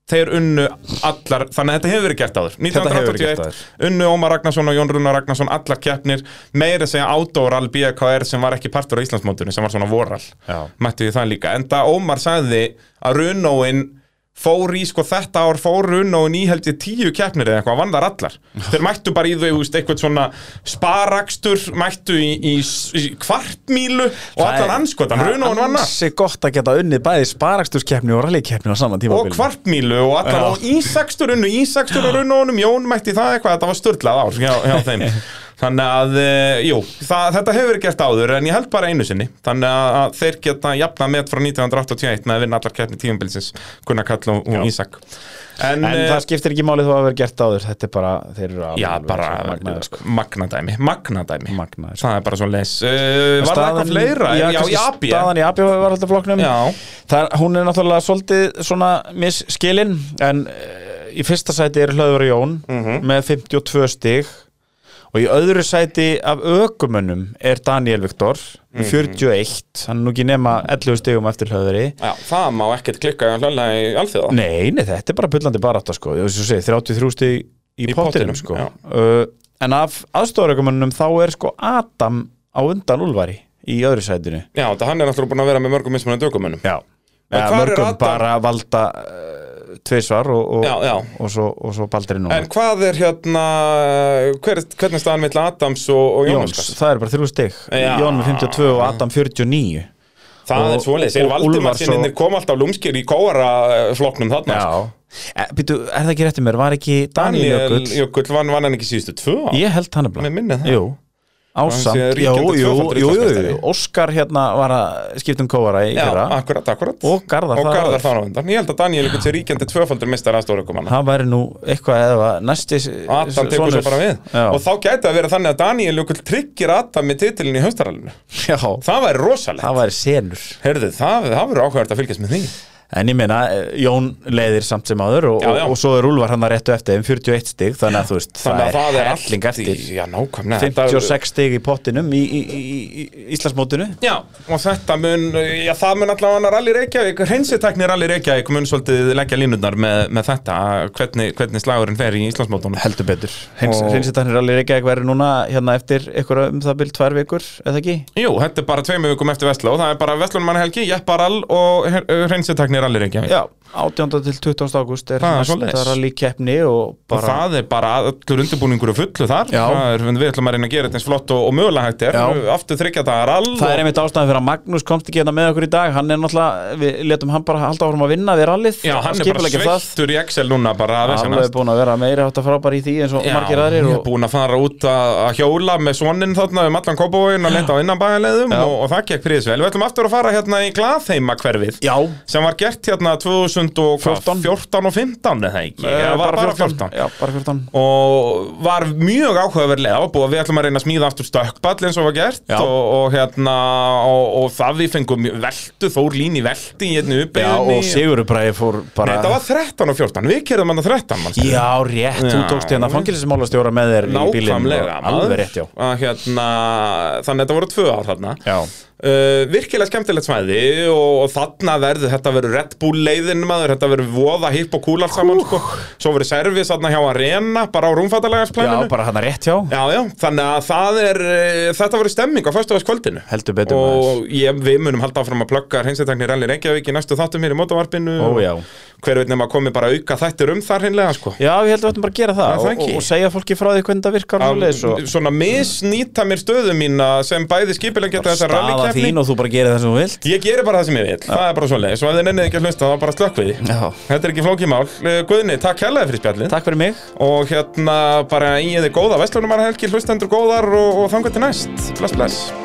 Speaker 3: Þeir unnu allar, þannig að þetta hefur verið gert áður.
Speaker 4: Þetta hefur verið gert
Speaker 3: 1981 unnu Ómar Ragnarsson og Jón Rúnar Ragnarsson allar keppnir, meira að segja Átóral BKR sem var ekki partur á Íslandsmótinu sem var svona voral
Speaker 4: Já.
Speaker 3: mættu því það líka, en það Ómar sagði að runóin fór í sko þetta ár fór runóin í held ég tíu keppnir eða eitthvað, vann þar allar þeir mættu bara í þau, þú veist, eitthvað svona sparakstur, mættu í, í, í kvartmílu og allar anskotan, runóin vann allt.
Speaker 4: Það er gott að geta unnið bæði sparaksturskefni og rallykeppni á saman tíma
Speaker 3: og kvartmílu og allar
Speaker 4: Já.
Speaker 3: og ísakstur unnu, ísakstur og runónum Jón mætti það eitthvað, þetta var störtlað ár hjá, hjá þeim þannig að, e, jú, það, þetta hefur verið gert áður en ég held bara einu sinni þannig að, að þeir geta jafna met frá 1981 með að vinna allar keppni tíumbilsins Gunnar Kall og, og Ísak en,
Speaker 4: En
Speaker 3: en eh,
Speaker 4: það skiptir ekki málið þó að vera gert áður Þetta er bara, þeir eru alveg
Speaker 3: já, bara
Speaker 4: magnaðir, sko.
Speaker 3: magnadæmi magnadæmi,
Speaker 4: Magnaðir, sko.
Speaker 3: það er bara svo les uh, var það
Speaker 4: Staðan-
Speaker 3: eitthvað fleira? Já,
Speaker 4: kannski
Speaker 3: já, AB
Speaker 4: Staðan í AB var alltaf flokknum
Speaker 3: Já.
Speaker 4: Það, Hún er náttúrulega svolítið svona misskilin En uh, í fyrsta sæti er Hlöður Jón
Speaker 3: Mhm.
Speaker 4: Með 52 stig Og í öðru sæti af ökumönnum er Daniel Viktor
Speaker 3: Mhm.
Speaker 4: 41, hann er nú ekki nema 11 stigum eftir Hlöðuri
Speaker 3: já, það má ekkert klikka hlölla í alþjóða
Speaker 4: Nei, nei, þetta er bara bullandi barátta sko Þú veist þú segir, 33 stig í,
Speaker 3: Í pottinum,
Speaker 4: pottinum sko
Speaker 3: já.
Speaker 4: uh, En af aðstofarökumönnum þá er sko Adam á undan Úlfari í öðru sætinu
Speaker 3: já, þetta hann er náttúrulega búin að vera með mörgum mismunandi aukumönnum
Speaker 4: Já
Speaker 3: En
Speaker 4: ja,
Speaker 3: hvar er
Speaker 4: Mörgum
Speaker 3: Adam?
Speaker 4: bara valda uh, tvisvar og, og,
Speaker 3: Já, já.
Speaker 4: og svo, og svo baldri nú
Speaker 3: En hvað er hérna hver, hvernig er staðan mitt Adams og, og Jóns?
Speaker 4: Jóns, það er bara þrjú stig
Speaker 3: Já.
Speaker 4: Jón með 52 og Adam 49
Speaker 3: það
Speaker 4: og-
Speaker 3: er svoleiðis, þeir
Speaker 4: og
Speaker 3: Valdimar
Speaker 4: Úlfar svo-
Speaker 3: sinni kom alltaf lúmskir í kóara eh, flokknum þarna sko.
Speaker 4: Já e, Býtu, er það ekki rétti mér, var ekki Daniel
Speaker 3: Daniel
Speaker 4: Jökull?
Speaker 3: Jökull vann, vann hann ekki síðustu tvö ár
Speaker 4: Ég held hann er
Speaker 3: Mér minnir það.
Speaker 4: Jú Ásamt,
Speaker 3: Hann sé
Speaker 4: jú,
Speaker 3: ríkjandi
Speaker 4: jú,
Speaker 3: tvöfaldur
Speaker 4: jú, jú,
Speaker 3: Íslandsmeistari.
Speaker 4: jú, Óskar hérna var að skipta um kóara í
Speaker 3: Já,
Speaker 4: fyrra
Speaker 3: akkurat, akkurat
Speaker 4: Og
Speaker 3: og
Speaker 4: Garðar þar
Speaker 3: Garðar
Speaker 4: áður.
Speaker 3: þar á undan Ég held að Daniel Jökull sé ríkjandi tvöfaldur mistar aðstórakumanna
Speaker 4: Það væri nú eitthvað eða var næsti s-
Speaker 3: Adam tekur
Speaker 4: sonur-
Speaker 3: svo bara við
Speaker 4: Já,
Speaker 3: Og þá gæti að vera þannig að Daniel Jökull tryggir Adam með titilin í höstaralinu
Speaker 4: já
Speaker 3: Það væri rosalegt
Speaker 4: það væri senur
Speaker 3: Heyrðu, það, það verður áhverjart að fylgjast með því
Speaker 4: En ég meina, eh, Jón leiðir samt sem áður og,
Speaker 3: Já, já.
Speaker 4: og, og svo er Úlfar hann að réttu eftir um 41 stig, þannig að þú veist,
Speaker 3: Þannig að það er
Speaker 4: helling
Speaker 3: allt í-
Speaker 4: eftir
Speaker 3: Já, nákvæmlega Þetta-
Speaker 4: 56 stig í pottinum í, í, í, í, í Íslandsmótinu
Speaker 3: Já, og þetta mun, já það mun allavega Rally Reykjavík, hreinsitekni Rally Reykjavík mun svolítið leggja línurnar með, með þetta hvernig, hvernig slagurinn fer í Íslandsmótunum
Speaker 4: heldur betur Hins,
Speaker 3: Og-
Speaker 4: og... Hrinsitanir alveg ekki ekki verið núna hérna eftir eitthvað um það byrjum tvær vikur eða ekki?
Speaker 3: Jú, þetta er bara tveimur vikum eftir Vestló, það er bara Vestlónmann Helgi, Jeppar All og hreinsitækni Rally Reykjavík
Speaker 4: Já, 18. til 20. ágúst er
Speaker 3: Það er
Speaker 4: næsta
Speaker 3: svoleiðis.
Speaker 4: rallykeppni og
Speaker 3: Bara.
Speaker 4: bara
Speaker 3: Það er bara allur undirbúningur og fullu þar
Speaker 4: Já.
Speaker 3: Það er, Við ætlum að reyna að gera þetta eins flott og, og mögulega hægt er
Speaker 4: Já.
Speaker 3: Aftur þryggja dagar all
Speaker 4: Það er einmitt ástæðan fyrir að Magnús komst ekki hérna með okkur í dag Hann er náttúrulega, við letum hann bara halda áfram að vinna við rallið
Speaker 3: Já, hann er bara
Speaker 4: Skipuleggja það.
Speaker 3: sveittur í Excel núna bara að
Speaker 4: Hann
Speaker 3: vesenast.
Speaker 4: er búin að vera meira átt að fara bara í því eins og margir aðrir
Speaker 3: ég er
Speaker 4: og...
Speaker 3: búin að fara út að að hjóla með svoninn þarna um allan kópavóin og lenda á innanbæðanleðum og, og það gekk príðisvel. Við ætlum aftur að fara hérna í glaðheima hverfið
Speaker 4: Já,
Speaker 3: sem var gert hérna 2014
Speaker 4: 14.
Speaker 3: 14 og 15 eða ekki, eða var bara 14
Speaker 4: Eh, Já, bara 14
Speaker 3: og var mjög áhugaverlega ábúið við ætlum að reyna að smíða aftur stökkball eins og var gert
Speaker 4: Já.
Speaker 3: og, og hérna og, og það við fengum veltu, Þór Lín í velti í einni
Speaker 4: Já,
Speaker 3: uppeginni
Speaker 4: og Sigurbræði fór bara
Speaker 3: Þetta var 13 og 14, við kerðum hann 13 manstu.
Speaker 4: Já, rétt, þú
Speaker 3: Já.
Speaker 4: tókst hérna fangilismálastjóra með þér í bílinn
Speaker 3: Nákvæmlega
Speaker 4: og-
Speaker 3: maður.
Speaker 4: Alveg rétt, já
Speaker 3: Að hérna, Þannig að þetta voru tvö ár þarna
Speaker 4: Já.
Speaker 3: Uh, virkilega skemmtilegt svæði og, og þarna verður, þetta verður Red Bull leiðin maður, þetta verður voða hipp og kúlar saman sko, svo verður servis þarna hjá Arena, bara á
Speaker 4: Já,
Speaker 3: rúmfattalægarsplaninu
Speaker 4: bara hann rétt hjá
Speaker 3: Já, já, þannig að það er, eh, þetta verður stemming á föstudagskvöldinu
Speaker 4: Heldur betur maður.
Speaker 3: Og ég, við munum halda áfram að plugga hreinsetakni Rally Reykjavík í næstu þáttum hér í mótavarpinu
Speaker 4: Ó,
Speaker 3: og
Speaker 4: já.
Speaker 3: Hver veit nema komi bara auka þættir um þar hreinlega sko
Speaker 4: Já, ég held að við ættum bara að gera það,
Speaker 3: Já, það
Speaker 4: og,
Speaker 3: ekki.
Speaker 4: og segja fólki frá því hvernig það virkar og
Speaker 3: að
Speaker 4: svoleiðis og
Speaker 3: svona misnýta mér stöðu mína sem bæði skipileg geta þessa
Speaker 4: staða
Speaker 3: rallykefni
Speaker 4: þín og þú bara gerir það sem þú vilt
Speaker 3: Ég geri bara það sem ég vil, það er bara svoleiðis og ef þið nennið ekki að hlusta þá bara slökk við því.
Speaker 4: Já.
Speaker 3: Þetta er ekki flókið mál Eh, Guðni, takk hérlega fyrir spjallið
Speaker 4: Takk fyrir mig
Speaker 3: og hérna bara í þið góða, vestlunumar helgi hlustendur góðar og, og þangar til næst Bless, bless